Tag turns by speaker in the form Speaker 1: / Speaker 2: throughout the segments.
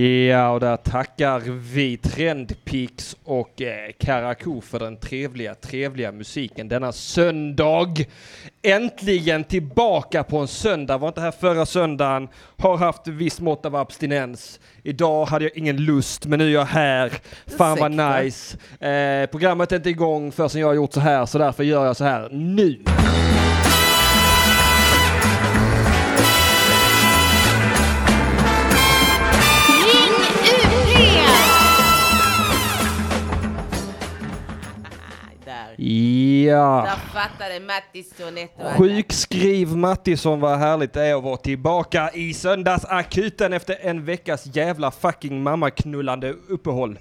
Speaker 1: Ja, och där tackar vi Trendpix och eh, Karakou för den trevliga, trevliga musiken denna söndag. Äntligen tillbaka på en söndag. Var inte här förra söndagen. Har haft viss mått av abstinens. Idag hade jag ingen lust, men nu är jag här. Fan vad
Speaker 2: Ursäkta.
Speaker 1: nice. Eh, programmet är inte igång förrän jag har gjort så här, så därför gör jag så här nu.
Speaker 3: Ring UP!
Speaker 2: Där.
Speaker 1: Ja.
Speaker 2: Där fattade Mattis Tonetto att-
Speaker 1: Sjukskriv Mattisson vad härligt det är att vara tillbaka i söndagsakuten efter en veckas jävla fucking mammaknullande uppehåll.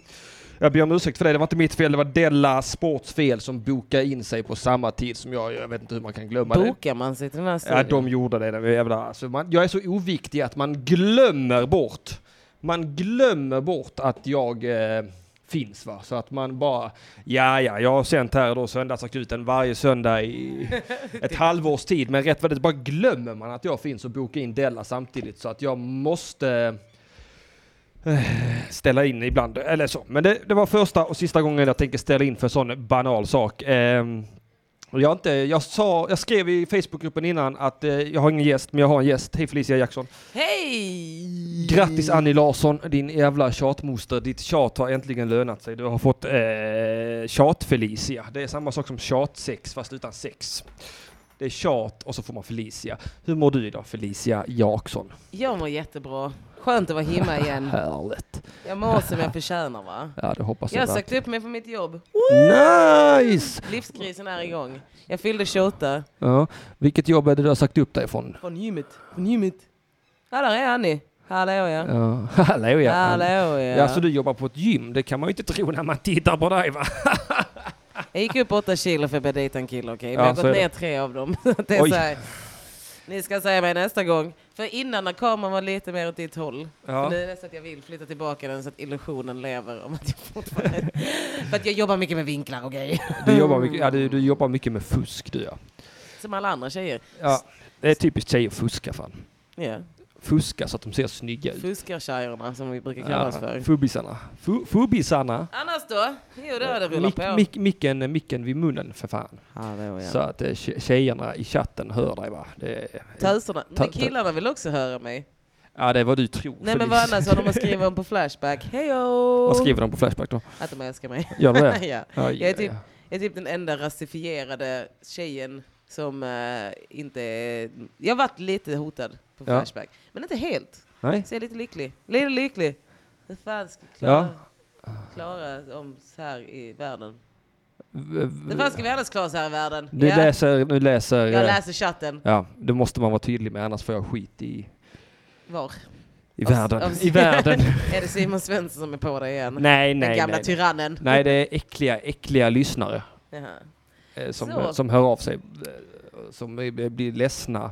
Speaker 1: Jag ber om ursäkt för det, det var inte mitt fel, det var Della Sports fel som bokade in sig på samma tid som jag. Jag vet inte hur man kan glömma det.
Speaker 2: Bokar man sig till den här
Speaker 1: Ja,
Speaker 2: studion?
Speaker 1: de gjorde det. det jävla, alltså man, jag är så oviktig att man glömmer bort. Man glömmer bort att jag eh, finns va. Så att man bara, ja ja, jag har sänt här då söndagsakuten varje söndag i ett halvårs tid. Men rätt vad det är, bara glömmer man att jag finns och bokar in Della samtidigt. Så att jag måste eh, ställa in ibland. Eller så. Men det, det var första och sista gången jag tänker ställa in för en sån banal sak. Ehm, och Jag, har inte, jag, sa, jag skrev i Facebookgruppen innan att eh, jag har ingen gäst, men jag har en gäst. Hej Felicia Jackson.
Speaker 2: Hej!
Speaker 1: Grattis Annie Larsson, din jävla tjatmoster. Ditt tjat har äntligen lönat sig. Du har fått eh, tjat-Felicia. Det är samma sak som tjatsex, fast utan sex. Det är tjat och så får man Felicia. Hur mår du idag Felicia Jackson?
Speaker 2: Jag mår jättebra. Skönt att vara hemma igen.
Speaker 1: Härligt.
Speaker 2: Jag mår som jag förtjänar va?
Speaker 1: Ja, det hoppas jag.
Speaker 2: Jag
Speaker 1: verkligen.
Speaker 2: sökte upp mig från mitt jobb.
Speaker 1: Nice!
Speaker 2: Livskrisen är igång. Jag fyllde 28.
Speaker 1: Ja, vilket jobb är det du har sagt upp dig ifrån?
Speaker 2: Från gymmet. Från gymmet. Ja, där är Annie. Hallå ja.
Speaker 1: Ja, hallå ja.
Speaker 2: Hallå
Speaker 1: Ja,
Speaker 2: ja.
Speaker 1: alltså du jobbar på ett gym, det kan man ju inte tro när man tittar på dig va?
Speaker 2: Jag gick upp åtta kilo för att jag dejtade en kille, okej? Men
Speaker 1: Ja,
Speaker 2: jag har
Speaker 1: så
Speaker 2: gått
Speaker 1: är det.
Speaker 2: ner tre av dem. Så att det är
Speaker 1: Oj.
Speaker 2: så här. Ni ska säga mig nästa gång. För innan när kameran var lite mer åt ditt håll.
Speaker 1: Ja.
Speaker 2: För nu är det så att jag vill flytta tillbaka den så att illusionen lever om att jag fortfarande... för att jag jobbar mycket med vinklar och grejer.
Speaker 1: Du jobbar mycket, ja, du, du jobbar mycket med fusk du ja.
Speaker 2: Som alla andra tjejer.
Speaker 1: ja. Det är typiskt tjejer att fuska fan.
Speaker 2: Ja.
Speaker 1: Fuska så att de ser snygga ut.
Speaker 2: Fuskartjejerna som vi brukar
Speaker 1: Ja,
Speaker 2: kallas för.
Speaker 1: Fubbisarna. Fu- Fubbisarna.
Speaker 2: Annars då? Jo, då har det rullat
Speaker 1: Mick,
Speaker 2: på.
Speaker 1: mick, micken, micken vid munnen för fan.
Speaker 2: Hallå,
Speaker 1: Så att eh, tje- tjejerna i chatten hör dig va? Det,
Speaker 2: Töserna.
Speaker 1: Ta-
Speaker 2: Men
Speaker 1: ta-
Speaker 2: killarna vill också höra mig.
Speaker 1: ja det är vad du tror.
Speaker 2: Nej men vad
Speaker 1: Felicia.
Speaker 2: annars har de att skriva om på Flashback? Hejo!
Speaker 1: Vad skriver de på Flashback då?
Speaker 2: Att de älskar mig.
Speaker 1: Gör de det?
Speaker 2: ja.
Speaker 1: Ja,
Speaker 2: Jag är typ- Jag är typ den enda rasifierade tjejen som eh, inte är... Jag har varit lite hotad på
Speaker 1: Ja.
Speaker 2: Flashback. Men inte helt.
Speaker 1: Nej?
Speaker 2: Så jag är lite lycklig. Lite lycklig. Hur fan ska vi
Speaker 1: Ja.
Speaker 2: klara, klara om så här i världen?
Speaker 1: V- v-
Speaker 2: Hur fan ska vi
Speaker 1: Mm.
Speaker 2: annars klara så här i världen?
Speaker 1: Du
Speaker 2: ja.
Speaker 1: läser, nu läser...
Speaker 2: Jag
Speaker 1: eh,
Speaker 2: läser chatten.
Speaker 1: Ja, det måste man vara tydlig med annars får jag skit i,
Speaker 2: Var?
Speaker 1: i
Speaker 2: Av-
Speaker 1: världen.
Speaker 2: av-
Speaker 1: I världen.
Speaker 2: Är det Simon Svensson som är på det igen?
Speaker 1: nej,
Speaker 2: den
Speaker 1: nej,
Speaker 2: gamla
Speaker 1: nej.
Speaker 2: tyrannen.
Speaker 1: Nej, det är äckliga, äckliga lyssnare
Speaker 2: Jaha.
Speaker 1: eh, som,
Speaker 2: Så.
Speaker 1: eh, som hör av sig, eh, som eh, blir ledsna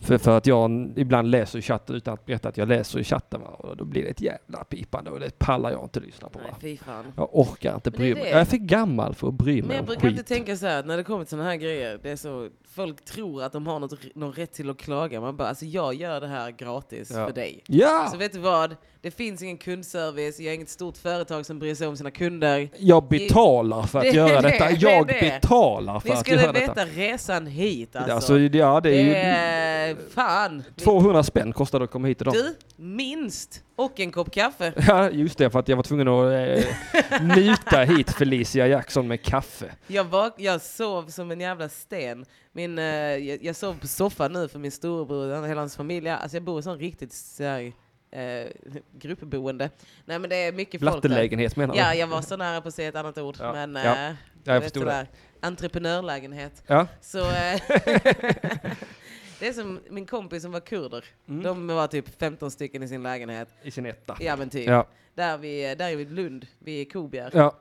Speaker 1: för, för att jag n- ibland läser i chatten utan att berätta att jag läser i chatten. Va? Och då blir det ett jävla pipande och det pallar jag inte lyssna på.
Speaker 2: Nej,
Speaker 1: Va?
Speaker 2: fy fan.
Speaker 1: Jag orkar inte
Speaker 2: Men
Speaker 1: bry
Speaker 2: det är
Speaker 1: mig.
Speaker 2: det.
Speaker 1: Jag är för gammal för att bry
Speaker 2: Men
Speaker 1: mig
Speaker 2: jag
Speaker 1: om
Speaker 2: brukar
Speaker 1: skit.
Speaker 2: alltid tänka så här när det kommer till sådana här grejer. Det är så, folk tror att de har något, någon rätt till att klaga. Man bara, alltså jag gör det här gratis
Speaker 1: Ja.
Speaker 2: för dig.
Speaker 1: Ja!
Speaker 2: Så vet du vad? Det finns ingen kundservice, jag är inget stort företag som bryr sig om sina kunder.
Speaker 1: Jag betalar för att
Speaker 2: Det är
Speaker 1: göra
Speaker 2: det,
Speaker 1: detta.
Speaker 2: det är
Speaker 1: Jag
Speaker 2: det.
Speaker 1: betalar för
Speaker 2: Ni
Speaker 1: att göra
Speaker 2: skulle
Speaker 1: detta.
Speaker 2: veta resan hit alltså.
Speaker 1: Alltså, ja, det
Speaker 2: det
Speaker 1: är ju
Speaker 2: är fan.
Speaker 1: 200 spänn kostade det att komma hit idag.
Speaker 2: Du, minst. Och en kopp kaffe.
Speaker 1: Ja, just det, för att jag var tvungen att eh, muta hit Felicia Jackson med kaffe.
Speaker 2: Jag, vak- jag sov som en jävla sten. Min, eh, jag, jag sov på soffan nu för min storebror och hela hans familj. Alltså jag bor i sån riktigt så här, eh, gruppboende. Nej men det är mycket folk där.
Speaker 1: Blattelägenhet menar du?
Speaker 2: Ja, jag var så nära på att säga ett annat ord.
Speaker 1: Ja,
Speaker 2: Men
Speaker 1: ja.
Speaker 2: eh,
Speaker 1: Ja, jag förstod det.
Speaker 2: sådär, Entreprenörlägenhet.
Speaker 1: Ja.
Speaker 2: Så, eh, det är som min kompis som var kurder.
Speaker 1: Mm.
Speaker 2: De var typ 15 stycken i sin lägenhet.
Speaker 1: I sin etta.
Speaker 2: Ja men typ.
Speaker 1: Ja.
Speaker 2: Där, vi, där är vi i Lund, vid Kobjer.
Speaker 1: Ja.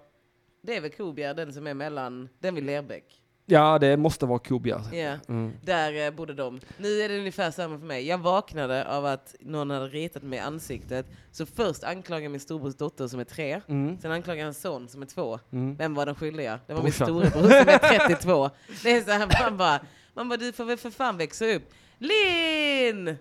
Speaker 2: Det är väl Kobjer, den som är mellan, den vid Lerbäck.
Speaker 1: ja, det måste vara Kobjar.
Speaker 2: Ja,
Speaker 1: Mm.
Speaker 2: där eh, bodde de. Nu är det ungefär samma för mig. Jag vaknade av att någon hade ritat mig i ansiktet. Så först anklagade min storbrors dotter som är tre.
Speaker 1: Mm.
Speaker 2: Sen anklagade hans son som är två.
Speaker 1: Mm.
Speaker 2: Vem var den skyldiga? Det var min
Speaker 1: Brorsan.
Speaker 2: storebror som är 32. Det är så här, man bara, man bara, du får väl för fan växa upp. Linn!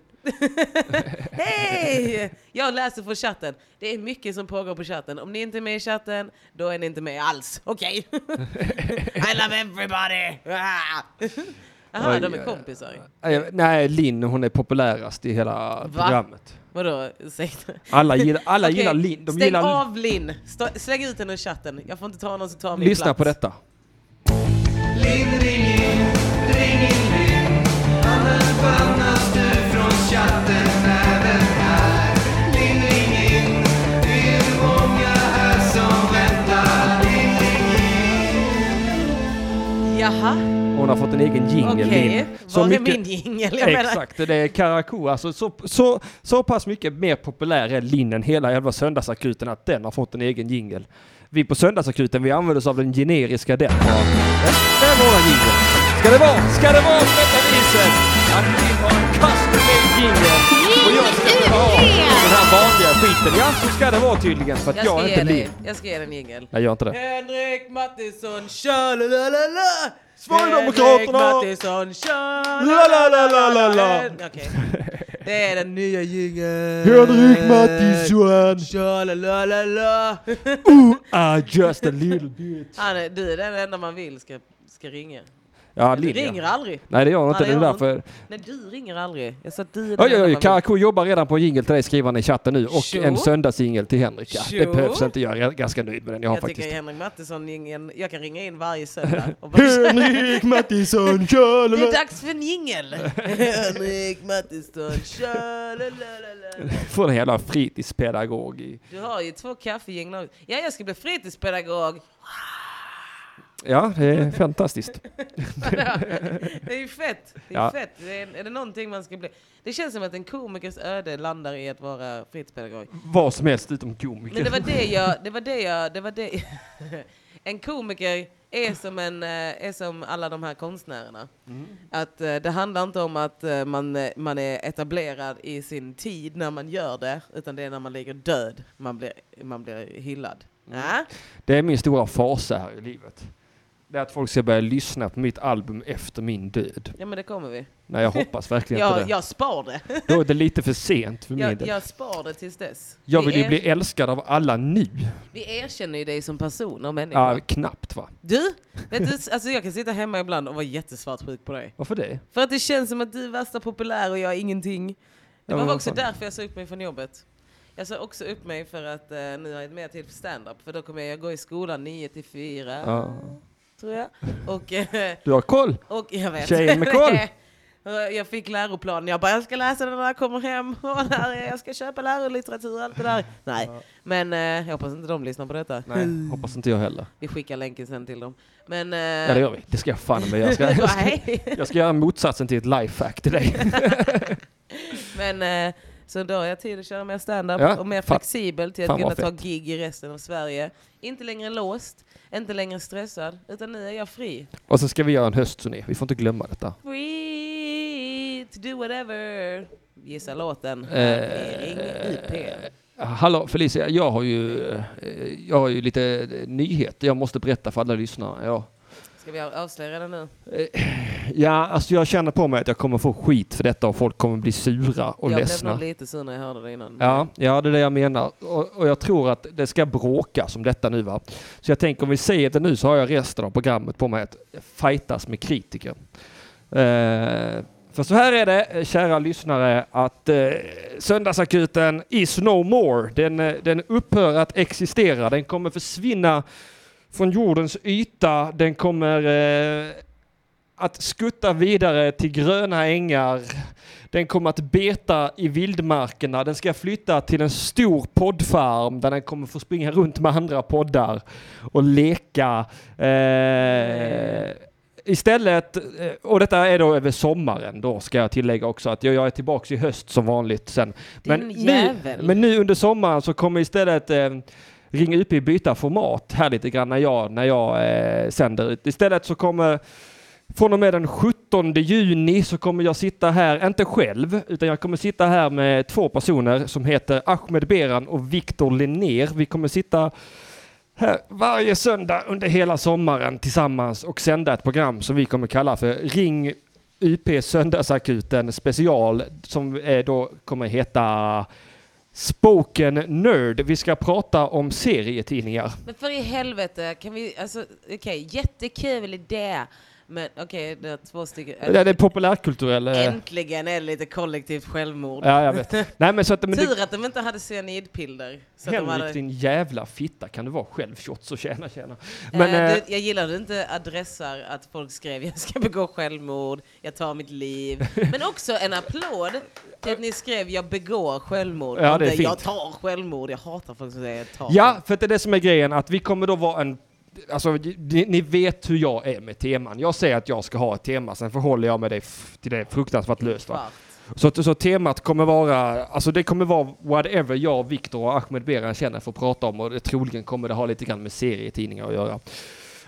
Speaker 2: Hej! Jag läser för chatten. Det är mycket som pågår på chatten. Om ni inte är med i chatten, då är ni inte med alls. Okej? I love everybody! Ah! Jaha,
Speaker 1: Oj,
Speaker 2: de är
Speaker 1: oj,
Speaker 2: kompisar.
Speaker 1: Eh, Nej, Linn hon är populärast i hela
Speaker 2: Va?
Speaker 1: programmet.
Speaker 2: Vadå? Ursäkta.
Speaker 1: Alla gillar, alla gillar
Speaker 2: Okej,
Speaker 1: Linn. De
Speaker 2: Stäng
Speaker 1: gillar...
Speaker 2: av Linn! Stå- Släng ut henne ur chatten. Jag får inte ta någon som tar min
Speaker 1: Lyssna
Speaker 2: plats.
Speaker 1: på detta.
Speaker 2: Jaha,
Speaker 1: Hon har fått en egen
Speaker 2: okej.
Speaker 1: jingel, Linn. Så
Speaker 2: Var
Speaker 1: mycket-
Speaker 2: är min jingel? Jag menar,
Speaker 1: Exakt, det är Karakou. Alltså så, så, så pass mycket mer populär är Linn än hela jävla Söndagsakuten att den har fått en egen jingel. Vi på Söndagsakuten, vi använder oss av den generiska den. har. Det är våran jingel. Ska det vara, ska det vara på detta viset att vi har en custom-made jingel och jag ska inte ha den här vanliga skiten. Ja, så ska det vara tydligen för att
Speaker 2: jag ska,
Speaker 1: jag, är
Speaker 2: ge
Speaker 1: inte
Speaker 2: dig,
Speaker 1: Linn.
Speaker 2: jag ska ge dig en jingel.
Speaker 1: Jag gör inte det.
Speaker 2: Henrik Mattisson, tja la la la la! Henrik
Speaker 1: Sverigedemokraterna!
Speaker 2: Mattisson, tja
Speaker 1: La, la, la, la, la, la.
Speaker 2: Okej. Det är den nya jingeln.
Speaker 1: Henrik Mattisson!
Speaker 2: Tja la la la la!
Speaker 1: Ooh, ah, just a little bit.
Speaker 2: Han är, du är den enda man vill ska, ska ringa.
Speaker 1: Ja,
Speaker 2: Du
Speaker 1: Linn
Speaker 2: ringer
Speaker 1: ja.
Speaker 2: aldrig.
Speaker 1: Nej, det gör hon inte.
Speaker 2: Nej,
Speaker 1: Det är
Speaker 2: det gör hon
Speaker 1: därför.
Speaker 2: Nej, du ringer aldrig. Jag sa att du är
Speaker 1: Oj, oj,
Speaker 2: den enda
Speaker 1: oj,
Speaker 2: man vill.
Speaker 1: Karakou jobbar redan på en jingel till dig skriver han i chatten nu och
Speaker 2: Tjo.
Speaker 1: en söndagsjingel till Henrik. Ja, det
Speaker 2: Tjo.
Speaker 1: behövs inte, jag är ganska nöjd med den jag har
Speaker 2: Jag tycker
Speaker 1: faktiskt.
Speaker 2: Henrik Mattisson, jingeln- jag kan ringa in varje söndag. Och bara,
Speaker 1: Henrik Mattisson,
Speaker 2: Det är
Speaker 1: tjalala.
Speaker 2: dags för en jingel! Henrik Mattisson, tja la la la la.
Speaker 1: Från en jävla fritidspedagog. i-
Speaker 2: Du har ju två kaffejinglar. Ja, jag ska bli fritidspedagog.
Speaker 1: Ja, det är fantastiskt.
Speaker 2: Det är ju fett. Det är,
Speaker 1: Ja.
Speaker 2: fett. Det är, är det någonting man ska bli? Det känns som att en komikers öde landar i att vara fritidspedagog.
Speaker 1: Vad som helst utom
Speaker 2: Men
Speaker 1: komiker.
Speaker 2: det var det jag... Det var det jag... Det var det. En komiker är som, en, eh, är som alla de här konstnärerna.
Speaker 1: Mm.
Speaker 2: Att eh, det handlar inte om att eh, man, eh, man är etablerad i sin tid när man gör det, utan det är när man ligger död man blir, man blir hyllad.
Speaker 1: Mm.
Speaker 2: Ah, Ja?
Speaker 1: Det är min stora fasa här i livet. Det är att folk ska börja lyssna på mitt album efter min död.
Speaker 2: ja, men det kommer vi.
Speaker 1: Nej, jag hoppas verkligen inte
Speaker 2: Jag,
Speaker 1: det.
Speaker 2: jag spar det.
Speaker 1: Då är det lite för sent för min
Speaker 2: Jag,
Speaker 1: del.
Speaker 2: jag spar det tills dess.
Speaker 1: Jag vill
Speaker 2: vi,
Speaker 1: ju bli älskad av alla nu.
Speaker 2: vi erkänner ju dig som person och människa.
Speaker 1: Ja, knappt va?
Speaker 2: Du, vet du, alltså jag kan sitta hemma ibland och vara jättesvartsjuk på dig.
Speaker 1: Varför det?
Speaker 2: För att det känns som att du är värsta populär och jag är ingenting. Det
Speaker 1: Ja, men
Speaker 2: var
Speaker 1: vad
Speaker 2: också
Speaker 1: fan.
Speaker 2: därför jag sa upp mig från jobbet. Jag sa också upp mig för att eh, nu har jag mer tid för stand-up. För då kommer jag gå i skolan 9 till 4,
Speaker 1: Ja.
Speaker 2: tror jag. Och, eh,
Speaker 1: Du har koll?
Speaker 2: och jag vet.
Speaker 1: Tjejen med koll.
Speaker 2: Och Jag fick läroplanen, jag bara jag ska läsa den när jag kommer hem, och där, är- jag ska köpa lärolitteratur och allt det där. Nej, men eh, jag hoppas inte de lyssnar på detta.
Speaker 1: Nej, hoppas inte jag heller.
Speaker 2: Vi skickar länken sen till dem. Men... eh,
Speaker 1: Ja det gör vi. Det ska jag fan med. Jag ska, jag ska,
Speaker 2: Nej.
Speaker 1: jag ska göra motsatsen till ett lifehack till dig.
Speaker 2: Men eh, så då har jag tid att köra mer standup
Speaker 1: Ja,
Speaker 2: och mer
Speaker 1: fan-
Speaker 2: flexibel till att
Speaker 1: fan
Speaker 2: kunna
Speaker 1: vad
Speaker 2: ta
Speaker 1: fett.
Speaker 2: gig i resten av Sverige. Inte längre låst, inte längre stressad, utan nu är jag fri.
Speaker 1: Och så ska vi göra en höstturné. Vi får inte glömma detta.
Speaker 2: Free to do whatever. Gissa låten.
Speaker 1: Eh,
Speaker 2: Ring IP.
Speaker 1: Hallå Felicia, jag har ju, eh, jag har ju lite eh, nyheter jag måste berätta för alla lyssnare. Ja.
Speaker 2: Ska vi avslöja den nu?
Speaker 1: ja, alltså jag känner på mig att jag kommer få skit för detta och folk kommer bli sura och
Speaker 2: jag blev
Speaker 1: ledsna.
Speaker 2: nog lite sur när jag hörde det innan.
Speaker 1: Ja, ja, det är det jag menar. Och, och jag tror att det ska bråkas om detta nu va. Så jag tänker om vi säger det nu så har jag resten av programmet på mig att fightas med kritiker. Eh, för så här är det, eh, kära lyssnare, att eh, Söndagsakuten is no more. Den, eh, den upphör att existera. Den kommer försvinna från jordens yta. Den kommer eh, att skutta vidare till gröna ängar. Den kommer att beta i vildmarkerna. Den ska flytta till en stor poddfarm där den kommer få springa runt med andra poddar och leka. Eh, istället, eh, och detta är då över sommaren då ska jag tillägga också att jag jag är tillbaks i höst som vanligt sen.
Speaker 2: Din
Speaker 1: nu,
Speaker 2: jävel.
Speaker 1: men nu under sommaren så kommer istället eh, Ring UP byta format här lite grann när jag, när jag eh, sänder ut. Istället så kommer från och med den 17 juni så kommer jag sitta här, inte själv, utan jag kommer sitta här med två personer som heter Ahmed Beran och Viktor Linnér. Vi kommer sitta här varje söndag under hela sommaren tillsammans och sända ett program som vi kommer kalla för Ring UP Söndagsakuten special som eh, då kommer heta Spoken Nerd. Vi ska prata om serietidningar.
Speaker 2: Men för i helvete, kan vi, alltså okej, jättekul idé. Men okej, det är två stycken.
Speaker 1: Det är populärkulturell. eh,
Speaker 2: Äntligen är det lite kollektivt självmord.
Speaker 1: Ja, jag vet. Nej, men så att, men det,
Speaker 2: Tur att de inte hade cyanidpiller. Så att de
Speaker 1: Henrik
Speaker 2: hade,
Speaker 1: din jävla fitta kan du vara själv. Tjott så tjäna tjäna. Men,
Speaker 2: men,
Speaker 1: eh,
Speaker 2: du, jag gillade inte adressar att folk skrev jag ska begå självmord, jag tar mitt liv. Men också en applåd till att ni skrev jag begår självmord.
Speaker 1: Ja, det är
Speaker 2: inte, jag
Speaker 1: fint.
Speaker 2: tar självmord. Jag hatar folk som säger jag tar
Speaker 1: Ja, för att det är det som är grejen, att vi kommer då vara en... Alltså, ni, ni vet hur jag är med teman. Jag säger att jag ska ha ett tema, sen förhåller jag mig det f- till det fruktansvärt löst. Va?
Speaker 2: självmord.
Speaker 1: Så, att- så temat kommer vara, alltså det kommer vara whatever jag, Viktor och Ahmed Beran känner för att prata om och det, troligen kommer det ha lite grann med serietidningar att göra.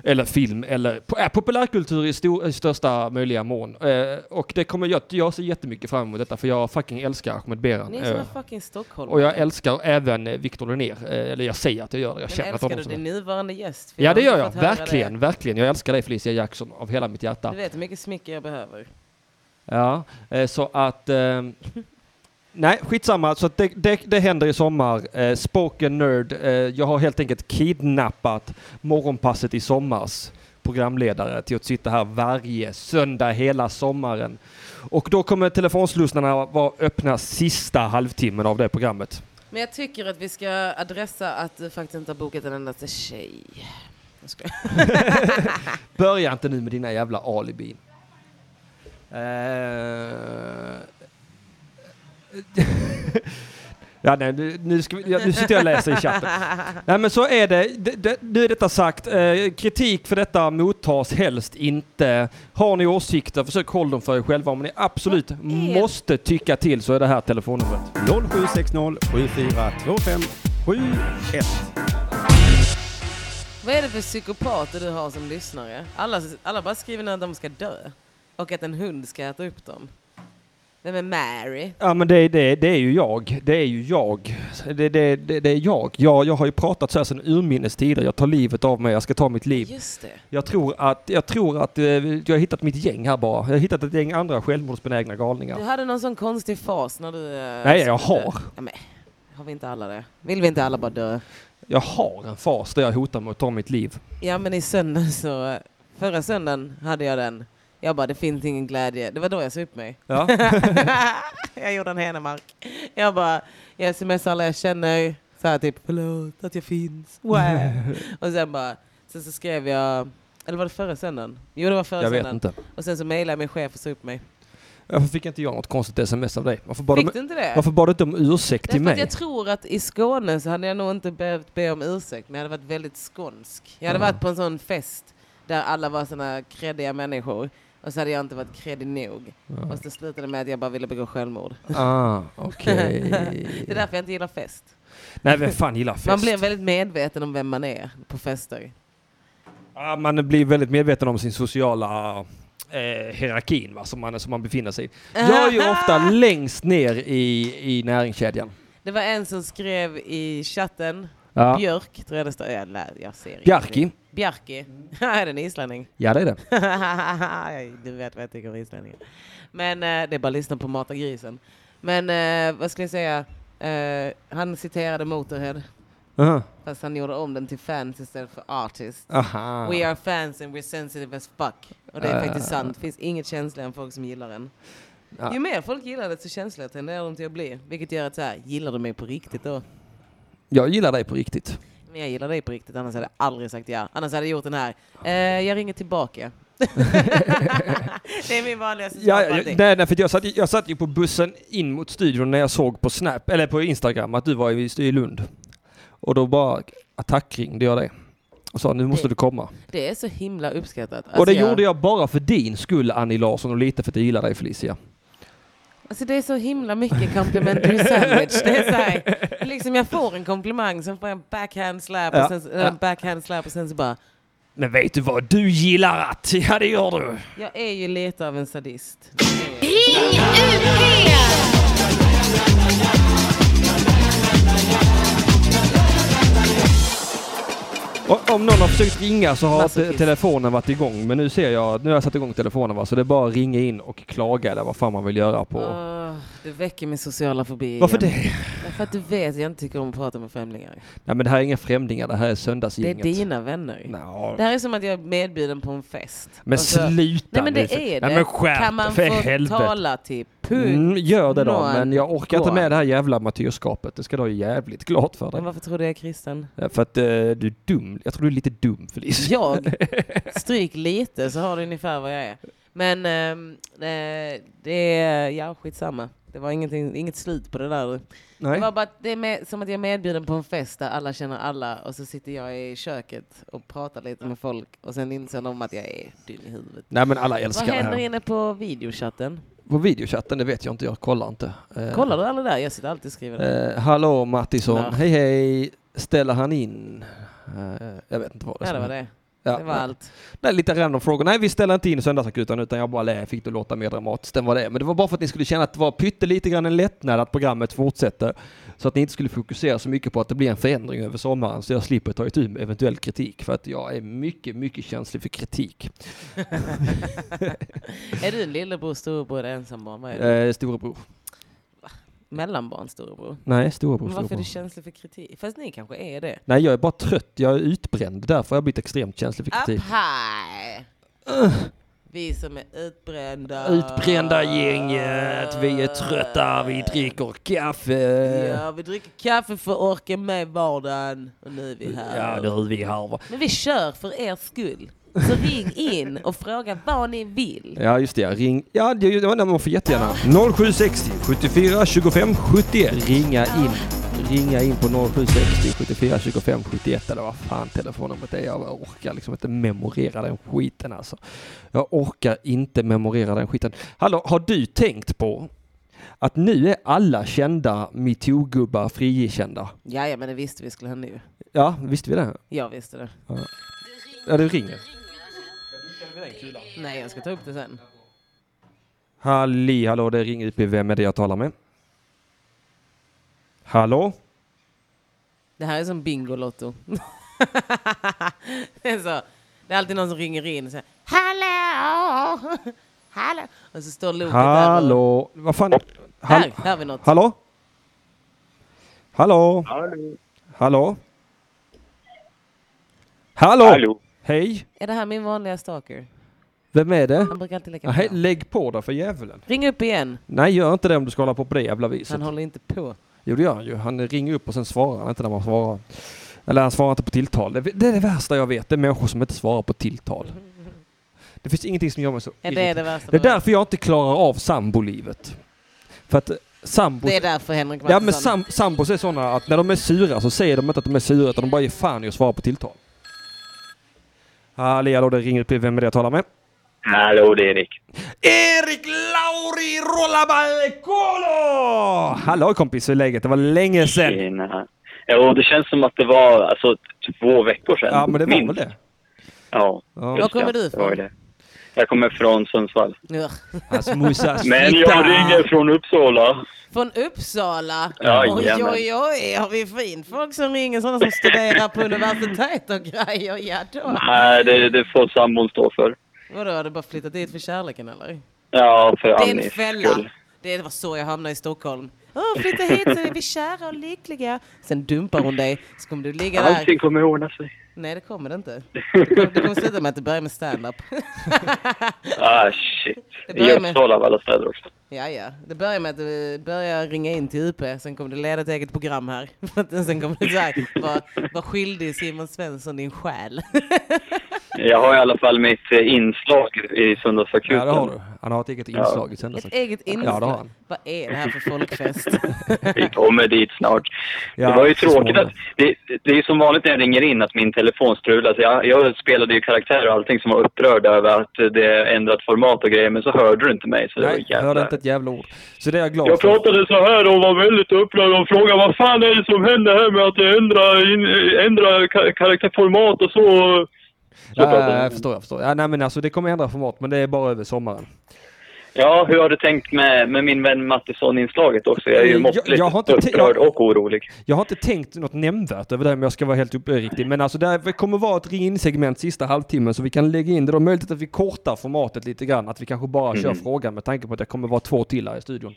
Speaker 1: Eller film, eller po- äh, populärkultur i, stor, i största möjliga mån. Eh, och det kommer jag, jag ser jättemycket fram emot detta för jag fucking älskar Ahmed Beran.
Speaker 2: Ni är
Speaker 1: Eh,
Speaker 2: såna fucking Stockholm.
Speaker 1: och jag älskar även eh, Viktor Linnér, eh, eller jag säger att jag gör det, jag
Speaker 2: Men
Speaker 1: känner att
Speaker 2: älskar
Speaker 1: honom
Speaker 2: du
Speaker 1: som
Speaker 2: din nuvarande gäst? För
Speaker 1: Ja
Speaker 2: har
Speaker 1: det
Speaker 2: inte
Speaker 1: gör jag,
Speaker 2: fått höra
Speaker 1: verkligen,
Speaker 2: det.
Speaker 1: verkligen. Jag älskar dig Felicia Jackson av hela mitt hjärta.
Speaker 2: Du vet hur mycket smicker jag behöver.
Speaker 1: Ja, eh, så att... Eh, nej, skitsamma. Så att det, det, det händer i sommar. Eh, spoken Nerd. Eh, jag har helt enkelt kidnappat Morgonpasset i sommars programledare till att sitta här varje söndag hela sommaren. Och då kommer telefonslussarna vara öppna sista halvtimmen av det programmet.
Speaker 2: Men jag tycker att vi ska adressa att du faktiskt inte har bokat en endaste tjej. Jag skojar.
Speaker 1: Börja inte nu med dina jävla alibin. Eh, ja, nej, nu, nu, ska vi, ja, nu sitter jag och läser i chatten. Nej, men så är det. Det- det- Nu är detta sagt. Eh, kritik för detta mottas helst inte. Har ni åsikter, försök hålla dem för er själva. Om ni absolut
Speaker 2: är-
Speaker 1: måste tycka till så är det här telefonnumret.
Speaker 4: 0760 7425 71.
Speaker 2: Vad är det för psykopater du har som lyssnare? Alla, alla bara skriver när de ska dö. Och att en hund ska äta upp dem. Vem är Mary?
Speaker 1: Ja men det, det, det är ju jag. Det är ju jag. Det, det, det, det är jag. jag. Jag har ju pratat så här sedan urminnes tider. Jag tar livet av mig. Jag ska ta mitt liv.
Speaker 2: Just det.
Speaker 1: Jag tror att, jag tror att eh, jag har hittat mitt gäng här bara. Jag har hittat ett gäng andra självmordsbenägna galningar.
Speaker 2: Du hade någon sån konstig fas när du... eh,
Speaker 1: Nej, jag
Speaker 2: skulle dö.
Speaker 1: har.
Speaker 2: Ja, men, har vi inte alla det? Vill vi inte alla bara dö?
Speaker 1: Jag har en fas där jag hotar med att ta mitt liv.
Speaker 2: Ja men i söndags så, eh, förra söndagen hade jag den. Jag bara det finns ingen glädje. Det var då jag sa upp mig.
Speaker 1: Ja.
Speaker 2: jag gjorde en Henemark. Jag bara, jag smsar alla jag känner. Så här typ, förlåt att jag finns. Wow. och sen bara, sen så skrev jag, eller var det förra söndagen? Jo det var förra
Speaker 1: Jag vet
Speaker 2: söndagen.
Speaker 1: inte.
Speaker 2: Och sen så mejlade jag min chef och sa upp mig.
Speaker 1: Varför fick inte jag något konstigt sms av dig? Varför bad,
Speaker 2: Fick
Speaker 1: de,
Speaker 2: du inte det?
Speaker 1: varför bad du inte om ursäkt till
Speaker 2: Därför att
Speaker 1: mig?
Speaker 2: jag tror att i Skåne så hade jag nog inte behövt be om ursäkt, men jag hade varit väldigt skånsk. Jag hade
Speaker 1: Ja.
Speaker 2: varit på en sån fest där alla var såna kreddiga människor och så hade jag inte varit kreddig nog. Och så slutade det med att jag bara ville begå självmord.
Speaker 1: Ah, okej.
Speaker 2: Det är därför jag inte gillar fest.
Speaker 1: Nej, vem fan gillar fest?
Speaker 2: Man blir väldigt medveten om vem man är på fester.
Speaker 1: Ja, man blir väldigt medveten om sin sociala eh, hierarkin va, som, man, som man befinner sig i. Jag är ju ofta längst ner i, i näringskedjan.
Speaker 2: Det var en som skrev i chatten,
Speaker 1: Ja.
Speaker 2: Björk tror jag det stod. Jag, lär- jag ser ingenting.
Speaker 1: Bjarki.
Speaker 2: Bjarki. är det en islänning?
Speaker 1: Ja, det är det.
Speaker 2: du vet vad jag tycker om islänningar. Men eh, det är bara att lyssna på Mata grisen. Men eh, vad skulle jag säga? Eh, han citerade Motorhead,
Speaker 1: Aha.
Speaker 2: fast han gjorde om den till fans istället för artist.
Speaker 1: Aha.
Speaker 2: We are fans and we're sensitive as fuck. Och det är faktiskt
Speaker 1: Ah.
Speaker 2: sant. Det finns inget känsligare än folk som gillar en.
Speaker 1: Ah.
Speaker 2: Ju mer folk gillar det, så känsliga tenderar de till att bli. Vilket gör att så här, gillar du mig på riktigt då?
Speaker 1: Jag gillar dig på riktigt.
Speaker 2: Men jag gillar dig på riktigt, annars hade jag aldrig sagt ja. Annars hade jag gjort den här, eh, jag ringer tillbaka. det är min vanligaste
Speaker 1: Ja, ja,
Speaker 2: svarsparti.
Speaker 1: nej, nej, för jag satt, jag satt ju på bussen in mot studion när jag såg på Snap, eller på Instagram, att du var i, i Lund. Och då bara attackringde jag dig och sa nu måste du komma.
Speaker 2: Det Alltså, är så himla uppskattat. Alltså,
Speaker 1: och det gjorde jag bara för din skull Annie Larsson och lite för att jag gillar dig Felicia.
Speaker 2: Alltså det är så himla mycket complimentary sandwich. Det är så här, liksom jag får en komplimang, sen får jag en backhand slap
Speaker 1: Ja,
Speaker 2: och sen,
Speaker 1: ja.
Speaker 2: en backhand slap och sen så bara,
Speaker 1: Men vet du vad, du gillar att, ja det gör du.
Speaker 2: jag är ju lite av en sadist.
Speaker 3: Ring UP!
Speaker 1: Och om någon har försökt ringa så har
Speaker 2: Masochist.
Speaker 1: te- telefonen varit igång. Men nu ser jag, nu har jag satt igång telefonen va, så det är bara att ringa in och klaga där vad fan man vill göra på.
Speaker 2: Åh, du väcker min sociala fobi
Speaker 1: Varför
Speaker 2: igen.
Speaker 1: det?
Speaker 2: Därför att du vet att jag inte tycker om att prata med främlingar.
Speaker 1: Nej men det här är inga främlingar, det här är
Speaker 2: Det är
Speaker 1: söndagsgänget.
Speaker 2: dina vänner.
Speaker 1: Nå,
Speaker 2: Det här är som att jag är medbjuden på en fest.
Speaker 1: men
Speaker 2: Och så-
Speaker 1: sluta
Speaker 2: Nej men
Speaker 1: nu.
Speaker 2: det
Speaker 1: för-
Speaker 2: är det.
Speaker 1: Nej men skärp
Speaker 2: kan man
Speaker 1: för
Speaker 2: få
Speaker 1: helvete.
Speaker 2: tala till punkt?
Speaker 1: Mm, gör det då,
Speaker 2: Någon
Speaker 1: men jag orkar inte
Speaker 2: går.
Speaker 1: med det här jävla amatörskapet. Det ska du ha jävligt klart för dig.
Speaker 2: Men varför tror du jag är kristen?
Speaker 1: Ja, För att eh, du är dum. Jag tror du är lite dum Felicia.
Speaker 2: Jag? Stryk lite så har du ungefär vad jag är. Men ehm, eh, det är, ja skitsamma. Det var ingenting, inget slut på det där. Det
Speaker 1: Nej.
Speaker 2: var bara att det är med, som att jag är medbjuden på en fest där alla känner alla och så sitter jag i köket och pratar lite med folk och sen inser de att jag är dum i huvudet.
Speaker 1: Nej men alla
Speaker 2: Vad
Speaker 1: älskar det
Speaker 2: händer
Speaker 1: här.
Speaker 2: inne på videochatten?
Speaker 1: På videochatten, det vet jag inte. Jag kollar inte. Eh,
Speaker 2: Kollar du aldrig där? Jag sitter alltid och skriver där.
Speaker 1: Eh, hallå Mattisson,
Speaker 2: Ja.
Speaker 1: hej hej. Ställer han in? Eh, jag vet inte vad det
Speaker 2: Ja, det var
Speaker 1: hände.
Speaker 2: det.
Speaker 1: Ja,
Speaker 2: Det var allt.
Speaker 1: nej, lite random frågor. Nej, vi ställer inte in Söndagsakuten utan jag bara lä, fick det låta mer dramatiskt än vad det är. Men det var bara för att ni skulle känna att det var pyttelite grann en lättnad att programmet fortsätter. Så att ni inte skulle fokusera så mycket på att det blir en förändring över sommaren så jag slipper ta itu med eventuell kritik för att jag är mycket, mycket känslig för kritik.
Speaker 2: Är du en lillebror, storebror eller ensambarn? Vad är du?
Speaker 1: Eh, storebror.
Speaker 2: Mellanbarn, storebror?
Speaker 1: Nej, storebror.
Speaker 2: Men varför
Speaker 1: storebror.
Speaker 2: är du känslig för kritik? Fast ni kanske är det?
Speaker 1: Nej, jag är bara trött. Jag är utbränd. Därför har jag blivit extremt känslig för kritik.
Speaker 2: Up high! Vi som är utbrända.
Speaker 1: Utbrända gänget, vi är trötta, vi dricker kaffe.
Speaker 2: Ja, vi dricker kaffe för att orka med vardagen. Och nu är vi här.
Speaker 1: Ja, nu är vi här va.
Speaker 2: Men vi kör för er skull. Så ring in och fråga vad ni vill.
Speaker 1: Ja, just det. Ring... Ja, det, det, det, man får jättegärna.
Speaker 4: 0760 74 25 71.
Speaker 1: Ringa in. Ringa in på 0760 74 25 71 eller vad fan telefonnumret är. Jag orkar liksom inte memorera den skiten alltså. Jag orkar inte memorera den skiten. Hallå, har du tänkt på att nu är alla kända metoo-gubbar frikända?
Speaker 2: Ja, men det visste vi skulle hända ju.
Speaker 1: Ja, visste vi det?
Speaker 2: Jag visste det.
Speaker 1: Ja, det ringer.
Speaker 2: Nej, jag ska ta upp det sen.
Speaker 1: Halli hallå, det ringer upp. Vem är det jag talar med? Hallå?
Speaker 2: Det här är som Bingolotto. det, är så. det är alltid någon som ringer in och säger Hallå! Hallå! Och så står Loket där. och-
Speaker 1: Hallå? Vad fan?
Speaker 2: Där,
Speaker 1: Hall-
Speaker 2: där har vi något.
Speaker 1: hallå? Hallå?
Speaker 5: Hallå.
Speaker 1: Hallå? Hallå?
Speaker 5: Hallå.
Speaker 1: Hej?
Speaker 2: Är det här min vanliga stalker?
Speaker 1: Vem är det?
Speaker 2: Han brukar alltid lägga
Speaker 1: Ja, hej,
Speaker 2: på.
Speaker 1: lägg på då för djävulen.
Speaker 2: Ring upp igen.
Speaker 1: Nej, gör inte det om du ska hålla på på det jävla viset.
Speaker 2: Han håller inte på.
Speaker 1: Jo, det gör han ju. Han ringer upp och sen svarar han inte när man svarar. Eller han svarar inte på tilltal. Det, det är det värsta jag vet. Det är människor som inte svarar på tilltal. Det finns ingenting som gör mig så
Speaker 2: Ja, det
Speaker 1: irriterad.
Speaker 2: är det värsta.
Speaker 1: Det är
Speaker 2: med-
Speaker 1: därför jag inte klarar av sambolivet. För att sambos...
Speaker 2: det är därför Henrik
Speaker 1: Ja men
Speaker 2: Mattisson-
Speaker 1: sam, sambos är sådana att när de är sura så säger de inte att de är sura utan de bara ger fan i att svara på tilltal. Halli hallå, det ringer upp. Vem är det jag talar med?
Speaker 5: Hallå, det är Erik.
Speaker 1: Erik Lauri Rollabalcolo! Hallå kompis, hur är läget? Det var länge sedan.
Speaker 5: Tjena. Ja, och det känns som att det var alltså, två veckor sedan.
Speaker 1: Ja men det var
Speaker 5: Minst.
Speaker 1: väl det.
Speaker 5: Ja.
Speaker 1: Ja.
Speaker 5: just
Speaker 2: Var kommer
Speaker 5: det.
Speaker 2: du
Speaker 5: Det var ju
Speaker 2: ifrån?
Speaker 5: det. Jag kommer från Sundsvall.
Speaker 2: Ja.
Speaker 1: Hans morsa
Speaker 5: Men jag ringer från Uppsala.
Speaker 2: Från Uppsala. oj,
Speaker 5: Jajamän.
Speaker 2: oj, oj, har vi fint folk som ringer? Sådana som studerar på universitet och grejer. Ja, då.
Speaker 5: Nej, det, det får sambon stå för.
Speaker 2: Vadå, har du bara flyttat dit för kärleken eller?
Speaker 5: Ja, för
Speaker 2: Det är en
Speaker 5: Annis
Speaker 2: fälla.
Speaker 5: skull.
Speaker 2: Det var så jag hamnade i Stockholm. Åh, flytta hit så är vi kära och lyckliga. Sen dumpar hon dig, så kommer du ligga där.
Speaker 5: Allting kommer ordna sig.
Speaker 2: Nej, det kommer det inte. Det kommer, det kommer sluta med att du börjar med stand-up.
Speaker 5: Ah, shit.
Speaker 2: Det
Speaker 5: I
Speaker 2: börjar med-
Speaker 5: Uppsala av alla städer också.
Speaker 2: ja, ja. Det börjar med att du börjar ringa in till UP, sen kommer du leda ett eget program här. sen kommer du säga, var, var skyldig Simon Svensson din själ.
Speaker 5: Jag har i alla fall mitt eh, inslag i Söndagsakuten.
Speaker 1: Ja det har du. Han har ett eget inslag i
Speaker 2: Ett
Speaker 1: söndagsakuten.
Speaker 2: eget inslag.
Speaker 1: Ja, det har han.
Speaker 2: Vad är det här för folkfest?
Speaker 5: Vi kommer dit snart.
Speaker 1: Ja,
Speaker 5: det var ju
Speaker 1: så småningom.
Speaker 5: tråkigt att... Det, det är ju som vanligt när jag ringer in att min telefon strular. Så jag, jag spelade ju karaktär och allting som var upprörd över att det ändrat format och grejer. Men så hörde du inte mig. Så det var
Speaker 1: Nej, jag
Speaker 5: jävla-
Speaker 1: hörde inte ett jävla ord. Så det är jag glad
Speaker 5: Jag
Speaker 1: för.
Speaker 5: pratade så här och var väldigt upprörd och frågade vad fan är det som händer här med att det ändrar, in- ändrar ka- karaktärformat och så. så
Speaker 1: Ja,
Speaker 5: pratade
Speaker 1: ja,
Speaker 5: jag.
Speaker 1: jag förstår, jag förstår. Ja, nej, men alltså, det kommer ändra format, men det är bara över sommaren.
Speaker 5: Ja, hur har du tänkt med, med min vän Mattisson-inslaget också? Jag är ju
Speaker 1: Eh, Jag-
Speaker 5: måttligt
Speaker 1: jag har inte te-
Speaker 5: upprörd
Speaker 1: jag-
Speaker 5: och orolig.
Speaker 1: Jag har inte tänkt något nämnvärt över det här, om jag ska vara helt uppriktig. Men alltså det kommer vara ett ring-in-segment sista halvtimmen så vi kan lägga in det. Det är möjligt att vi kortar formatet lite grann. Att vi kanske bara kör frågan med tanke på att det kommer vara två till här i studion.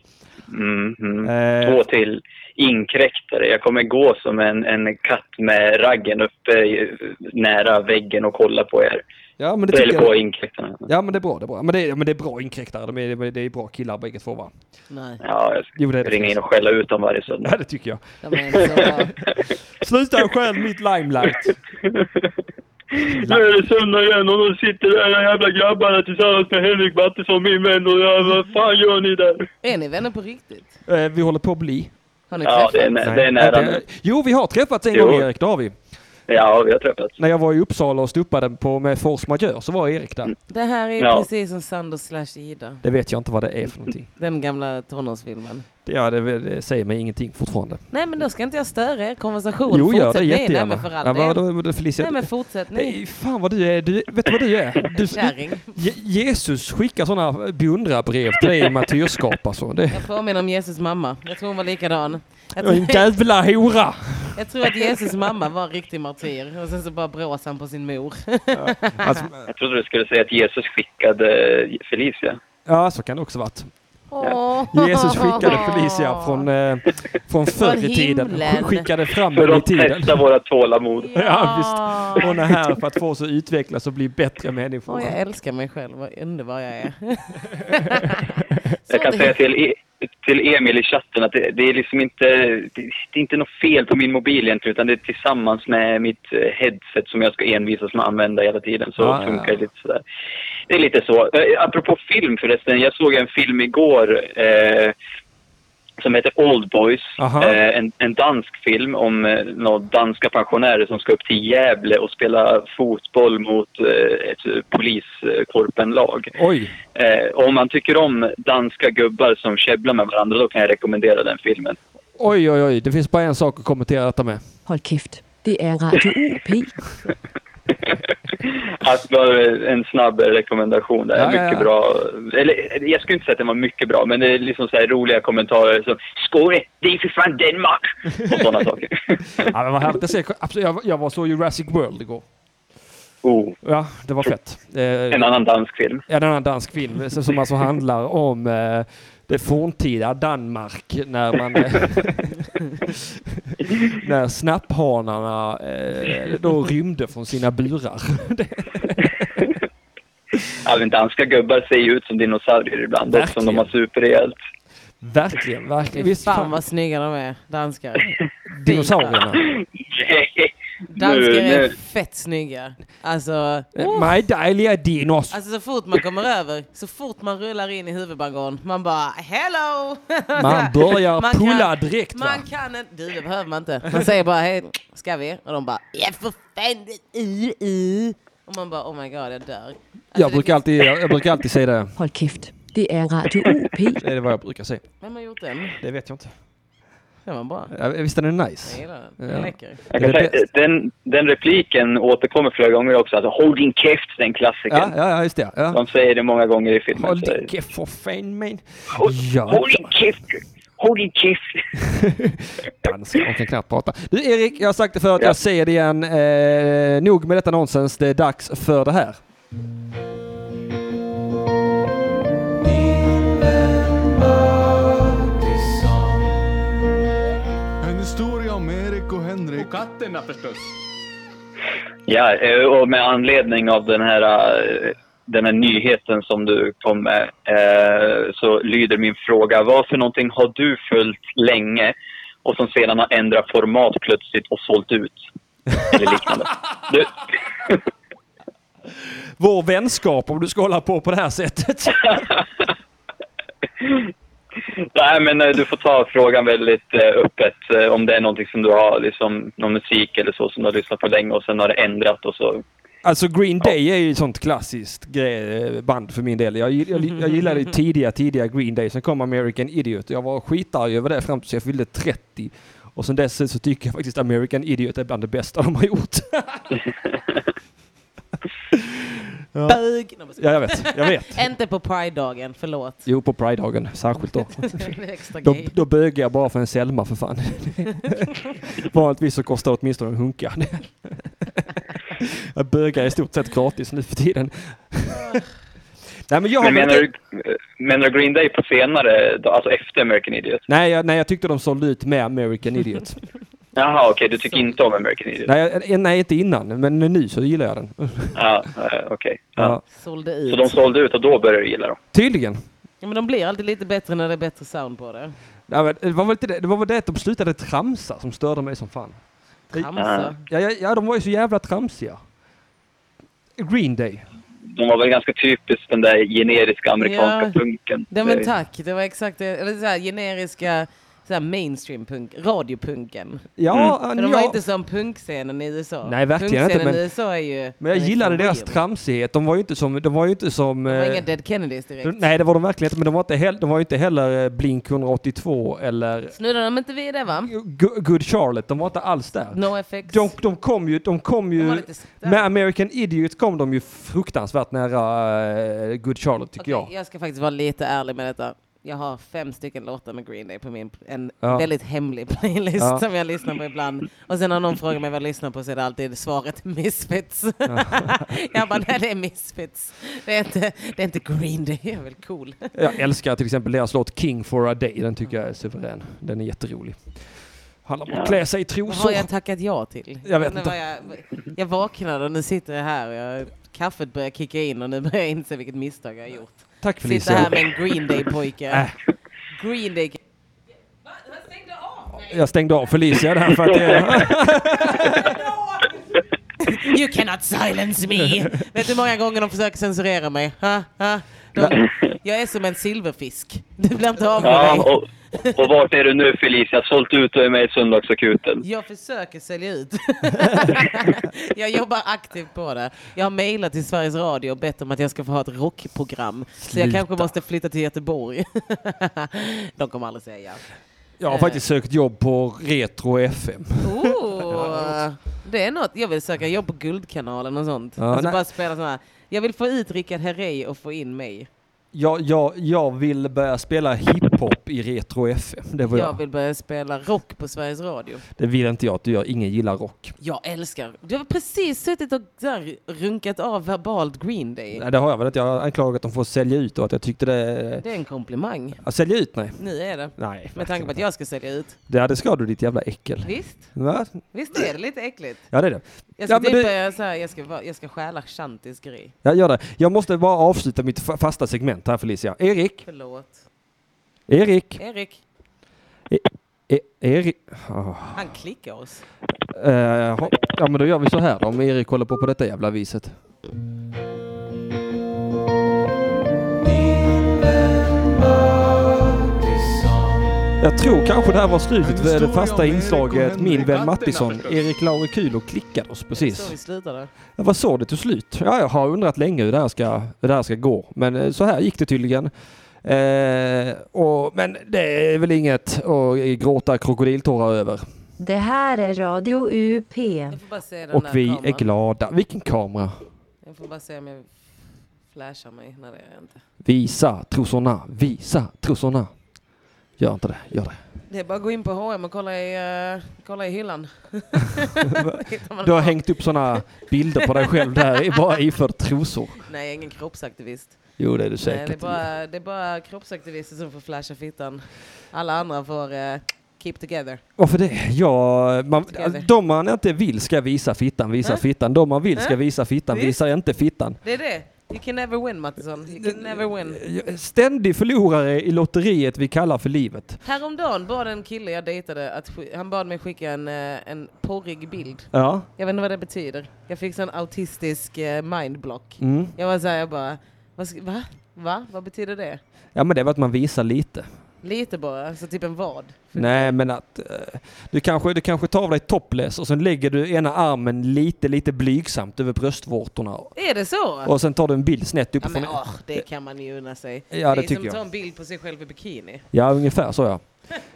Speaker 5: Mm, mm.
Speaker 1: Eh.
Speaker 5: Två till inkräktare. Jag kommer gå som en, en katt med raggen uppe i, nära väggen och kolla på er.
Speaker 1: Ja men det
Speaker 5: Eller
Speaker 1: tycker
Speaker 5: på
Speaker 1: jag.
Speaker 5: inkräktarna.
Speaker 1: Ja men det är bra, det är bra. Men det är, men det är bra inkräktare. De är, det är bra killar bägge två va?
Speaker 2: Nej,
Speaker 5: Ja, jag ska
Speaker 1: Jo, det är det
Speaker 5: ringa
Speaker 1: finns.
Speaker 5: in och skälla ut dem varje söndag.
Speaker 1: Ja det tycker jag.
Speaker 2: de är så bra.
Speaker 1: Sluta stjäl mitt limelight.
Speaker 5: Nu är det söndag igen och de sitter där de jävla grabbarna tillsammans med Henrik Mattisson, min vän. Och jag, vad fan gör ni där?
Speaker 2: Är ni vänner på riktigt?
Speaker 1: Eh, vi håller på att bli.
Speaker 2: Har ni
Speaker 5: Ja,
Speaker 2: träffats?
Speaker 5: det är, nä- det är nära nu.
Speaker 1: Jo vi har träffats en
Speaker 5: Jo.
Speaker 1: gång Erik, det har vi.
Speaker 5: Ja, vi har träffats.
Speaker 1: När jag var i Uppsala och stupade på med force majeure så var Erik där.
Speaker 2: Det här är
Speaker 5: Ja.
Speaker 2: precis som Sander slash Ida.
Speaker 1: Det vet jag inte vad det är för någonting.
Speaker 2: Den gamla tonårsfilmen.
Speaker 1: Det- Ja, det, det säger mig ingenting fortfarande.
Speaker 2: Nej men då ska inte jag störa er konversation.
Speaker 1: jo, gör det
Speaker 2: Fortsätt ni.
Speaker 1: jättegärna.
Speaker 2: Nej men för all
Speaker 1: ja,
Speaker 2: del.
Speaker 1: vad, då, då, Felicia,
Speaker 2: Nej men fortsätt ni.
Speaker 1: Nej, fan vad du är. Du, vet du vad du är? Du,
Speaker 2: Kärring.
Speaker 1: Je- Jesus skickar sådana beundrarbrev till dig i martyrskap alltså. Det,
Speaker 2: Jag påminner om Jesus mamma. Jag tror hon var likadan. Jag
Speaker 1: en
Speaker 2: tror,
Speaker 1: jävla hora!
Speaker 2: jag tror att Jesus mamma var en riktig martyr. Och sen så bara bråsade han på sin mor.
Speaker 1: Alltså,
Speaker 5: Jag trodde du skulle säga att Jesus skickade eh, Felicia.
Speaker 1: ja, så kan det också varit.
Speaker 2: Åh.
Speaker 1: Jesus skickade Felicia från, eh, från förr i tiden.
Speaker 2: himlen.
Speaker 1: Skickade fram
Speaker 5: För
Speaker 1: henne i
Speaker 5: att
Speaker 1: tiden.
Speaker 5: testa våra tålamod.
Speaker 1: Ja, visst. Hon är här för att få oss att utvecklas och bli bättre människor.
Speaker 2: Åh, jag älskar mig själv, vad underbar jag är. Så
Speaker 5: Jag kan
Speaker 2: det-
Speaker 5: säga till, E- till Emil i chatten att det, det är liksom inte, det, det är inte något fel på min mobil egentligen utan det är tillsammans med mitt eh, headset som jag ska envisas med att använda hela tiden så
Speaker 1: Ah, ja,
Speaker 5: funkar
Speaker 1: ja.
Speaker 5: det lite sådär. Det är lite så. Eh, Apropå film förresten, jag såg en film igår eh, som heter Old Boys.
Speaker 1: Aha.
Speaker 5: Eh, en, en dansk film om eh, några danska pensionärer som ska upp till Gävle och spela fotboll mot eh, ett eh, poliskorpenlag.
Speaker 1: Oj,
Speaker 5: Eh, och om man tycker om danska gubbar som käbblar med varandra då kan jag rekommendera den filmen.
Speaker 1: oj, oj, oj. Det finns bara en sak att kommentera detta med.
Speaker 6: Hold kæft. Det er Radio OP.
Speaker 5: Att bara en snabb rekommendation där.
Speaker 1: Ja,
Speaker 5: mycket
Speaker 1: ja, ja.
Speaker 5: bra. Eller jag skulle inte säga att den var mycket bra men det är liksom så här roliga kommentarer som Skåne, det är för fan Danmark! Och sådana saker.
Speaker 1: Ja, men vad härligt. Jag, ser, absolut, jag, jag var så Jurassic World igår.
Speaker 5: oh,
Speaker 1: Ja, det var fett. Eh,
Speaker 5: en annan dansk film.
Speaker 1: ja, en annan dansk film som som alltså handlar om eh, det forntida Danmark när man... Eh, när snapphanarna eh, då rymde från sina burar.
Speaker 5: Ja, men danska gubbar ser ju ut som dinosaurier ibland också, som de har superhjält.
Speaker 1: verkligen, verkligen.
Speaker 2: Fy
Speaker 1: Visst
Speaker 2: fan
Speaker 1: fan,
Speaker 2: vad snygga de är, danskar.
Speaker 1: dinosaurierna.
Speaker 2: Danskar
Speaker 5: Nu-
Speaker 2: är
Speaker 5: nu-
Speaker 2: fett snygga. Alltså,
Speaker 1: Eh, My dahlia dinos.
Speaker 2: alltså så fort man kommer över, så fort man rullar in i huvudbangården, man bara hello!
Speaker 1: Man börjar
Speaker 2: Man kan-
Speaker 1: pulla direkt va?
Speaker 2: Man kan inte, du det behöver man inte. Man säger bara hej, ska vi? Och de bara ja för fan, i, i. Och man bara oh my god jag dör. Alltså,
Speaker 1: Jag
Speaker 2: det
Speaker 1: brukar,
Speaker 2: finns-
Speaker 1: alltid, jag, jag brukar alltid säga det.
Speaker 6: Hold kæft. Det er Radio OP.
Speaker 1: Det är vad jag brukar säga.
Speaker 2: Vem har gjort den?
Speaker 1: Det vet jag inte.
Speaker 2: Den var bra.
Speaker 1: Ja, Visst är den
Speaker 2: Jag
Speaker 1: nice?
Speaker 2: gillar den. Den är
Speaker 1: Ja.
Speaker 2: läcker.
Speaker 5: Jag
Speaker 1: Det
Speaker 5: kan
Speaker 1: är
Speaker 5: säga,
Speaker 1: bäst.
Speaker 5: den, den repliken återkommer flera gånger också. Alltså, håll din käft, den klassikern.
Speaker 1: Ja, ja, ja just det. Ja.
Speaker 5: De säger det många gånger i filmen.
Speaker 1: Håll
Speaker 5: så-
Speaker 1: din käft för fan men.
Speaker 5: Håll-
Speaker 1: Ja,
Speaker 5: Håll din käft! Håll din käft!
Speaker 1: danska. De kan knappt prata. Du Erik, jag har sagt det förut,
Speaker 5: Ja.
Speaker 1: jag säger det igen. Eh, nog med detta nonsens, det är dags för det här.
Speaker 7: En historia om Erik och Henrik.
Speaker 5: Ja, eh, och med anledning av den här, eh, den här nyheten som du kom med eh, så lyder min fråga. Vad för någonting har du följt länge och som sedan har ändrat format plötsligt och sålt ut? Eller liknande. Du,
Speaker 1: Vår vänskap om du ska hålla på på det här sättet.
Speaker 5: nej, men eh, du får ta frågan väldigt eh, öppet. eh, Om det är någonting som du har, liksom, någon musik eller så som du har lyssnat på länge och sen har det ändrat och så
Speaker 1: Alltså Green Day är ju ett sånt klassiskt gre- band för min del. Jag, gill- jag, jag gillade ju tidiga, tidiga Green Day. Sen kom American Idiot. Jag var skitarg över det fram tills jag fyllde 30. Och sen dess så tycker jag faktiskt American Idiot är bland det bästa de har gjort.
Speaker 2: Bög! Nej, men så-
Speaker 1: Ja, jag vet. Jag vet.
Speaker 2: Inte på Pride-dagen, förlåt.
Speaker 1: Jo, på Pride-dagen särskilt då.
Speaker 2: Det är extra
Speaker 1: Då,
Speaker 2: gay.
Speaker 1: då bögar jag bara för en Selma för fan. Vanligtvis så kostar det åtminstone en hunka. jag bögar i stort sett gratis nu för tiden. nej, men jag har
Speaker 5: Men menar du, menar du Green Day på senare, då, alltså efter American Idiot?
Speaker 1: nej, jag, nej, jag tyckte de sålde ut med American Idiot.
Speaker 5: Jaha, okej, du tycker inte om American Idiot?
Speaker 1: nej, jag- eh, nej, inte innan, men nu så gillar jag den. Ja.
Speaker 5: Ja, eh, okej. Ja.
Speaker 2: Sålde
Speaker 5: Så de
Speaker 2: ut.
Speaker 5: sålde ut och då började du gilla dem?
Speaker 1: Tydligen.
Speaker 2: Ja, men de blir alltid lite bättre när det är bättre sound på det.
Speaker 1: Nej, men det, var väl inte det, det var väl det att de slutade tramsa som störde mig som fan.
Speaker 2: Tramsa.
Speaker 1: Ja, ja, ja de var ju så jävla tramsiga. Green Day.
Speaker 5: De var väl ganska typiskt den där generiska amerikanska
Speaker 2: Ja.
Speaker 5: punken. Eh,
Speaker 2: Ja men tack, det var exakt det. Eller så här, generiska så här mainstream-punk, radiopunken.
Speaker 5: Mm.
Speaker 1: Ja,
Speaker 2: Men de
Speaker 1: ja.
Speaker 2: var inte som punkscenen i USA.
Speaker 1: Nej, verkligen inte, men-
Speaker 2: punkscenen i USA är ju...
Speaker 1: Men jag
Speaker 2: den är
Speaker 1: gillade
Speaker 2: extrem.
Speaker 1: deras tramsighet. De var ju inte som... De var ju inte som...
Speaker 2: Det var
Speaker 1: eh,
Speaker 2: inga Dead Kennedys direkt.
Speaker 1: nej, det var de verkligen inte. Men de var inte, heller, de var ju inte heller eh, Blink 182 eller
Speaker 2: Snuddade de inte vid det va?
Speaker 1: Go- Good Charlotte. De var inte alls där.
Speaker 2: No effects.
Speaker 1: De, de kom ju... De kom
Speaker 2: De
Speaker 1: ju
Speaker 2: var lite starka.
Speaker 1: med American Idiot kom de ju fruktansvärt nära eh, Good Charlotte tycker
Speaker 2: Okej, jag ska faktiskt vara lite ärlig med detta. Jag har fem stycken låtar med Green Day på min en
Speaker 1: Ja.
Speaker 2: väldigt hemlig playlist
Speaker 1: Ja.
Speaker 2: som jag lyssnar på ibland. Och sen när någon frågar mig vad jag lyssnar på så är det alltid svaret Misfits. jag bara, nej det är Misfits. Det är inte, det är inte Green Day, jag är väl cool.
Speaker 1: jag. Jag älskar till exempel deras låt King for a Day. Den tycker jag är suverän. Den är jätterolig. Handlar om att klä sig i
Speaker 2: Vad
Speaker 1: trosor.
Speaker 2: har jag tackat ja till?
Speaker 1: Jag vet
Speaker 2: Nu
Speaker 1: inte.
Speaker 2: var Jag, jag vaknade och nu sitter jag här och jag, kaffet börjar kicka in och nu börjar jag inse vilket misstag jag har gjort.
Speaker 1: Tack
Speaker 2: Sitta
Speaker 1: Felicia.
Speaker 2: här med en Green Day-pojke.
Speaker 1: Äh.
Speaker 2: Green Day... Va? Den stängde av mig.
Speaker 1: Jag stängde av Felicia där för att det...
Speaker 2: You cannot silence me! Vet du hur många gånger de försöker censurera mig? Ha? Ha? De, jag är som en silverfisk. Du blir inte av med
Speaker 5: Ja,
Speaker 2: mig.
Speaker 5: och, och vart är du nu Felicia? Sålt ut och är med i Söndagsakuten.
Speaker 2: Jag försöker sälja ut. jag jobbar aktivt på det. Jag har mejlat till Sveriges Radio och bett om att jag ska få ha ett rockprogram. Så jag
Speaker 1: Sluta.
Speaker 2: kanske måste flytta till Göteborg. de kommer aldrig säga ja.
Speaker 1: Jag har faktiskt sökt jobb på Retro FM.
Speaker 2: Oh, det är något. Jag vill söka jobb på Guldkanalen och sånt.
Speaker 1: Ja,
Speaker 2: alltså
Speaker 1: nej.
Speaker 2: bara spela såna här. Jag vill få ut Rickard Herrey och få in mig.
Speaker 1: Jag, jag, jag vill börja spela hiphop i Retro FM. Det, var
Speaker 2: Jag
Speaker 1: jag.
Speaker 2: vill börja spela rock på Sveriges Radio.
Speaker 1: det vill inte jag att du gör. Ingen gillar rock.
Speaker 2: Jag älskar. Du har precis suttit och där, runkat av verbalt Green Day.
Speaker 1: Nej, det har jag väl inte. Jag har anklagat dem för att sälja ut och att jag tyckte det...
Speaker 2: Det är en komplimang.
Speaker 1: Att sälja ut? Nej.
Speaker 2: Nu är det.
Speaker 1: Nej.
Speaker 2: Med tanke på att jag ska sälja ut.
Speaker 1: Det, det ska du ditt jävla äckel.
Speaker 2: Visst?
Speaker 1: Va?
Speaker 2: Visst är det lite äckligt?
Speaker 1: Ja det är det.
Speaker 2: Jag ska
Speaker 1: Ja, men
Speaker 2: typ
Speaker 1: du-
Speaker 2: börja så här, jag ska, vara- jag ska stjäla Shantis grej.
Speaker 1: Jag gör det. Jag måste bara avsluta mitt fa- fasta segment här Felicia. Erik!
Speaker 2: Förlåt.
Speaker 1: Erik!
Speaker 2: Erik,
Speaker 1: E- Erik!
Speaker 2: han klickar oss.
Speaker 1: Eh, ha- ja men då gör vi så här då, om Erik håller på på detta jävla viset. Jag tror kanske det här var slutet för det fasta inslaget Min vän Mattisson. Erik Laurikulo klickade oss
Speaker 2: Så vi
Speaker 1: precis.
Speaker 2: slutade.
Speaker 1: Det var så det tog slut. Ja, jag har undrat länge hur det här ska, hur det här ska gå. Men eh, så här gick det tydligen. Eh, och, men det är väl inget att eh, gråta krokodiltårar över.
Speaker 8: Det här är Radio UP.
Speaker 2: Jag får bara se den
Speaker 1: Och
Speaker 2: där
Speaker 1: vi
Speaker 2: kameran.
Speaker 1: är glada. Vilken kamera?
Speaker 2: Jag får bara se om jag flashar mig. Nej, det gör jag inte.
Speaker 1: Visa trosorna, visa trosorna. Gör inte det, gör det.
Speaker 2: Det är bara att gå in på H&M och kolla i, eh, kolla i hyllan. Hittar man
Speaker 1: Du har
Speaker 2: allt.
Speaker 1: hängt upp sådana bilder på dig själv där, i- bara iförd trosor.
Speaker 2: Nej, jag är ingen kroppsaktivist.
Speaker 1: Jo, det är du
Speaker 2: Nej, det, är
Speaker 1: säkert.
Speaker 2: bara, det är bara kroppsaktivister som får flasha fittan. Alla andra får eh, keep together.
Speaker 1: Varför det? Ja, man,
Speaker 2: Ska vi?
Speaker 1: de man inte vill ska visa fittan, visa
Speaker 2: Äh?
Speaker 1: fittan. De man vill ska
Speaker 2: Äh?
Speaker 1: visa fittan,
Speaker 2: Visst.
Speaker 1: visar inte fittan.
Speaker 2: Det är det. You can never win, Mattisson. You can never win.
Speaker 1: Eh, Ständig förlorare i lotteriet vi kallar för livet.
Speaker 2: Häromdagen bad en kille jag dejtade att sk- han bad mig skicka en, eh, en porrig bild.
Speaker 1: Ja.
Speaker 2: Jag vet inte vad det betyder. Jag fick sån autistisk eh, mindblock.
Speaker 1: Mm.
Speaker 2: Jag var såhär, jag bara, vad ska, va? va? Vad betyder det?
Speaker 1: ja, men det var att man visar lite.
Speaker 2: Mm. Lite bara, så typ en vad.
Speaker 1: Nej, men att eh, du kanske, du kanske tar av dig topless och sen lägger du ena armen lite, lite blygsamt över bröstvårtorna.
Speaker 2: Är det så?
Speaker 1: Och sen tar du en bild snett
Speaker 2: Ja,
Speaker 1: uppifrån.
Speaker 2: men,
Speaker 1: Ja,
Speaker 2: åh, det kan man ju unna sig.
Speaker 1: Ja, det
Speaker 2: är
Speaker 1: tycker
Speaker 2: som
Speaker 1: jag.
Speaker 2: att ta en bild på sig själv i bikini.
Speaker 1: ungefär så ja.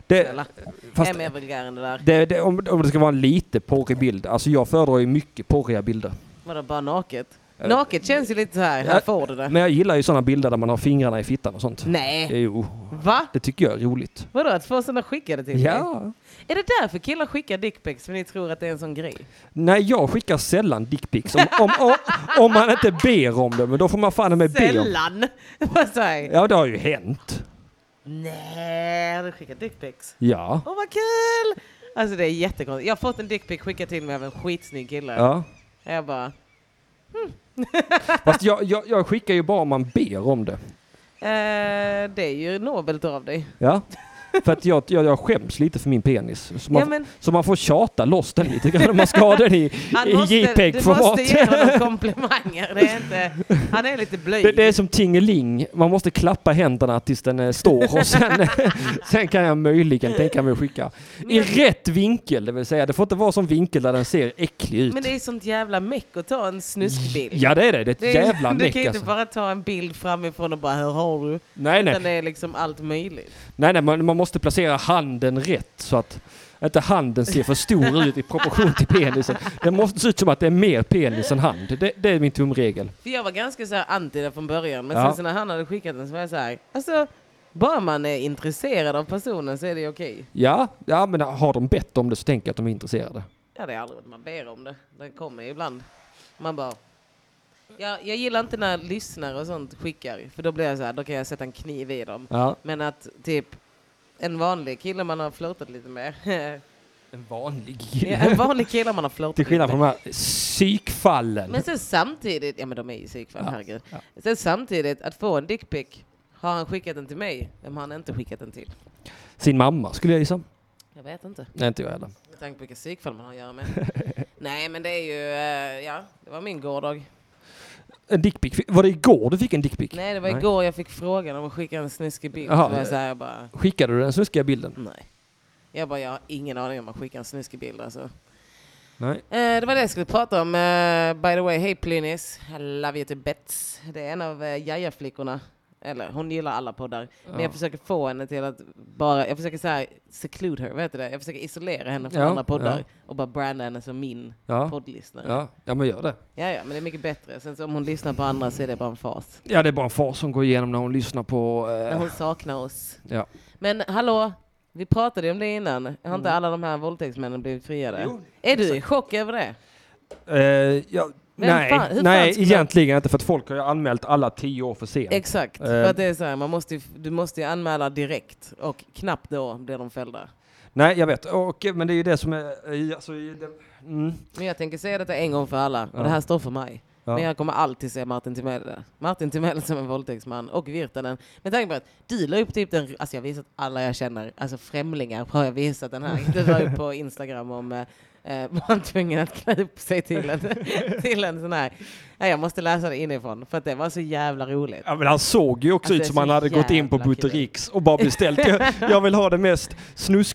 Speaker 1: Det,
Speaker 2: Snälla.
Speaker 1: fast
Speaker 2: Är mer vulgär än det där.
Speaker 1: det, det, om, om det ska vara en lite porrig bild. Alltså jag föredrar ju mycket porriga bilder.
Speaker 2: Vadå, bara naket? Naket känns ju lite så här, här får du det.
Speaker 1: Men jag gillar ju sådana bilder där man har fingrarna i fittan och sånt.
Speaker 2: Nej,
Speaker 1: Jo,
Speaker 2: va?
Speaker 1: det tycker jag är roligt.
Speaker 2: Vadå att få sådana skickade till dig?
Speaker 1: Ja.
Speaker 2: Är det därför killar skickar dickpics för ni tror att det är en sån grej?
Speaker 1: Nej, jag skickar sällan dickpics. Om, om, om, om man inte ber om det, men då får man fan med be om
Speaker 2: Sällan! Vad sa jag?
Speaker 1: Ja, det har ju hänt.
Speaker 2: Nej, har du skickat dickpics?
Speaker 1: Ja.
Speaker 2: Åh vad kul! Alltså det är jättekonstigt. Jag har fått en dickpic skickad till mig av en skitsnygg kille.
Speaker 1: ja.
Speaker 2: Jag bara,
Speaker 1: Fast jag, jag, jag skickar ju bara om man ber om det.
Speaker 2: eh, det är ju nobelt av dig.
Speaker 1: Ja. För att jag, jag, jag skäms lite för min penis. Så man,
Speaker 2: Ja, men-
Speaker 1: så man får tjata loss den lite grann om man ska ha den i,
Speaker 2: Han
Speaker 1: i
Speaker 2: måste, du
Speaker 1: JPEG-format.
Speaker 2: måste ge honom komplimanger. Det är inte, han är lite blyg.
Speaker 1: Det, det är som tingeling. Man måste klappa händerna tills den eh, står och sen, sen kan jag möjligen tänka mig att skicka. I rätt vinkel, det vill säga. Det får inte vara som vinkel där den ser äcklig ut.
Speaker 2: Men det är sånt jävla meck att ta en snuskbild.
Speaker 1: Ja det är det, det är ett
Speaker 2: Det är-
Speaker 1: jävla
Speaker 2: Du
Speaker 1: meck
Speaker 2: kan ju inte
Speaker 1: alltså.
Speaker 2: bara ta en bild framifrån och bara här har du.
Speaker 1: Nej
Speaker 2: Utan
Speaker 1: nej,
Speaker 2: det är liksom allt möjligt.
Speaker 1: nej, nej man, man måste placera handen rätt så att inte handen ser för stor ut i proportion till penisen. Den måste se ut som att det är mer penis än hand. Det, det är min tumregel.
Speaker 2: För jag var ganska så här anti det från början. Men
Speaker 1: Ja.
Speaker 2: sen så när han hade skickat den så var jag så här. Alltså, bara man är intresserad av personen så är det okej.
Speaker 1: Ja, ja men har de bett om det så tänker jag att de är intresserade.
Speaker 2: Ja, det är aldrig att man ber om det. Den kommer ju ibland. Man bara... Jag, jag gillar inte när lyssnare och sånt skickar. För då blir jag så här, då kan jag sätta en kniv i dem.
Speaker 1: Ja.
Speaker 2: Men att typ en vanlig kille man har flörtat lite med.
Speaker 1: En vanlig
Speaker 2: Ja, en
Speaker 1: kille.
Speaker 2: vanlig kille man har flörtat
Speaker 1: Till skillnad
Speaker 2: lite
Speaker 1: från
Speaker 2: med.
Speaker 1: de här psykfallen.
Speaker 2: Men sen samtidigt, ja men de är ju psykfall,
Speaker 1: Ja,
Speaker 2: herregud. Sen samtidigt, att få en dickpic, har han skickat den till mig? Vem har han inte skickat den till?
Speaker 1: Sin mamma skulle jag gissa.
Speaker 2: Jag vet inte.
Speaker 1: Nej inte jag heller.
Speaker 2: Med tanke på vilka psykfall man har att göra med. Nej men det är ju, eh, ja, det var min gårdag.
Speaker 1: En dickpic. Var det igår du fick en dickpic?
Speaker 2: Nej, det var igår jag fick frågan om att skicka en snuskig bild.
Speaker 1: Jaha.
Speaker 2: så var jag så här, jag bara,
Speaker 1: Skickade du den snuskiga bilden?
Speaker 2: nej. Jag bara, jag har ingen aning om att skicka en snuskig bild alltså.
Speaker 1: Nej.
Speaker 2: Eh, det var det jag skulle prata om. Eh, by the way, hej Plynis. I love you to bits. Det är en av eh, Jaja-flickorna. Eller hon gillar alla poddar. Men jag försöker få henne till att bara, jag försöker så här seclude her, vad heter det? Jag försöker isolera henne från
Speaker 1: Ja,
Speaker 2: andra poddar
Speaker 1: ja.
Speaker 2: och bara branda henne som min
Speaker 1: Ja.
Speaker 2: poddlyssnare. Ja.
Speaker 1: Ja, ja men gör det.
Speaker 2: ja, men det är mycket bättre. Sen så om hon lyssnar på andra så är det bara en fas.
Speaker 1: Ja, det är bara en far som går igenom när hon lyssnar på...
Speaker 2: När
Speaker 1: Eh,
Speaker 2: hon saknar oss.
Speaker 1: ja.
Speaker 2: Men hallå, vi pratade ju om det innan. Har
Speaker 1: Mm.
Speaker 2: inte alla de här våldtäktsmännen blivit friade? är du i chock över det?
Speaker 1: eh, ja
Speaker 2: Vem
Speaker 1: nej,
Speaker 2: fan- hur fan
Speaker 1: nej
Speaker 2: skulle-
Speaker 1: egentligen inte för att folk har ju anmält alla tio år för sent.
Speaker 2: Exakt, för
Speaker 1: Eh.
Speaker 2: att det är så här, man måste ju, du måste ju anmäla direkt och knappt då blir de fällda.
Speaker 1: nej, jag vet. Och, men det är ju det som är... eh, Alltså, i den- mm.
Speaker 2: Men jag tänker säga detta en gång för alla, och
Speaker 1: Ja.
Speaker 2: det här står för mig.
Speaker 1: Ja.
Speaker 2: Men jag kommer alltid se Martin Timell där. Martin Timell som en våldtäktsman och Virtanen. Med tanke på att du la upp typ den, alltså jag har visat alla jag känner, alltså främlingar har jag visat den här. Du la upp på Instagram om eh, eh, var han tvungen att klä upp sig till en, till en sån här. Nej, jag måste läsa det inifrån för att det var så jävla roligt.
Speaker 1: Ja, men han såg ju också
Speaker 2: Alltså,
Speaker 1: ut som han
Speaker 2: så
Speaker 1: hade gått in på
Speaker 2: jävla kul.
Speaker 1: Buttericks och bara beställt. Jag, jag vill ha den mest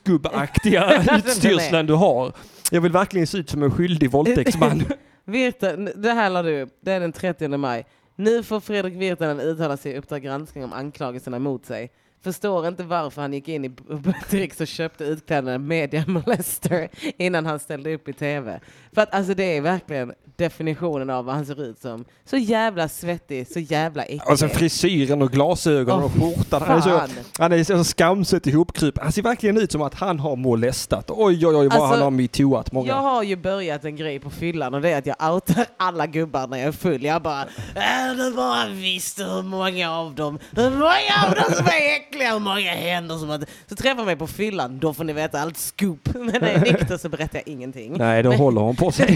Speaker 1: snusgubbaktiga utstyrseln du har. Jag vill verkligen se ut som en skyldig våldtäktsman.
Speaker 2: Virtanen, det här la du upp, det är den 30 maj. Nu får Fredrik Virtanen uttala sig i Uppdrag granskning om anklagelserna mot sig. Förstår inte varför han gick in i Buttericks och köpte utklädnaden Media Molester innan han ställde upp i TV. För att alltså det är verkligen definitionen av vad han ser ut som. Så jävla svettig, så jävla äcklig.
Speaker 1: Alltså frisyren och glasögonen och skjortan. Han är så,
Speaker 2: fan.
Speaker 1: han är så skamset ihopkrupen. Han ser verkligen ut som att han har molestat. Oj, oj, oj vad
Speaker 2: Alltså,
Speaker 1: han har metooat många.
Speaker 2: Jag har ju börjat en grej på fyllan och det är att jag outar alla gubbar när jag är full. Jag bara, äh, du bara visste hur många av dem, hur många av dem som är äckliga, hur många händer som har... Så träffar mig på fyllan, då får ni veta allt scoop. Men när jag är nykter så berättar jag ingenting.
Speaker 1: Nej, då håller hon på sig.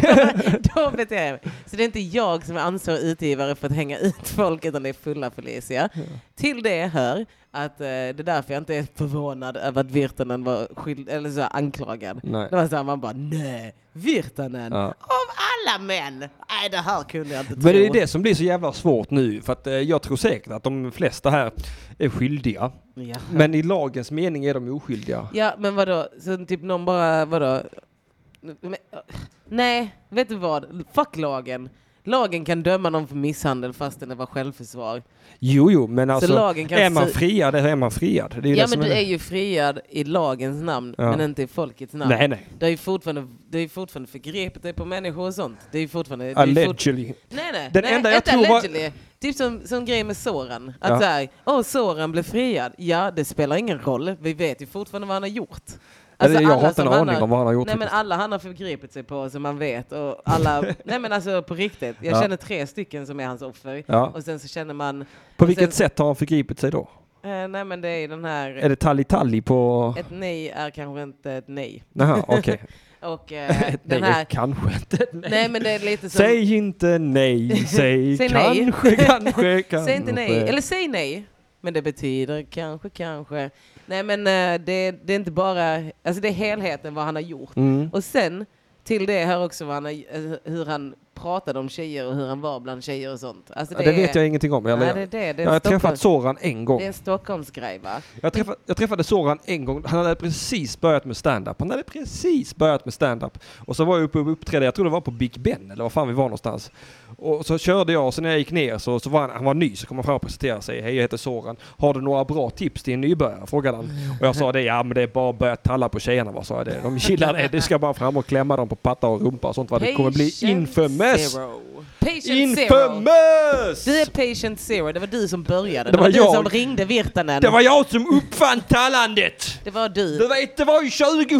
Speaker 2: då beter jag mig. Så det är inte jag som är ansvarig utgivare för att hänga ut folk, utan det är fulla Felicia. Till det hör att eh, det är därför jag inte är förvånad över att Virtanen var skyld, eller så här, anklagad.
Speaker 1: Nej.
Speaker 2: Det var så här, man bara nej, Virtanen,
Speaker 1: Ja.
Speaker 2: av alla män! Nej, det här kunde jag inte
Speaker 1: Men det
Speaker 2: tro.
Speaker 1: är det som blir så jävla svårt nu. För att eh, jag tror säkert att de flesta här är skyldiga.
Speaker 2: Ja.
Speaker 1: Men i lagens mening är de oskyldiga.
Speaker 2: ja, men vadå, så typ någon bara, vadå? Men, Nej, vet du vad? Fuck lagen. Lagen kan döma någon för misshandel fastän det var självförsvar.
Speaker 1: Jo, jo, men alltså
Speaker 2: lagen kan
Speaker 1: är man
Speaker 2: se-
Speaker 1: friad så är man friad. Det är ju
Speaker 2: Ja
Speaker 1: det
Speaker 2: men
Speaker 1: som
Speaker 2: du
Speaker 1: är...
Speaker 2: är ju friad i lagens namn
Speaker 1: Ja.
Speaker 2: men inte i folkets namn.
Speaker 1: Nej, nej.
Speaker 2: Det är ju fortfarande, det är ju fortfarande förgrepet dig på människor och sånt. Det är ju fortfarande... det är ju fort-
Speaker 1: Allegedly.
Speaker 2: Nej, nej.
Speaker 1: Den
Speaker 2: nej,
Speaker 1: enda jag
Speaker 2: inte
Speaker 1: tror var-
Speaker 2: allegedly. Typ som, som grejen med Soran. Att
Speaker 1: Ja.
Speaker 2: såhär, åh Soran blev friad. Ja, det spelar ingen roll. Vi vet ju fortfarande vad han har gjort. Alltså,
Speaker 1: jag har
Speaker 2: alla
Speaker 1: inte en
Speaker 2: som
Speaker 1: aning om vad han har gjort
Speaker 2: Nej men
Speaker 1: faktiskt.
Speaker 2: alla han har förgripit sig på som man vet. Och alla, nej men alltså på riktigt. Jag
Speaker 1: Ja.
Speaker 2: känner tre stycken som är hans offer.
Speaker 1: Ja.
Speaker 2: Och sen så känner man...
Speaker 1: På
Speaker 2: och
Speaker 1: vilket
Speaker 2: sen,
Speaker 1: sätt har han förgripit sig då?
Speaker 2: Eh, nej men det är den här...
Speaker 1: Är det talli-talli på...
Speaker 2: Ett nej är kanske inte ett nej.
Speaker 1: Jaha, okej.
Speaker 2: Och eh,
Speaker 1: Nej,
Speaker 2: den här...
Speaker 1: kanske inte nej.
Speaker 2: Nej men det är lite som...
Speaker 1: Säg inte nej, säg,
Speaker 2: Säg nej.
Speaker 1: kanske, kanske, kanske.
Speaker 2: Säg inte nej, eller säg nej. Men det betyder kanske, kanske. Nej men eh, det, det är inte bara, alltså det är helheten vad han har gjort.
Speaker 1: Mm.
Speaker 2: Och sen till det här också vad han, har- eh, hur han pratade om tjejer och hur han var bland tjejer och sånt. Alltså
Speaker 1: Ja, det vet jag ingenting om. Eller,
Speaker 2: Nej, det är det. Det är
Speaker 1: jag har
Speaker 2: Stockholm-
Speaker 1: träffat Soran en gång.
Speaker 2: Det är en Stockholmsgrej va?
Speaker 1: Jag träffade, jag träffade Soran en gång, han hade precis börjat med stand-up. Han hade precis börjat med stand-up. Och så var jag uppe och uppträdde, jag tror det var på Big Ben eller var fan vi var någonstans. Och så körde jag, och så när jag gick ner så, så var han, han var ny, så kom han fram och presenterade sig. Hej jag heter Soran, har du några bra tips till en nybörjare? Frågade han. Och jag sa det, ja men det är bara att börja talla på tjejerna vad sa jag det. De gillar det, du ska bara fram och klämma dem på patta och rumpa och sånt vad det kommer bli
Speaker 2: Patient
Speaker 1: infamous!
Speaker 2: Zero. Patient zero!
Speaker 1: Infamous!
Speaker 2: Du är patient zero, det var du som började. Det,
Speaker 1: Det
Speaker 2: var,
Speaker 1: var
Speaker 2: du
Speaker 1: jag.
Speaker 2: som ringde Virtanen.
Speaker 1: Det var jag som uppfann tallandet!
Speaker 2: det var du.
Speaker 1: Du vet, det var ju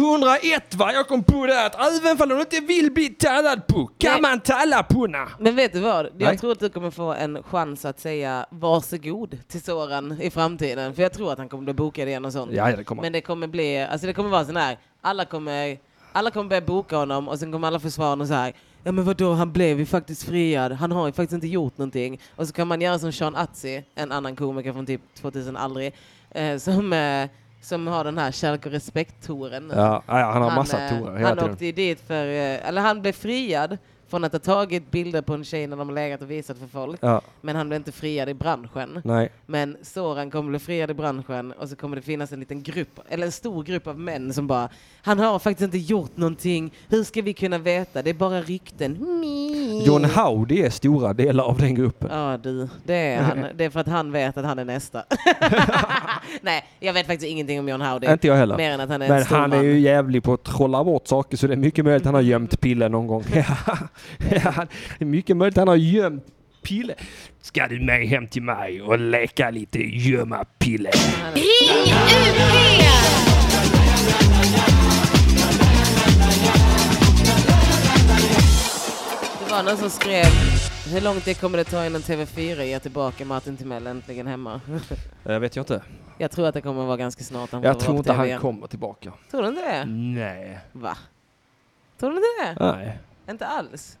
Speaker 1: 2001 va? Jag kom på det att även om du inte vill bli tallad på,
Speaker 2: Nej.
Speaker 1: kan man talla på na.
Speaker 2: Men vet du vad? Jag
Speaker 1: Nej.
Speaker 2: tror att du kommer få en chans att säga varsågod till Soran i framtiden. För jag tror att han kommer bli bokad igen och sånt.
Speaker 1: Ja, ja, det kommer han.
Speaker 2: Men det kommer bli, alltså det kommer vara sån här, alla kommer, alla kommer börja boka honom och sen kommer alla försvara honom så här. Ja men vadå, han blev ju faktiskt friad. Han har ju faktiskt inte gjort någonting. Och så kan man göra som Sean Atzi, en annan komiker från typ 2000 aldrig, eh, som, eh, som har den här kärlek och respekt-touren.
Speaker 1: Ja, ja, han har massa
Speaker 2: eh,
Speaker 1: torer hela
Speaker 2: Han
Speaker 1: tiden.
Speaker 2: åkte ju dit för, eh, eller han blev friad från att ha tagit bilder på en tjej när de har legat och visat för folk.
Speaker 1: Ja,
Speaker 2: Men han blev inte friad i branschen.
Speaker 1: nej.
Speaker 2: Men Soran kommer bli friad i branschen och så kommer det finnas en liten grupp, eller en stor grupp av män som bara Han har faktiskt inte gjort någonting, hur ska vi kunna veta? Det är bara rykten. Mm.
Speaker 1: John Howdy är stora delar av den gruppen.
Speaker 2: Ja du, det är han. Det är för att han vet att han är nästa. Nej, jag vet faktiskt ingenting om John Howdy.
Speaker 1: Inte jag heller.
Speaker 2: Mer än att han är en
Speaker 1: Men
Speaker 2: stor
Speaker 1: han är
Speaker 2: man.
Speaker 1: ju jävlig på att trolla bort saker så det är mycket möjligt han har gömt piller någon gång. Ja, ja, det är mycket möjligt han har gömt piller. Ska du med hem till mig och leka lite gömma piller?
Speaker 3: Ring UP!
Speaker 2: Det var någon som skrev hur långt det kommer det ta innan TV4 ger tillbaka Martin Timell äntligen hemma?
Speaker 1: Jag vet jag inte.
Speaker 2: Jag tror att det kommer vara ganska snart. Han
Speaker 1: Jag
Speaker 2: får
Speaker 1: tror
Speaker 2: vara på
Speaker 1: inte
Speaker 2: TV
Speaker 1: han Mm.
Speaker 2: igen.
Speaker 1: kommer tillbaka.
Speaker 2: Tror du inte det?
Speaker 1: Nej.
Speaker 2: Va? Tror du inte
Speaker 1: Nej.
Speaker 2: det? Inte alls.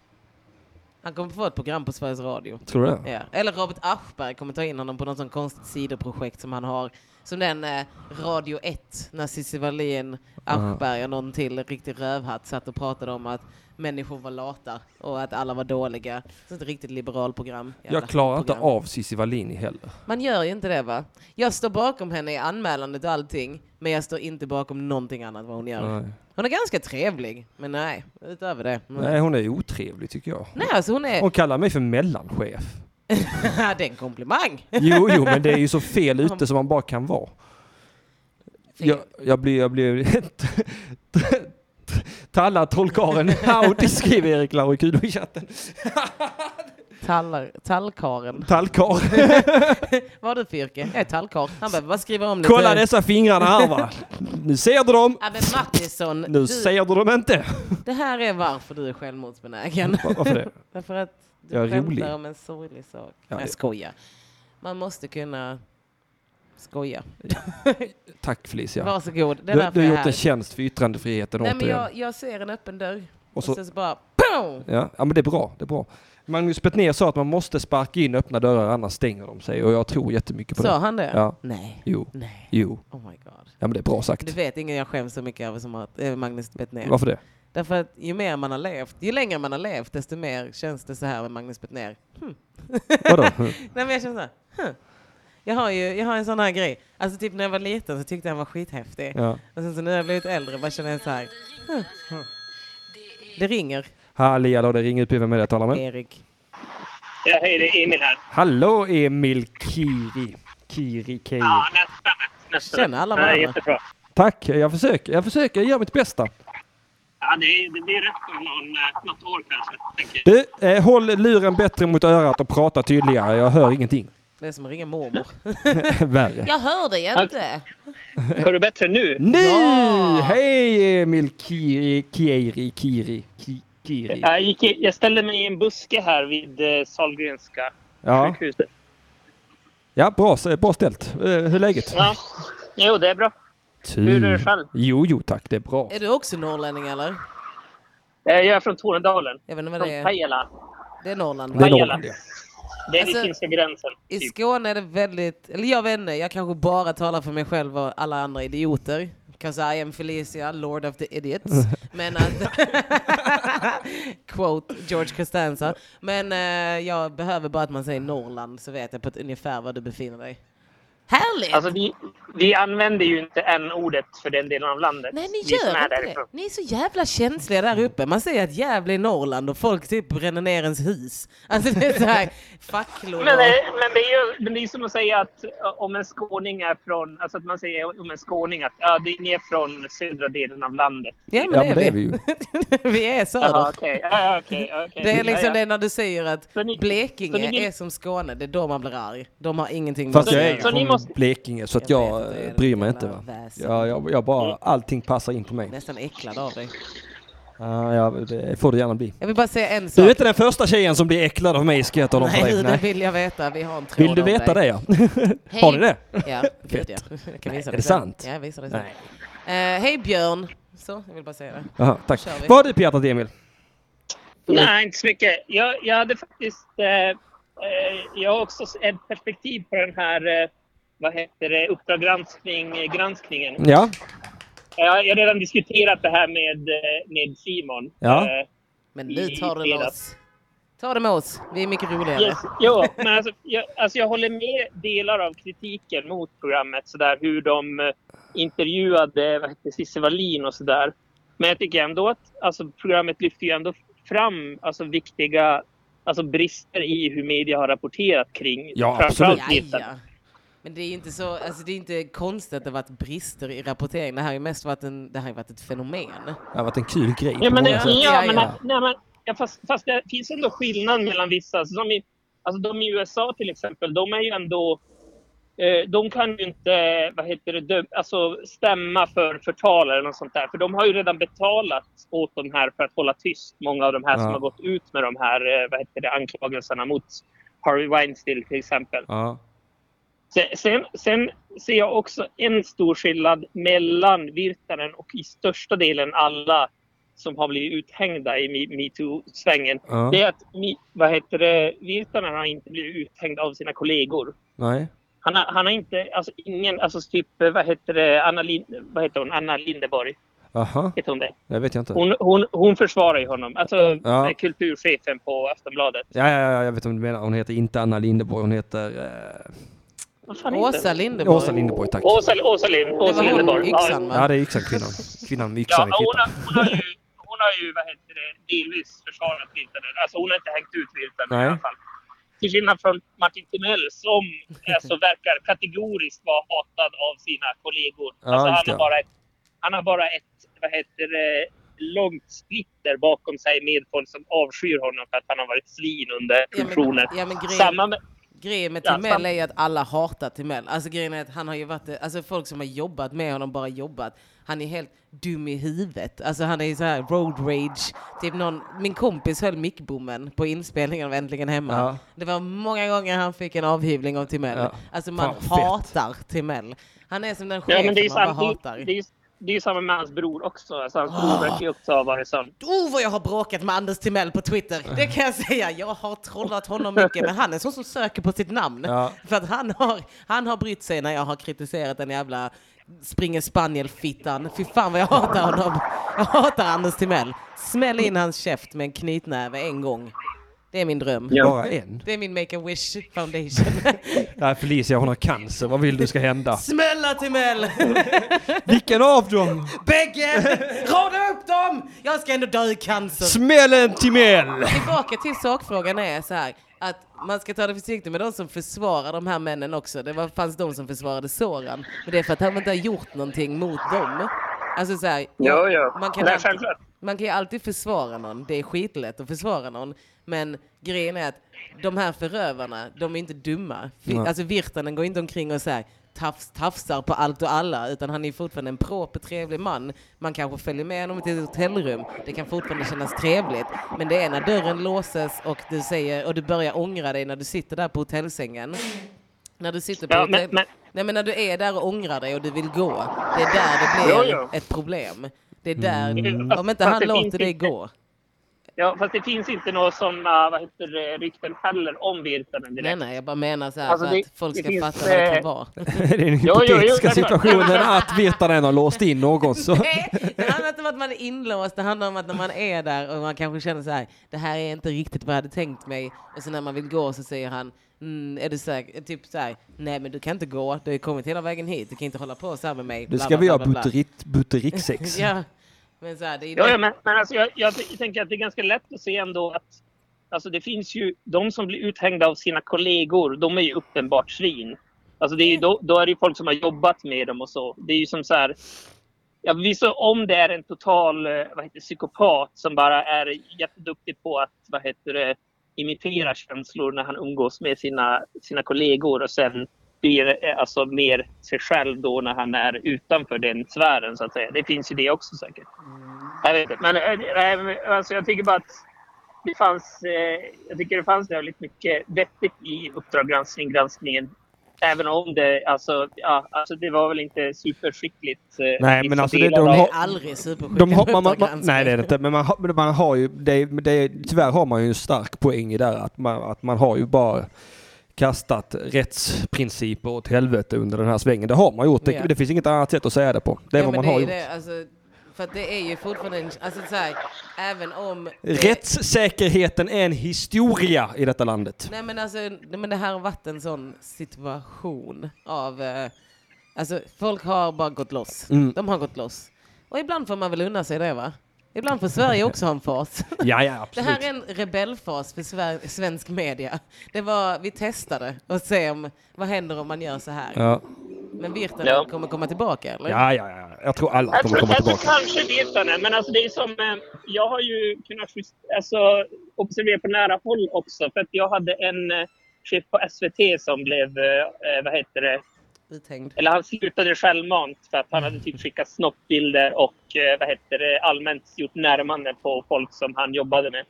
Speaker 2: Han kommer få ett program på Sveriges Radio.
Speaker 1: Tror du det?
Speaker 2: Ja. Eller Robert Aschberg kommer ta in honom på något sånt konstigt sidoprojekt som han har. Som den eh, Radio 1, när Cissi Wallin, Aschberg och någon till riktig rövhatt satt och pratade om att människor var lata och att alla var dåliga. Så ett riktigt liberal program. Jävla
Speaker 1: Jag klarar inte
Speaker 2: program.
Speaker 1: av Cissi Wallin heller.
Speaker 2: Man gör ju inte det va? Jag står bakom henne i anmälandet och allting, men jag står inte bakom någonting annat vad hon gör.
Speaker 1: Nej.
Speaker 2: Hon är ganska trevlig, men nej, utöver det. Nej,
Speaker 1: Nej, hon är otrevlig tycker jag.
Speaker 2: nej alltså hon är...
Speaker 1: Hon kallar mig för mellanchef.
Speaker 2: det är en komplimang!
Speaker 1: Jo, jo, men det är ju så fel ute som man bara kan vara. Jag, jag blir... Jag blir Talla trollkaren Howdy skriver Erik Laurikulo i chatten.
Speaker 2: Tallar, tallkaren.
Speaker 1: Tallkar.
Speaker 2: Vad har du för yrke? Jag är tallkarl. Han behöver bara skriva om lite.
Speaker 1: Kolla dessa fingrarna här va. Nu ser du dem.
Speaker 2: Ja, men Mattisson,
Speaker 1: Nu
Speaker 2: du,
Speaker 1: ser du dem inte.
Speaker 2: det här är varför du är självmordsbenägen.
Speaker 1: Varför det?
Speaker 2: Därför att du
Speaker 1: Mm. Jag är
Speaker 2: skämtar
Speaker 1: rolig.
Speaker 2: om en sorglig sak.
Speaker 1: Ja,
Speaker 2: Nej, jag
Speaker 1: det-
Speaker 2: skojar. Man måste kunna skoja.
Speaker 1: Tack Felicia.
Speaker 2: Varsågod, det är
Speaker 1: Du, du
Speaker 2: därför jag
Speaker 1: har gjort
Speaker 2: är här.
Speaker 1: en tjänst för yttrandefriheten
Speaker 2: Nej, men
Speaker 1: återigen.
Speaker 2: jag, jag ser en öppen dörr. Och,
Speaker 1: så-
Speaker 2: sen så bara... Boom!
Speaker 1: Ja, ja men det är bra. Det är bra. Magnus Betnér sa att man måste sparka in öppna dörrar annars stänger de sig och jag tror jättemycket på
Speaker 2: Sa
Speaker 1: det.
Speaker 2: han det?
Speaker 1: Ja.
Speaker 2: Nej.
Speaker 1: Jo,
Speaker 2: Nej.
Speaker 1: jo.
Speaker 2: Oh my god.
Speaker 1: Ja men det är bra sagt.
Speaker 2: Du vet, ingen jag skäms så mycket över som att, eh, Magnus Bettner.
Speaker 1: Varför det?
Speaker 2: Därför att ju mer man har levt, ju längre man har levt, desto mer känns det så här med Magnus Bettner. Hmm.
Speaker 1: Vadå?
Speaker 2: Nej men jag känner så här, hmm. jag, har ju, jag har en sån här grej. Alltså typ när jag var liten så tyckte jag han var skithäftig.
Speaker 1: Ja.
Speaker 2: Och sen så nu när jag blivit äldre bara känner jag så här, hmm. Det ringer,
Speaker 1: Halli hallå, det ringer ut. Vem är det jag talar med?
Speaker 2: Erik.
Speaker 9: Ja, hej, det är Emil här.
Speaker 1: Hallå Emil Kiri. Kiri Kiri.
Speaker 9: Ja, nästa. nästa.
Speaker 2: Känner alla
Speaker 9: Nej,
Speaker 2: varandra?
Speaker 9: jättebra.
Speaker 1: Tack, jag försöker. Jag försöker, jag gör mitt bästa.
Speaker 9: Ja, det, är, det blir rätt om någon, eh, något år kanske, tänker jag.
Speaker 1: Du, eh, håll luren bättre mot örat och prata tydligare. Jag hör ingenting.
Speaker 2: Det är som att ringa mormor.
Speaker 1: Värre.
Speaker 2: Jag hör dig inte.
Speaker 9: Hör du bättre nu?
Speaker 1: Nu!
Speaker 2: Ja.
Speaker 1: Hej Emil Kiri, Kiri, Kiri, Ki- Kiri.
Speaker 9: Jag, gick i, jag ställde mig i en buske här vid eh, Sahlgrenska
Speaker 1: Ja,
Speaker 9: sjukhuset.
Speaker 1: ja bra, s- bra ställt. Eh, Hur är läget?
Speaker 9: Ja. Jo, det är bra. Hur är det själv?
Speaker 1: Jo, jo tack, det är bra.
Speaker 2: Är du också norrlänning eller?
Speaker 9: Eh, Jag är från Tornedalen.
Speaker 2: Jag vet inte vad
Speaker 9: Från
Speaker 2: det är.
Speaker 9: Pajala.
Speaker 2: Det är Norrland.
Speaker 1: Det är
Speaker 2: Va?
Speaker 9: Pajala.
Speaker 1: Norrland, ja.
Speaker 9: Det är
Speaker 2: Alltså,
Speaker 9: vid finska gränsen.
Speaker 2: I
Speaker 9: Typ.
Speaker 2: Skåne är det väldigt, eller jag vet inte, jag kanske bara talar för mig själv och alla andra idioter. 'Cause I am Felicia, Lord of the Idiots. Men att... quote George Costanza. Men eh, jag behöver bara att man säger Norrland så vet jag på ett ungefär var du befinner dig. Härligt!
Speaker 9: Alltså, vi, vi använder ju inte n-ordet för den delen av landet.
Speaker 2: Nej, ni
Speaker 9: vi som
Speaker 2: gör
Speaker 9: är
Speaker 2: inte det.
Speaker 9: därifrån.
Speaker 2: Ni är så jävla känsliga där uppe. Man säger att Gävle är Norrland och folk typ bränner ner ens hus. Alltså det är så här facklor. och-
Speaker 9: Men, eh, men, det är ju, men det är ju som att säga att eh, om en skåning är från... Alltså att man säger om en skåning att ja, det är ner från södra delen av landet.
Speaker 2: Ja, men
Speaker 1: Ja,
Speaker 2: det är vi.
Speaker 1: ju.
Speaker 2: vi är söder.
Speaker 9: Jaha, okej. Ja, ja, okej, okej.
Speaker 2: Det är
Speaker 9: Ja,
Speaker 2: liksom
Speaker 9: ja.
Speaker 2: det när du säger att
Speaker 9: Så ni-
Speaker 2: Blekinge
Speaker 9: så ni vill-
Speaker 2: är som Skåne, det är då man blir arg. De har ingenting med
Speaker 1: Fast
Speaker 2: oss
Speaker 1: jag är
Speaker 2: att
Speaker 1: ju
Speaker 9: så
Speaker 2: göra.
Speaker 9: ni
Speaker 1: från
Speaker 9: måste-
Speaker 1: Blekinge så att
Speaker 2: Jag
Speaker 1: jag
Speaker 2: vet,
Speaker 1: eh,
Speaker 2: det är det Mm.
Speaker 1: bryr mig inte.
Speaker 2: jävla
Speaker 1: Va?
Speaker 2: väsen.
Speaker 1: Jag, jag, jag
Speaker 9: Mm.
Speaker 1: bara, allting passar in på mig.
Speaker 2: Nästan äcklad av dig.
Speaker 1: Ja, ja, det får det gärna bli.
Speaker 2: Jag vill bara säga en
Speaker 1: Du är
Speaker 2: sak.
Speaker 1: inte den första tjejen som blir äcklad av mig ska jag tala om för
Speaker 2: Nej,
Speaker 1: dig.
Speaker 2: det
Speaker 1: Nej.
Speaker 2: vill jag veta. Vi har en tråd
Speaker 1: Vill du
Speaker 2: om
Speaker 1: veta det
Speaker 2: dig.
Speaker 1: ja? Har ni det?
Speaker 2: Ja, gud ja. Jag kan visa
Speaker 1: är
Speaker 2: dig
Speaker 1: det
Speaker 2: sen.
Speaker 1: sant?
Speaker 2: Ja, jag visar det sen.
Speaker 1: Nej.
Speaker 2: Eh, Hej Björn! Så, jag vill bara säga det.
Speaker 1: Aha, tack.
Speaker 2: Kör vi.
Speaker 1: Vad har du på hjärtat Emil?
Speaker 9: Nej, inte så mycket. Jag, jag hade faktiskt... Eh, eh, jag har också ett perspektiv på den här... Eh, vad heter det? Uppdrag granskning, eh, granskningen.
Speaker 1: Ja,
Speaker 9: Jag, jag har redan diskuterat det här med, eh, med Simon.
Speaker 1: Ja.
Speaker 9: Eh,
Speaker 2: Men nu
Speaker 9: I-
Speaker 2: tar du
Speaker 9: i
Speaker 2: med
Speaker 9: fredags.
Speaker 2: oss. Ta det med oss. Vi är mycket roligare.
Speaker 9: Yes. Jo, men alltså jag, alltså jag håller med delar av kritiken mot programmet. Så där, hur de eh, intervjuade vad heter det, Cissi Wallin och sådär. Men jag tycker ändå att alltså, programmet lyfter ju ändå fram alltså, viktiga alltså, brister i hur media har rapporterat kring
Speaker 1: Ja,
Speaker 9: framförallt
Speaker 2: Ja,
Speaker 9: nyheten.
Speaker 2: ja. Men det är inte så, alltså det är inte konstigt att det varit brister i rapporteringen. Det här har ju mest varit, en, det här har ju varit ett fenomen.
Speaker 1: det har varit en kul grej
Speaker 9: Ja,
Speaker 1: på
Speaker 9: men,
Speaker 1: många
Speaker 9: det,
Speaker 1: sätt.
Speaker 9: ja, men,
Speaker 2: Ja,
Speaker 9: nej, men ja, fast, fast det finns ändå skillnad mellan vissa. Som i, alltså de i USA till exempel, de är ju ändå... Eh, de kan ju inte vad heter det, dö, alltså stämma för förtal eller något sånt där. För de har ju redan betalat åt de här för att hålla tyst. Många av de här
Speaker 1: Ja.
Speaker 9: som har gått ut med de här eh, vad heter det, anklagelserna mot Harvey Weinstein till exempel.
Speaker 1: Ja.
Speaker 9: Se- Sen, sen ser jag också en stor skillnad mellan Virtanen och i största delen alla som har blivit uthängda i Me- metoo-svängen.
Speaker 1: Ja.
Speaker 9: Det är att Mi- vad heter det, Virtanen har inte blivit uthängd av sina kollegor.
Speaker 1: Nej.
Speaker 9: Han har, han har inte, alltså ingen, alltså typ, vad heter det, Anna, Lin, vad heter hon? Anna Lindeborg,
Speaker 1: Aha,
Speaker 9: heter hon det?
Speaker 1: det vet jag inte.
Speaker 9: Hon, hon, hon försvarar ju honom, alltså
Speaker 1: Ja.
Speaker 9: kulturchefen på Aftonbladet.
Speaker 1: Ja, ja, ja, jag vet vad du menar. Hon heter inte Anna Lindeborg, hon heter eh,
Speaker 9: Vad fan heter
Speaker 2: Åsa
Speaker 9: hon?
Speaker 2: Linderborg.
Speaker 1: Åsa Lindeborg, tack.
Speaker 9: Åsa, Åsa, Lind, Åsa
Speaker 2: Det var hon,
Speaker 9: Lindeborg. Ja,
Speaker 2: yxan
Speaker 1: Ja,
Speaker 2: va?
Speaker 1: det är yxan kvinnan. Kvinnan med
Speaker 9: Ja,
Speaker 1: yxan i
Speaker 9: hon har,
Speaker 1: fittan.
Speaker 9: hon har ju, hon har ju vad heter det, delvis försvarat Virtanen. Alltså hon har inte hängt ut Virtanen
Speaker 1: Nej.
Speaker 9: i alla fall. Till skillnad från Martin Timell som alltså, verkar kategoriskt vara hatad av sina kollegor.
Speaker 1: Ja,
Speaker 9: alltså,
Speaker 1: just
Speaker 9: han,
Speaker 1: det.
Speaker 9: har bara ett, han har bara ett vad heter det, långt splitter bakom sig med folk som avskyr honom för att han har varit svin under
Speaker 2: Ja, men-
Speaker 9: produktionen.
Speaker 2: ja, men grejen-
Speaker 9: Samma med,
Speaker 2: Grejen med
Speaker 9: Ja,
Speaker 2: Timell
Speaker 9: samma.
Speaker 2: är ju att alla hatar Timell. Alltså grejen är att han har ju varit, alltså folk som har jobbat med honom bara jobbat. Han är helt dum i huvudet. Alltså han är ju så här road rage. Typ någon, min kompis höll mickbommen på inspelningen av Äntligen Hemma.
Speaker 1: Ja.
Speaker 2: Det var många gånger han fick en avhyvling av Timell.
Speaker 1: Ja.
Speaker 2: Alltså man
Speaker 1: Fan, fett.
Speaker 2: hatar Timell. Han är som den
Speaker 9: ja, men
Speaker 2: chefen
Speaker 9: det är ju
Speaker 2: man bara
Speaker 9: samma,
Speaker 2: hatar. Ah.
Speaker 9: det, det, är, det är samma med hans bror också. Alltså, hans bror verkar ju också ha varit sån.
Speaker 2: Oh vad jag har bråkat med Anders Timell på Twitter. Det kan jag säga. Jag har trollat honom mycket. Men han är en sån som söker på sitt namn.
Speaker 1: Ja.
Speaker 2: För att han har, han har brytt sig när jag har kritiserat den jävla springer spaniel-fittan. Fy fan vad jag hatar honom. Jag hatar Anders Timell. Smäll in hans käft med en knytnäve en gång. Det är min dröm.
Speaker 1: Bara en?
Speaker 2: Det är min Make-A-Wish Foundation.
Speaker 1: Nej, Felicia, hon har cancer. Vad vill du ska hända?
Speaker 2: Smälla Timell!
Speaker 1: Vilken av dem?
Speaker 2: Bägge! Rada upp dem! Jag ska ändå dö i cancer.
Speaker 1: Smällen Timell!
Speaker 2: Tillbaka till sakfrågan är så här. att man ska ta det försiktigt med de som försvarar de här männen också. Det var, fanns de som försvarade Soran. Men det är för att han inte har gjort någonting mot dem. Alltså så här,
Speaker 9: Ja, ja.
Speaker 2: Man kan
Speaker 9: Nej,
Speaker 2: alltid-
Speaker 9: självklart.
Speaker 2: man kan ju alltid försvara någon. Det är skitlätt att försvara någon. Men grejen är att de här förövarna, de är inte dumma. Vi, alltså Virtanen går inte omkring och så här, tafs, tafsar på allt och alla, utan han är fortfarande en proper, trevlig man. Man kanske följer med honom till ett hotellrum. Det kan fortfarande kännas trevligt. Men det är när dörren låses och du, säger, och du börjar ångra dig när du sitter där på hotellsängen. När du sitter på
Speaker 9: Ja,
Speaker 2: hotell...
Speaker 9: men- men-
Speaker 2: Nej men när du är där och ångrar dig och du vill gå, det är där det
Speaker 9: Jo,
Speaker 2: blir
Speaker 9: jo.
Speaker 2: ett problem. Det är där,
Speaker 9: Mm.
Speaker 2: om inte
Speaker 9: Fast
Speaker 2: han
Speaker 9: det
Speaker 2: låter
Speaker 9: finns
Speaker 2: dig
Speaker 9: inte-
Speaker 2: gå.
Speaker 9: Ja, fast det finns inte några sådana vad heter det, rykten heller om Virtanen direkt.
Speaker 2: Nej nej, jag bara menar så här
Speaker 9: Alltså,
Speaker 2: för
Speaker 9: det-
Speaker 2: att folk
Speaker 9: det
Speaker 2: ska
Speaker 9: finns,
Speaker 2: fatta vad det kan
Speaker 9: eh,
Speaker 2: vara.
Speaker 1: Det är den
Speaker 9: jo, jo,
Speaker 1: hypotetiska
Speaker 9: självklart.
Speaker 1: situationen att Virtanen har låst in någon. Så.
Speaker 2: Nej, det handlar inte om att man är inlåst, det handlar om att när man är där och man kanske känner så här, det här är inte riktigt vad jag hade tänkt mig. Och så när man vill gå så säger han, mm, är du säker? Typ så här, nej men du kan inte gå, du har ju kommit hela vägen hit, du kan inte hålla på så här med mig.
Speaker 4: Nu
Speaker 2: Bla,
Speaker 4: ska
Speaker 2: bla,
Speaker 4: vi
Speaker 2: bla,
Speaker 4: ha
Speaker 2: bla, bla.
Speaker 4: buterik- buteriksex.
Speaker 2: Ja, men så här, det är ju
Speaker 9: Ja,
Speaker 2: det.
Speaker 9: ja, men, men alltså, jag, jag t- tänker att det är ganska lätt att se ändå att alltså, det finns ju de som blir uthängda av sina kollegor. De är ju uppenbart svin. Alltså,
Speaker 2: Mm.
Speaker 9: det är ju, då, då är det ju folk som har jobbat med dem och så. Det är ju som så här. Ja, visst, om det är en total eh, vad heter, det, psykopat som bara är jätteduktig på att vad heter det, imitera känslor när han umgås med sina, sina kollegor och sen blir eh, alltså, mer sig själv då när han är utanför den sfären. Så att säga. Det finns ju det också säkert. Jag vet inte. Men eh, nej, men, alltså, jag tycker bara att det fanns, eh, jag tycker det fanns jävligt mycket vettigt i Uppdrag granskning, granskningen. Även om det, alltså, ja, alltså det var väl inte superskickligt. eh,
Speaker 1: men
Speaker 9: vissa
Speaker 1: alltså, det-
Speaker 9: delar
Speaker 1: de
Speaker 9: av-
Speaker 2: Det
Speaker 1: har-
Speaker 2: är aldrig supersjuka
Speaker 1: De har, man, man, man,
Speaker 2: Uppdrag
Speaker 1: nej det är det inte, men man har, men man har ju, det, är- det, är- tyvärr har man ju en stark poäng i där att man, att man har ju bara kastat rättsprinciper åt helvete under den här svängen. Det har man gjort, det,
Speaker 2: Ja.
Speaker 1: det finns inget annat sätt att säga det på. Det är
Speaker 2: Ja,
Speaker 1: vad
Speaker 2: men
Speaker 1: man har
Speaker 2: är
Speaker 1: gjort.
Speaker 2: det, alltså, för att det är ju fortfarande en, alltså så här, även om...
Speaker 1: Rättssäkerheten är en historia i detta landet.
Speaker 2: Nej men alltså, nej, men det här har varit en sån situation av... Eh, alltså folk har bara gått loss.
Speaker 1: Mm.
Speaker 2: De har gått loss. Och ibland får man väl unna sig det va? Ibland får Sverige också ha en fas.
Speaker 1: Ja, ja,
Speaker 2: Det
Speaker 1: absolut.
Speaker 2: här är en rebellfas för sver- svensk media. Det var, vi testade och se om, vad händer om man gör så här.
Speaker 1: Ja.
Speaker 2: Men Virtanen
Speaker 9: Ja.
Speaker 2: kommer komma tillbaka eller?
Speaker 1: Ja, ja, ja, jag tror alla
Speaker 9: Jag
Speaker 1: kommer
Speaker 9: tror,
Speaker 1: komma
Speaker 9: jag tror
Speaker 1: tillbaka.
Speaker 9: Alltså, kanske Virtanen, men alltså det är som... eh, Jag har ju kunnat just, alltså, observera på nära håll också. För att jag hade en eh, chef på SVT som blev, eh, eh, vad heter det,
Speaker 2: Uthängd.
Speaker 9: eller han slutade självmant för att han hade typ skickat snoppbilder och eh, vad heter det, allmänt gjort närmanden på folk som han jobbade med.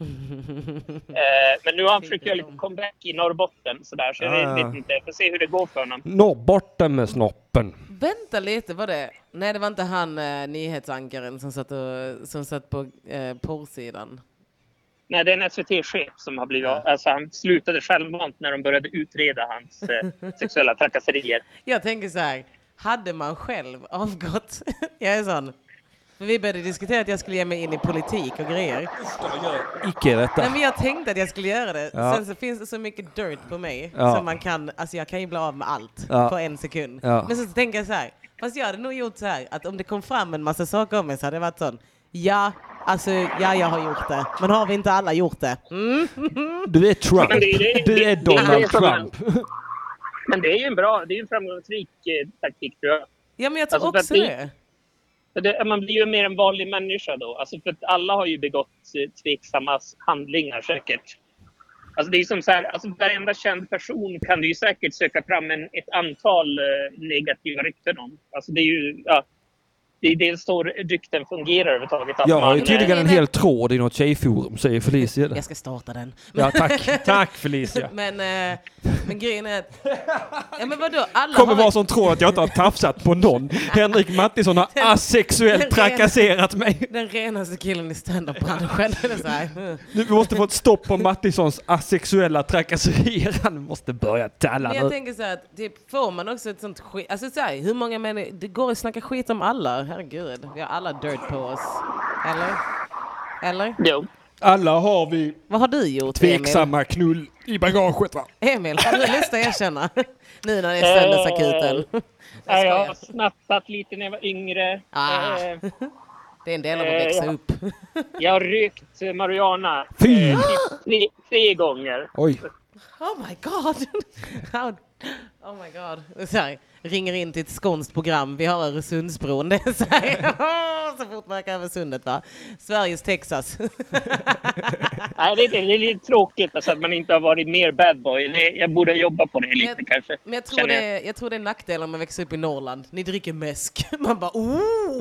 Speaker 9: eh, men nu har han försökt göra lite comeback i Norrbotten sådär, så jag
Speaker 1: Ah.
Speaker 9: vet inte. Jag får se hur det går för honom.
Speaker 1: Norrbotten med snoppen.
Speaker 2: Vänta lite, var det? Nej, det var inte han eh, nyhetsankaren som satt, och, som satt på eh, porrsidan.
Speaker 9: Nej, det är en SVT-chef som har blivit... Alltså han slutade självmant när de började utreda hans eh, sexuella trakasserier.
Speaker 2: Jag tänker så här, hade man själv avgått? jag är sån. För vi började diskutera att jag skulle ge mig in i politik och grejer.
Speaker 1: Icke detta.
Speaker 2: Nej, men jag tänkte att jag skulle göra det.
Speaker 1: Ja.
Speaker 2: Sen så finns det så mycket dirt på mig
Speaker 1: Ja.
Speaker 2: som man kan, alltså jag kan ju bli av med allt
Speaker 1: Ja.
Speaker 2: på en sekund.
Speaker 1: Ja.
Speaker 2: Men så tänker jag så här, fast jag hade nog gjort så här att om det kom fram en massa saker om mig så hade jag varit sån, ja, alltså ja jag har gjort det, men har vi inte alla gjort det? Mm.
Speaker 1: Du är Trump.
Speaker 9: Men det är- det är-
Speaker 1: Du är
Speaker 9: det- det är
Speaker 1: Donald
Speaker 9: som en-
Speaker 1: Trump.
Speaker 9: Men det är ju en bra... Det är ju en framgångsrik eh, taktik, tror jag.
Speaker 2: Ja men jag tror
Speaker 9: Alltså, för
Speaker 2: också
Speaker 9: att vi-
Speaker 2: det.
Speaker 9: För det, man blir ju mer en vanlig människa då. Alltså för att alla har ju begått eh, tveksamma s- handlingar säkert. Alltså det är som så här, alltså varenda känd person kan du ju säkert söka fram en, ett antal eh, negativa rykten om. Alltså det är ju, ja, det är dels så rykten fungerar överhuvudtaget. Att
Speaker 1: Jag har ju
Speaker 9: eh,
Speaker 1: tydligen en hel tråd i något tjejforum, säger Felicia.
Speaker 2: Jag ska starta den.
Speaker 1: Ja, tack. Tack Felicia.
Speaker 2: Men, eh, men grejen är att... Ja, men vadå? Alla
Speaker 1: kommer
Speaker 2: har
Speaker 1: vara som tror att jag inte har tafsat på någon. Henrik Mattisson har asexuellt trakasserat mig.
Speaker 2: den renaste killen i standup-branschen. Eller så här.
Speaker 1: Nu vi måste få ett stopp på Mattissons asexuella trakasserier. Han måste börja talla
Speaker 2: Men jag
Speaker 1: nu.
Speaker 2: tänker så här, att typ, får man också ett sånt skit... Alltså så här, hur många människor... Det går att snacka skit om alla. Herregud, vi har alla dirt på oss. Eller? Eller?
Speaker 9: Jo.
Speaker 1: Alla har vi
Speaker 2: Vad har du gjort,
Speaker 1: tveksamma knull i bagaget va?
Speaker 2: Emil? Emil, har du lust att erkänna? Nu när det är söndagsakuten.
Speaker 9: Ja, jag
Speaker 2: skojar.
Speaker 9: har snattat lite när jag var yngre.
Speaker 2: Ah.
Speaker 9: Eh,
Speaker 2: Det är en del av att växa
Speaker 9: Eh,
Speaker 2: upp.
Speaker 9: jag har rökt eh, marijuana
Speaker 1: Fy!
Speaker 9: tre, tre gånger.
Speaker 1: Oj.
Speaker 2: Oh my god! How, oh my god. Så här, ringer in till ett skånskt program. Vi har Öresundsbron. Det är så, här, åh, så fort man kan över sundet va? Sveriges Texas.
Speaker 9: Nej, det, är- det är lite tråkigt alltså, att man inte har varit mer bad boy. Det, jag borde jobba på det lite
Speaker 2: Men-
Speaker 9: kanske.
Speaker 2: Men jag tror,
Speaker 9: Känner jag.
Speaker 2: det, jag tror det är en nackdel om man växer upp i Norrland. Ni dricker mäsk. Man bara oh!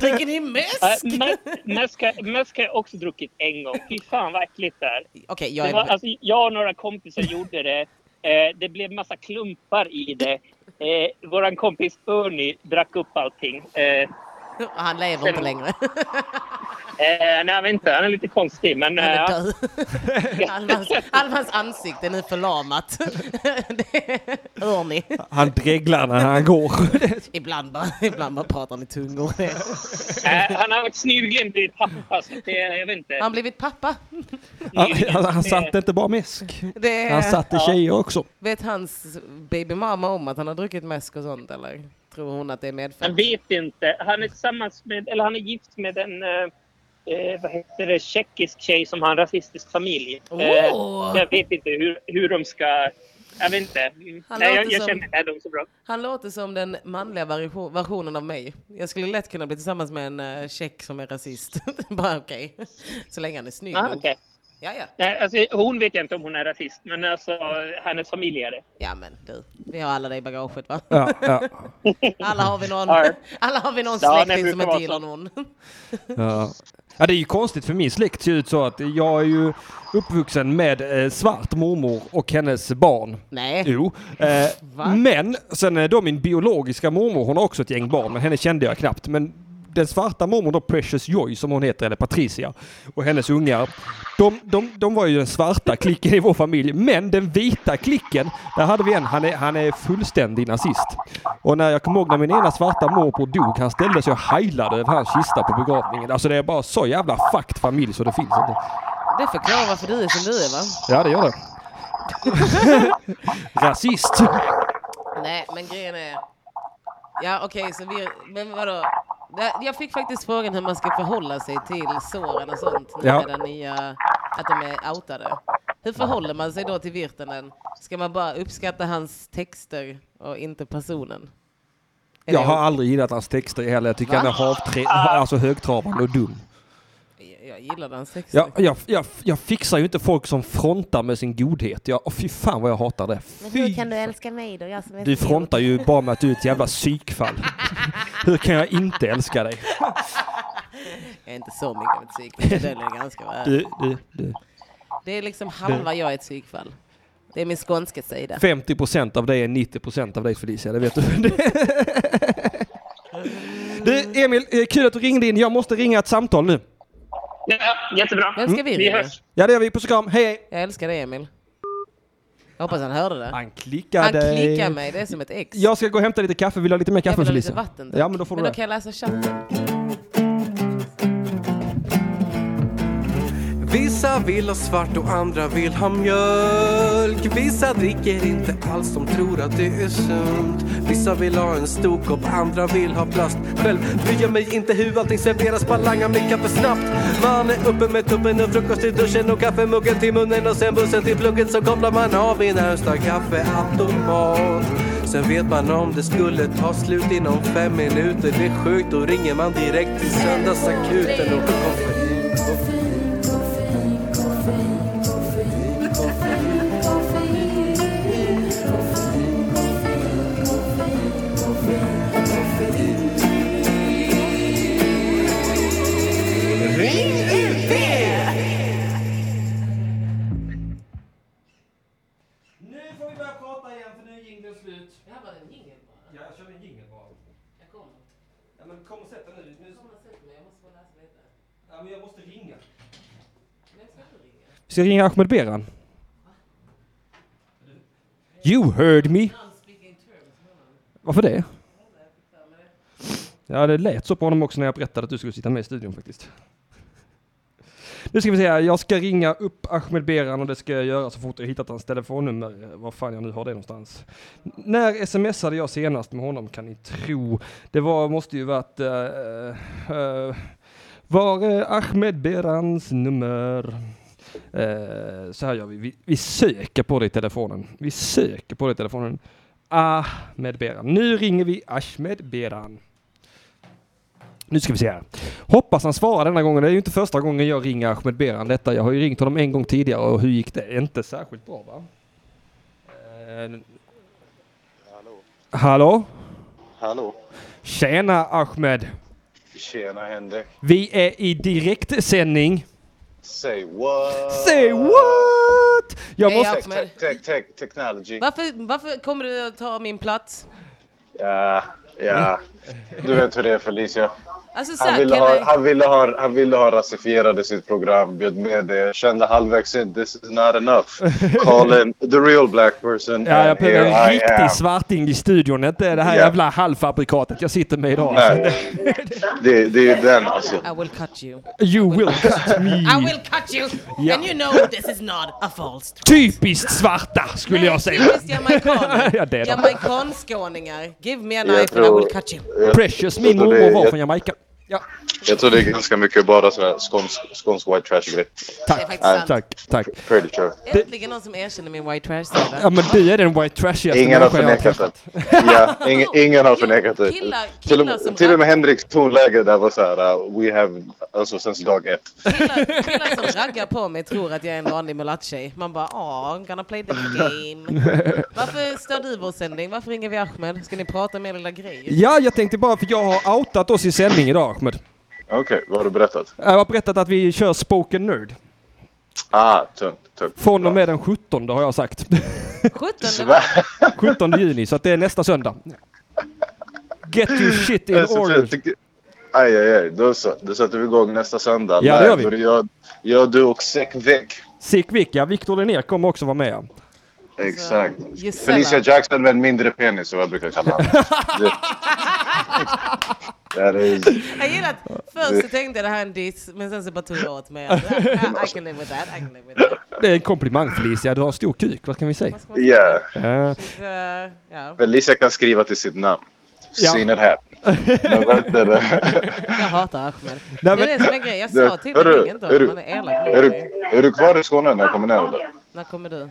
Speaker 2: Dricker ni
Speaker 9: Ja,
Speaker 2: mäsk?
Speaker 9: mä- Mäsk har- mäsk har jag också druckit en gång. Fy fan vad äckligt det är.
Speaker 2: Okej, jag
Speaker 9: Det
Speaker 2: är...
Speaker 9: var, alltså, jag och några kompisar gjorde det. Eh, det blev massa klumpar i det. Eh, Vår kompis Ernie drack upp allting. Eh,
Speaker 2: Han lever inte längre.
Speaker 9: eh, nej, han vet inte. Han är lite konstig. Men,
Speaker 2: Han är
Speaker 9: eh,
Speaker 2: död. Halva hans- halva hans ansikte är nu förlamat. Det hör ni.
Speaker 1: Han dreglar när han går.
Speaker 2: Ibland bara, ibland bara pratar han i tungor.
Speaker 9: eh, han har varit snygen blivit pappa. Så det, jag vet inte.
Speaker 2: Har han blivit pappa?
Speaker 1: Han, han, han satte inte bara mäsk.
Speaker 2: Det
Speaker 1: Han satte tjejer också.
Speaker 2: Vet hans babymamma om att han har druckit mäsk och sånt eller? Tror hon att det är
Speaker 9: Han
Speaker 2: medfött?
Speaker 9: vet inte. Han är tillsammans med, eller han är gift med en eh, eh, vad heter det, tjeckisk tjej som har en rasistisk familj.
Speaker 2: Åh!
Speaker 9: Eh, så jag vet inte hur, hur de ska... Jag vet inte. Mm.
Speaker 2: Han
Speaker 9: Nej, jag,
Speaker 2: låter
Speaker 9: jag
Speaker 2: som-
Speaker 9: känner inte dem så bra.
Speaker 2: Han låter som den manliga version- versionen av mig. Jag skulle lätt kunna bli tillsammans med en eh, tjeck som är rasist. Bara okej. Så länge han är snygg.
Speaker 9: Ah,
Speaker 2: nog.
Speaker 9: okej.
Speaker 2: Ja, ja.
Speaker 9: Nej, alltså, hon vet jag inte om hon är rasist, men alltså, hennes familj är det.
Speaker 2: Ja, men du. Vi har alla det i bagaget va?
Speaker 1: Ja, ja,
Speaker 2: Alla har vi någon,
Speaker 9: Ja.
Speaker 2: alla har vi någon
Speaker 9: Ja, det
Speaker 2: släkting som
Speaker 9: brukar
Speaker 2: inte gillar
Speaker 9: vara så.
Speaker 2: någon.
Speaker 1: ja. ja, det är ju konstigt för min släkt ser ut så att jag är ju uppvuxen med eh, svart mormor och hennes barn.
Speaker 2: Nej.
Speaker 1: Jo. Eh,
Speaker 2: Va?
Speaker 1: men sen är då min biologiska mormor, hon har också ett gäng barn, men henne kände jag knappt. Men den svarta mormor då, Precious Joy som hon heter, eller Patricia, och hennes ungar. De, de, de var ju den svarta klicken i vår familj, men den vita klicken, där hade vi en, han är, han är fullständig nazist. Och när jag kommer ihåg när min ena svarta morbror dog, han ställde sig och heilade över hans kista på begravningen. Alltså det är bara så jävla fucked familj så det finns inte.
Speaker 2: Det förklarar varför du är som du är va?
Speaker 1: Ja, det gör det. Rasist!
Speaker 2: Nej, men grejen är... Ja, okej, så vi... Men vadå? Det- Jag fick faktiskt frågan hur man ska förhålla sig till såren och sånt nu
Speaker 1: Ja.
Speaker 2: med den nya... Att de är outade. Hur förhåller man sig då till Virtanen? Ska man bara uppskatta hans texter och inte personen? Är
Speaker 1: Jag
Speaker 2: det-
Speaker 1: har aldrig gillat hans texter heller. Jag tycker
Speaker 2: Va?
Speaker 1: han är havtre- alltså högtravande och dum.
Speaker 2: Jag gillar hans texter.
Speaker 1: Jag, jag, jag, jag fixar ju inte folk som frontar med sin godhet. Jag, åh, fy fan vad jag hatar det. Fy.
Speaker 3: du älska mig då? Jag som är
Speaker 1: Du frontar ju bara med att du är ett jävla psykfall. Hur kan jag inte älska dig?
Speaker 2: Jag är inte så mycket av ett psykfall. Det är ganska väl.
Speaker 1: Du, du, du.
Speaker 2: Det är liksom halva jag är ett psykfall. Det är min skånska sida.
Speaker 1: 50% av dig är 90% av dig Felicia, det vet du. du Emil, eh, kul att du ringde in. Jag måste ringa ett samtal nu.
Speaker 9: Ja, jättebra. Mm.
Speaker 2: Vem ska vi
Speaker 9: Vi
Speaker 2: ringa?
Speaker 9: hörs.
Speaker 1: Ja det gör vi, puss och kram, hej hej!
Speaker 2: Jag älskar dig Emil. Jag hoppas han hörde det.
Speaker 1: Han klickade.
Speaker 2: Han klickar mig, det är som ett ex.
Speaker 1: Jag ska gå och hämta lite kaffe, vill du ha lite mer
Speaker 2: jag
Speaker 1: kaffe
Speaker 2: vill ha
Speaker 1: Felicia?
Speaker 2: lite vatten tack.
Speaker 1: ja men då får du
Speaker 2: men då
Speaker 1: det. Mm.
Speaker 2: kan jag läsa chatten.
Speaker 10: Vissa vill ha svart och andra vill ha mjölk. Vissa dricker inte alls, de tror att det är sunt. Vissa vill ha en stor kopp, andra vill ha plast. Själv bryr jag mig inte hur allting serveras, bara langar mitt kaffe snabbt. Man är uppe med tuppen och frukost i duschen och kaffemuggen till munnen och sen bussen till plugget så kopplar man av i närmsta kaffeautomat. Sen vet man om det skulle ta slut inom fem minuter. Det är sjukt, då ringer man direkt till söndagsakuten och koffein.
Speaker 1: Nu får vi börja prata igen för nu är jingeln slut. Ja, jag körde en jingel bara. Ja, men kom och sätt dig nu. nu. Ja, men jag måste ringa. Ska jag ringa Ahmed Beran? You heard me. Varför det? Ja, det lät så på honom också när jag berättade att du skulle sitta med i studion faktiskt. Nu ska vi se här, jag ska ringa upp Ahmed Beran och det ska jag göra så fort jag hittat hans telefonnummer. Eh, Var fan jag nu har det någonstans. N- När smsade jag senast med honom kan ni tro? Det var, måste ju varit... eh, eh, var är Ahmed Berans nummer? Eh, så här gör vi. vi. Vi söker på det i telefonen. Vi söker på det i telefonen. Ahmed Beran. Nu ringer vi Ahmed Beran. Nu ska vi se här. Hoppas han svarar denna gången. Det är ju inte första gången jag ringer Ahmed Beran detta. Jag har ju ringt honom en gång tidigare och hur gick det? Inte särskilt bra va? Eh,
Speaker 11: Hallå.
Speaker 1: hallå?
Speaker 11: Hallå.
Speaker 1: Tjena Ahmed!
Speaker 11: Tjena Henrik.
Speaker 1: Vi är i direktsändning.
Speaker 11: Say what?
Speaker 1: Say what? Jag
Speaker 2: Hej,
Speaker 1: måste...
Speaker 2: Ahmed.
Speaker 11: Tech, tech, tech, technology.
Speaker 2: Varför, varför kommer du att ta min plats?
Speaker 11: Ja, ja. Du vet hur det är Felicia.
Speaker 2: Alltså, så
Speaker 11: Han
Speaker 2: här,
Speaker 11: ville,
Speaker 2: kan
Speaker 11: ha,
Speaker 2: jag-
Speaker 11: han, ville ha, han ville ha rasifierade sitt program, bjöd med det. Jag kände halvvägs in, this is not enough. Call in the real black person.
Speaker 1: Ja, jag
Speaker 11: and
Speaker 1: behöver
Speaker 11: here
Speaker 1: en
Speaker 11: I am.
Speaker 1: riktig svarting i studion, inte det här
Speaker 11: Ja.
Speaker 1: jävla halvfabrikatet jag sitter med idag.
Speaker 11: Nej. Det, det är den alltså.
Speaker 2: I will cut you.
Speaker 1: You will cut
Speaker 2: I
Speaker 1: me.
Speaker 2: will cut you!
Speaker 1: Mm. Ja.
Speaker 2: And you know this is not a false
Speaker 1: Typiskt svarta skulle jag säga.
Speaker 2: Typiskt jamaikaner.
Speaker 1: ja, det är de.
Speaker 2: Jamaicanskåningar. Give me a
Speaker 11: Jag
Speaker 2: knife and I
Speaker 11: tror-
Speaker 2: will cut you.
Speaker 11: jag-
Speaker 1: Precious,
Speaker 11: jag
Speaker 1: min
Speaker 11: tror det-
Speaker 1: mormor var
Speaker 11: jag-
Speaker 1: från Jamaica. Ja,
Speaker 11: Jag tror det är ganska mycket bara sådär skånsk, skånsk white trash grej.
Speaker 2: Det är
Speaker 1: tack.
Speaker 2: faktiskt sant.
Speaker 1: Tack, tack.
Speaker 11: Pretty sure.
Speaker 2: Äntligen någon som erkänner min white trash-sida.
Speaker 1: Ja, men du är den white trashigaste
Speaker 11: Ingen har
Speaker 1: människan jag har
Speaker 11: förnekat
Speaker 1: träffat.
Speaker 11: det. Ja, ingen, ingen har förnekat det.
Speaker 2: killar-
Speaker 11: till,
Speaker 2: killar som
Speaker 11: och, till och med
Speaker 2: rapp-
Speaker 11: Henriks tonläge där var så här, uh, we have, alltså since dag ett.
Speaker 2: Killar, killar som raggar på mig tror att jag är en vanlig mulatt-tjej. Man bara åh, I'm gonna play the game. Varför står du i vår sändning? Varför ringer vi Ahmed? Ska ni prata om er lilla grej?
Speaker 1: Ja, jag tänkte bara för jag har outat oss i sändning idag, Ahmed.
Speaker 11: Okej, vad har du berättat?
Speaker 1: Jag har berättat att vi kör spoken nerd.
Speaker 11: Ah, tungt, tungt.
Speaker 1: Från och med den 17 har jag sagt.
Speaker 2: 17
Speaker 11: Svär.
Speaker 1: 17 juni, så att det är nästa söndag. Get your shit in
Speaker 11: Jag är så
Speaker 1: order.
Speaker 11: trött. Aj, aj, aj. Då så. Då sätter vi igång nästa söndag.
Speaker 1: Ja, det gör vi.
Speaker 11: Då är jag, jag, du och Säck Väck.
Speaker 1: Sick Vic, ja. Viktor Linnér kommer också vara med. ja.
Speaker 2: Alltså,
Speaker 11: Exakt.
Speaker 2: Gisela.
Speaker 11: Felicia Jackson med en mindre penis, som jag brukar kalla henne. Det- That is...
Speaker 2: Jag gillar att först så tänkte jag det här är en diss, men sen så bara tog jag åt mig. Ja, I can live with that, I can live with that.
Speaker 1: Det är en komplimang Felicia, du har stor kuk, vad kan vi säga?
Speaker 11: Yeah.
Speaker 1: Eh,
Speaker 2: Så, ja.
Speaker 11: Felicia kan skriva till sitt namn.
Speaker 1: Ja.
Speaker 11: Seen it happen. Men vad heter det?
Speaker 2: Jag hatar Ahmed.
Speaker 1: Nej,
Speaker 2: Det är
Speaker 1: men-
Speaker 2: det som är grejen. Jag
Speaker 11: Du,
Speaker 2: sa till dig,
Speaker 11: hörru,
Speaker 2: ring inte honom.
Speaker 11: hörru,
Speaker 2: Han är elak. mot
Speaker 11: Är
Speaker 2: dig.
Speaker 11: du, är du kvar i Skåne när jag kommer ner? Eller?
Speaker 2: När kommer du?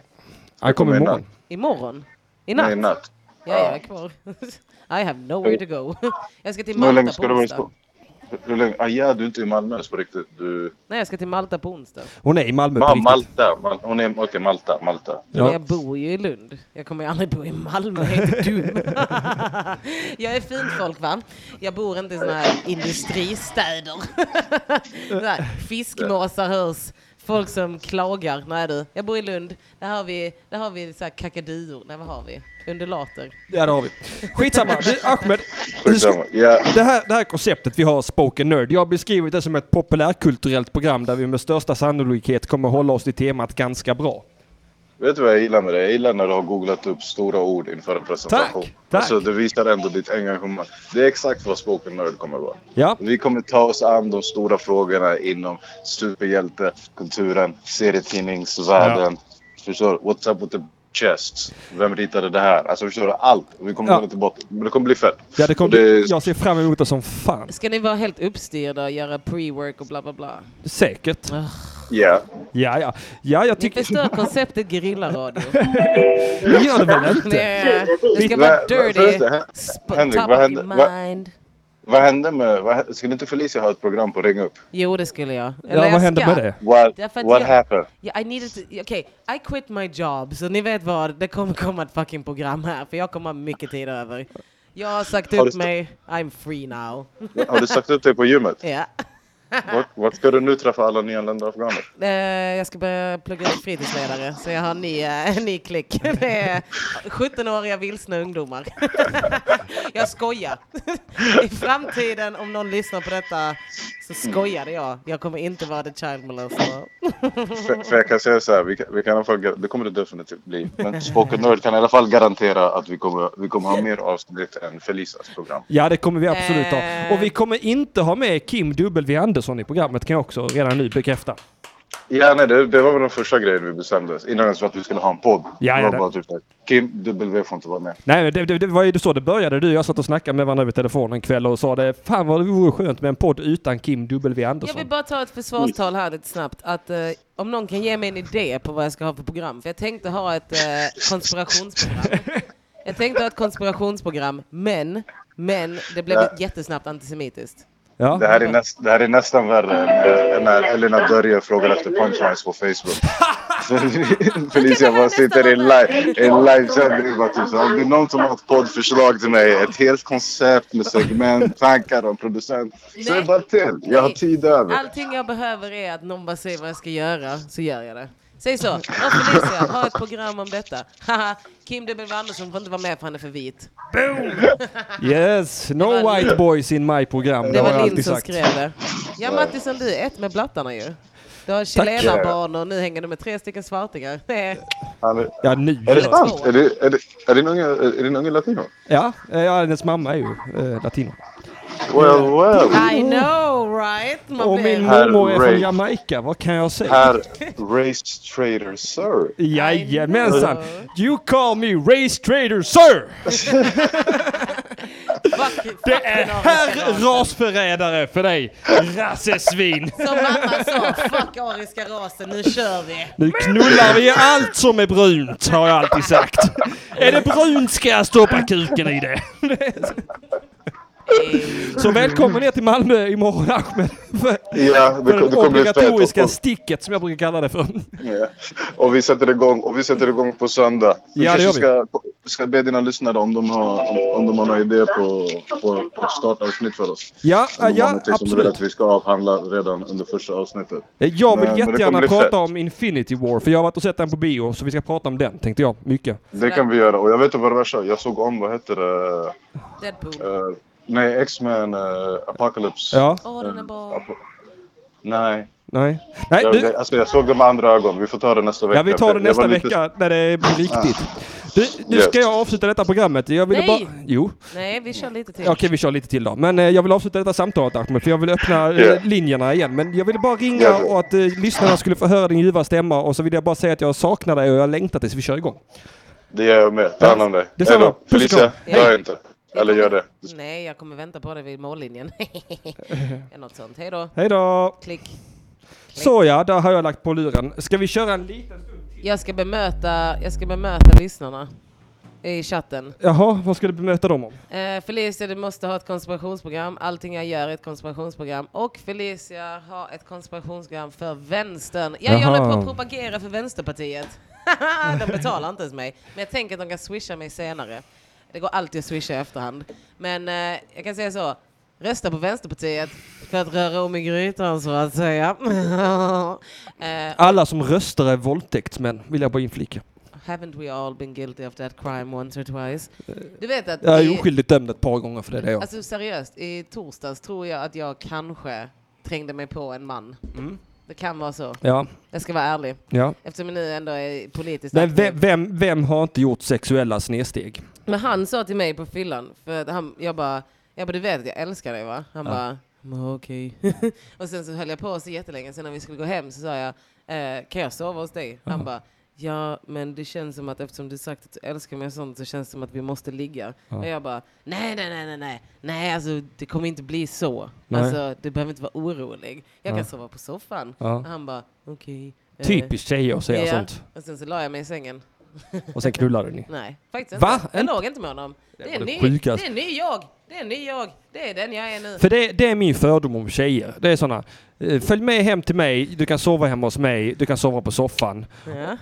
Speaker 1: Han kommer imorgon.
Speaker 2: Imorgon? I
Speaker 11: Nej,
Speaker 2: natt?
Speaker 11: i natt.
Speaker 2: Ja, jag är kvar. I have nowhere to go. Jag ska till
Speaker 11: Hur länge
Speaker 2: Malta
Speaker 11: ska
Speaker 2: på
Speaker 11: du vara i
Speaker 2: onsdag.
Speaker 11: Skåne? Hur länge? Ah, ja, du är inte i Malmö så riktigt. Du...
Speaker 2: Nej, jag ska till Malta på onsdag.
Speaker 1: Hon är i Malmö på
Speaker 11: Ma-
Speaker 1: riktigt.
Speaker 11: Malta. Mal- Hon är... Okej, Malta. Malta.
Speaker 1: Ja.
Speaker 2: Men jag bor ju i Lund. Jag kommer ju aldrig bo i Malmö, jag är inte dum. jag är fint folk va? Jag bor inte i såna här industristäder. Såna här Fiskmåsar hörs, folk som klagar. Nej du, jag bor i Lund. Där har vi, där har vi så här kakaduor. Nej vad har vi? Undulater.
Speaker 1: Ja, det har vi. Skitsamma. Du, Ahmed, du ska-
Speaker 11: Skitsamma. Ja.
Speaker 1: det här, det här konceptet vi har, Spoken Nerd, jag har beskrivit det som ett populärkulturellt program där vi med största sannolikhet kommer hålla oss till temat ganska bra.
Speaker 11: Vet du vad jag gillar med det? Jag gillar när du har googlat upp stora ord inför en presentation.
Speaker 1: Tack, tack.
Speaker 11: Alltså, det visar ändå ditt engagemang. Det är exakt vad Spoken Nerd kommer vara.
Speaker 1: Ja,
Speaker 11: Vi kommer ta oss an de stora frågorna inom superhjältekulturen, serietidningsvärlden. Förstår du? What's up with the chests? Vem ritade det här? Alltså förstår du? Allt. Vi kommer
Speaker 1: Ja.
Speaker 11: gå till botten. Men det kommer bli fett.
Speaker 1: ja det kommer,
Speaker 11: Och det-
Speaker 1: bli- jag ser fram emot det som fan.
Speaker 2: Ska ni vara helt uppstyrda och göra pre-work och bla bla bla?
Speaker 1: Säkert.
Speaker 11: Ja.
Speaker 1: Ja, ja. Ja, jag
Speaker 2: Ni
Speaker 1: tycker... Typ.
Speaker 2: förstör konceptet gerillaradio.
Speaker 1: Det gör det väl inte?
Speaker 2: Det, det ska
Speaker 11: Vad-
Speaker 2: vara
Speaker 11: Typ. vad-
Speaker 2: dirty.
Speaker 11: förresten, Hen-
Speaker 2: Sp-
Speaker 11: Henrik,
Speaker 2: top
Speaker 11: vad
Speaker 2: of
Speaker 11: hände-
Speaker 2: your
Speaker 11: vad-
Speaker 2: mind.
Speaker 11: Vad hände med... Vad, skulle inte Felicia ha ett program på Ring Upp?
Speaker 2: Jo, det skulle jag. Eller
Speaker 1: Ja,
Speaker 2: jag
Speaker 1: vad hände
Speaker 2: ska.
Speaker 1: med det?
Speaker 11: What,
Speaker 2: Därför att
Speaker 11: what
Speaker 2: jag-
Speaker 11: happened?
Speaker 2: Yeah, I needed to, okay, I quit my job, så ni vet vad, det kommer komma ett fucking program här, för jag kommer ha mycket tid över. Jag har sagt
Speaker 11: Har du
Speaker 2: upp
Speaker 11: st-
Speaker 2: mig, I'm free now.
Speaker 11: Har du sagt upp dig på gymmet?
Speaker 2: Ja.
Speaker 11: Vart, vart ska du nu träffa alla nyanlända afghaner?
Speaker 2: Eh, jag ska börja plugga till fritidsledare, så jag har en ny, eh, en ny klick. Det är 17-åriga vilsna ungdomar. jag skojar. I framtiden, om någon lyssnar på detta, så skojade jag. Jag kommer inte vara the child molester.
Speaker 11: För, för jag kan säga så här, vi kan, vi kan i alla fall, gar- det kommer det definitivt bli. Men Spoken Nerd kan i alla fall garantera att vi kommer, vi kommer ha mer avsnitt än Felicias program.
Speaker 1: Ja, det kommer vi absolut ha.
Speaker 2: Eh.
Speaker 1: Och vi kommer inte ha med Kim W Andersson i programmet kan jag också redan nu bekräfta.
Speaker 11: Ja, nej, det, det var väl den första grejen vi bestämde. Innan ens för att vi skulle ha en podd.
Speaker 1: ja,
Speaker 11: det var
Speaker 1: det-
Speaker 11: bara typ så här, Kim, W får inte vara med.
Speaker 1: Nej, men det, det, det var ju så det började. Du och jag satt och snackade med varandra över telefon en kväll och sa det. Fan vad det vore skönt med en podd utan Kim W
Speaker 2: Jag
Speaker 1: Andersson.
Speaker 2: vill bara ta ett försvarstal här lite snabbt. Att, eh, om någon kan ge mig en idé på vad jag ska ha för program. För jag tänkte ha ett eh, konspirationsprogram. Jag tänkte ha ett konspirationsprogram, men, men det blev
Speaker 11: Ja.
Speaker 2: jättesnabbt antisemitiskt.
Speaker 11: Det, här är näst, det här är nästan värre än eh, än när Elina Börje frågar efter punchlines på Facebook. Felicia bara sitter i live- i livesändning och bara typ så här, Om det är någon som har ett poddförslag till mig, ett helt koncept med segment, tankar om producent. Säg bara till, jag har tid över.
Speaker 2: Allting jag behöver är att någon bara säger vad jag ska göra, så gör jag det. Säg så. Och Felicia, ha ett program om detta. Haha, Kim W Andersson får inte vara med för han är för vit.
Speaker 1: Yes, no white boys in my program. har
Speaker 2: Det
Speaker 1: jag
Speaker 2: var Linn
Speaker 1: alltid
Speaker 2: som
Speaker 1: sagt.
Speaker 2: skrev det. Ja, Mattisson, du är ett med blattarna ju. Du har chilenarbarn och nu hänger du med tre stycken svartingar. Nej.
Speaker 11: Han-
Speaker 1: Ja, nu.
Speaker 11: Är det sant? Är det, är det, är det en unge, är det en unge latino?
Speaker 1: Ja, eh, ja, hennes mamma är ju eh, latino.
Speaker 11: Well, well.
Speaker 2: I know right? Man
Speaker 1: Och
Speaker 2: blir-
Speaker 1: min
Speaker 11: Herr
Speaker 1: mormor är från
Speaker 11: Ray.
Speaker 1: Jamaica, vad kan jag säga?
Speaker 11: Herr Race Trader Sir.
Speaker 1: Jajamensan! You call me race trader sir! Det är herr rasförrädare för dig, rassesvin!
Speaker 2: Som mamma sa, fuck ariska rasen, nu kör vi!
Speaker 1: Nu knullar vi allt som är brunt, har jag alltid sagt. Är det brunt ska jag stoppa kuken i det. Så välkommen ner till Malmö imorgon Ahmed. För,
Speaker 11: Ja,
Speaker 1: för
Speaker 11: det- det kommer
Speaker 1: det
Speaker 11: bli spännande.
Speaker 1: obligatoriska sticket som jag brukar kalla det för.
Speaker 11: Ja. Och vi sätter igång, och vi sätter igång på söndag. Vi
Speaker 1: Ja, det
Speaker 11: kanske
Speaker 1: gör
Speaker 11: ska, ska be dina lyssnare om de har, om, om de har några idéer på, på, på ett startavsnitt för oss.
Speaker 1: Ja,
Speaker 11: Om de har
Speaker 1: ja,
Speaker 11: någonting som de vill
Speaker 1: absolut.
Speaker 11: att vi ska avhandla redan under första avsnittet.
Speaker 1: Jag vill
Speaker 11: Men- men det kommer
Speaker 1: jättegärna
Speaker 11: bli
Speaker 1: prata
Speaker 11: fett.
Speaker 1: om Infinity War, för jag har varit och sett den på bio, så vi ska prata om den tänkte jag, mycket.
Speaker 11: Det kan vi göra. Och jag vet inte vad det värsta är. Jag såg om, vad heter det?
Speaker 2: Deadpool.
Speaker 11: Eh, nej, X-Men eh, Apocalypse.
Speaker 1: Ja.
Speaker 2: Åh, den är bra.
Speaker 11: Apo- nej.
Speaker 1: Nej. Nej,
Speaker 11: jag,
Speaker 1: du-
Speaker 11: det- alltså, jag såg det med andra ögon. Vi får ta det nästa vecka.
Speaker 1: Ja, vi tar det
Speaker 11: Jag- jag
Speaker 1: nästa
Speaker 11: var lite-
Speaker 1: vecka när det blir riktigt. Du, nu
Speaker 11: Yes.
Speaker 1: ska jag avsluta detta programmet. Jag ville
Speaker 2: Nej!
Speaker 1: bara... Jo.
Speaker 2: Nej, vi kör lite till.
Speaker 1: Okej, vi kör lite till då. Men eh, jag vill avsluta detta samtalet Ahmed, för jag vill öppna eh,
Speaker 11: Yeah.
Speaker 1: linjerna igen. Men jag ville bara ringa
Speaker 11: Yeah.
Speaker 1: och att eh, lyssnarna skulle få höra din ljuva stämma och så vill jag bara säga att jag saknar dig och jag längtar tills vi kör igång.
Speaker 11: Det gör jag med. Ta hand om dig.
Speaker 1: Detsamma.
Speaker 11: Hej då.
Speaker 1: Puss och kram.
Speaker 11: Felicia,
Speaker 2: Hej.
Speaker 11: gör inte. Eller gör det.
Speaker 2: Nej, jag kommer vänta på dig vid mållinjen. Eller Något sånt. Hej då.
Speaker 1: Hej då!
Speaker 2: Klick.
Speaker 1: Så ja, där har jag lagt på luren. Ska vi köra en liten...
Speaker 2: Jag ska bemöta, jag ska bemöta lyssnarna i chatten.
Speaker 1: Jaha, vad ska du bemöta dem om?
Speaker 2: Eh, Felicia, du måste ha ett konspirationsprogram. Allting jag gör är ett konspirationsprogram. Och Felicia har ett konspirationsprogram för vänstern. Jag
Speaker 1: Jaha.
Speaker 2: håller på att propagera för Vänsterpartiet. de betalar inte ens mig. Men jag tänker att de kan swisha mig senare. Det går alltid att swisha i efterhand. Men eh, jag kan säga så. Rösta på Vänsterpartiet för att röra om i grytan så att säga. eh,
Speaker 1: Alla som röstar är våldtäktsmän, vill jag bara inflika.
Speaker 2: haven't we all been guilty of that crime once or twice? Du vet att...
Speaker 1: Jag
Speaker 2: i-
Speaker 1: är oskyldigt dömd ett par gånger för det, det är jag.
Speaker 2: Alltså seriöst, i torsdags tror jag att jag kanske trängde mig på en man. Det kan vara så.
Speaker 1: Ja.
Speaker 2: Jag ska vara ärlig.
Speaker 1: Ja.
Speaker 2: Eftersom jag nu ändå är politiskt
Speaker 1: Men
Speaker 2: aktiv.
Speaker 1: vem, vem, vem har inte gjort sexuella snedsteg?
Speaker 2: Men han sa till mig på fyllan, för att han, jag bara, jag bara, du vet att jag älskar dig va? Han
Speaker 1: Ja.
Speaker 2: bara, "Mm, okej. och sen så höll jag på så jättelänge, sen när vi skulle gå hem så sa jag, eh, kan jag sova hos dig? Han bara, ja men det känns som att eftersom du sagt att du älskar mig och sånt så känns det som att vi måste ligga.
Speaker 1: Ja.
Speaker 2: Och jag bara, nej nej nej nej nej, nej alltså det kommer inte bli så.
Speaker 1: Nej.
Speaker 2: Alltså du behöver inte vara orolig. Jag
Speaker 1: Ja.
Speaker 2: kan sova på soffan.
Speaker 1: Ja.
Speaker 2: Och han bara, okej. eh,
Speaker 1: Typiskt tjejer att säga
Speaker 2: ja.
Speaker 1: sånt.
Speaker 2: Och sen så la jag mig i sängen.
Speaker 1: Och sen knullade ni.
Speaker 2: Nej, faktiskt
Speaker 1: Va?
Speaker 2: inte. Jag låg inte med honom. Det är,
Speaker 1: var det
Speaker 2: ny,
Speaker 1: sjukaste.
Speaker 2: det är en ny jag. Det är en ny jag. Det är den jag är nu.
Speaker 1: För det, det är min fördom om tjejer. Det är såna, eh, följ med hem till mig, du kan sova hemma hos mig, du kan sova på soffan.
Speaker 2: Ja.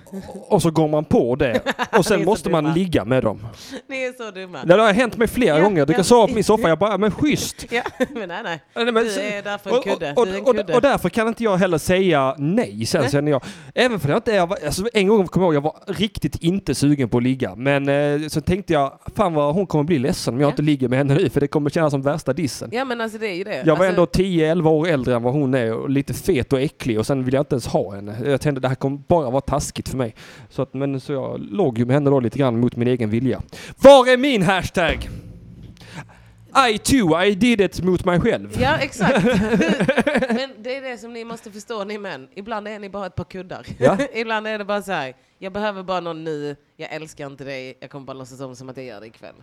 Speaker 1: Och så går man på det. Och
Speaker 2: Ni är
Speaker 1: sen
Speaker 2: så
Speaker 1: måste man
Speaker 2: dumma.
Speaker 1: ligga med dem.
Speaker 2: Ni är så dumma.
Speaker 1: Det har hänt mig flera
Speaker 2: Ja,
Speaker 1: gånger. Du
Speaker 2: ja.
Speaker 1: kan sova på min soffa, jag bara, men schysst.
Speaker 2: Ja, men nej, nej.
Speaker 1: Nej, men
Speaker 2: du
Speaker 1: så-
Speaker 2: är därför en
Speaker 1: Och,
Speaker 2: kudde.
Speaker 1: och,
Speaker 2: du är en
Speaker 1: och,
Speaker 2: kudde.
Speaker 1: och därför kan inte jag heller säga nej sen
Speaker 2: Nej.
Speaker 1: känner jag. Även för att jag inte jag var, alltså, en gång kommer jag ihåg, jag var riktigt inte sugen på att ligga. Men eh, så tänkte jag, fan vad hon kommer bli ledsen om jag inte ligger med henne nu för det kommer kännas som värsta dissen.
Speaker 2: ja, men alltså det är ju det.
Speaker 1: Jag var
Speaker 2: alltså,
Speaker 1: ändå 10-11 år äldre än vad hon är och lite fet och äcklig och sen ville jag inte ens ha henne. Jag tänkte det här kommer bara vara taskigt för mig. Så, att, men, så jag låg ju med henne då lite grann mot min egen vilja. Var är min hashtag? I too, I did it mot mig själv.
Speaker 2: Ja, exakt. Men det är det som ni måste förstå, ni män. Ibland är ni bara ett par kuddar.
Speaker 1: Ja.
Speaker 2: Ibland är det bara så här, jag behöver bara någon ny, jag älskar inte dig, jag kommer bara låtsas om som att jag gör det ikväll.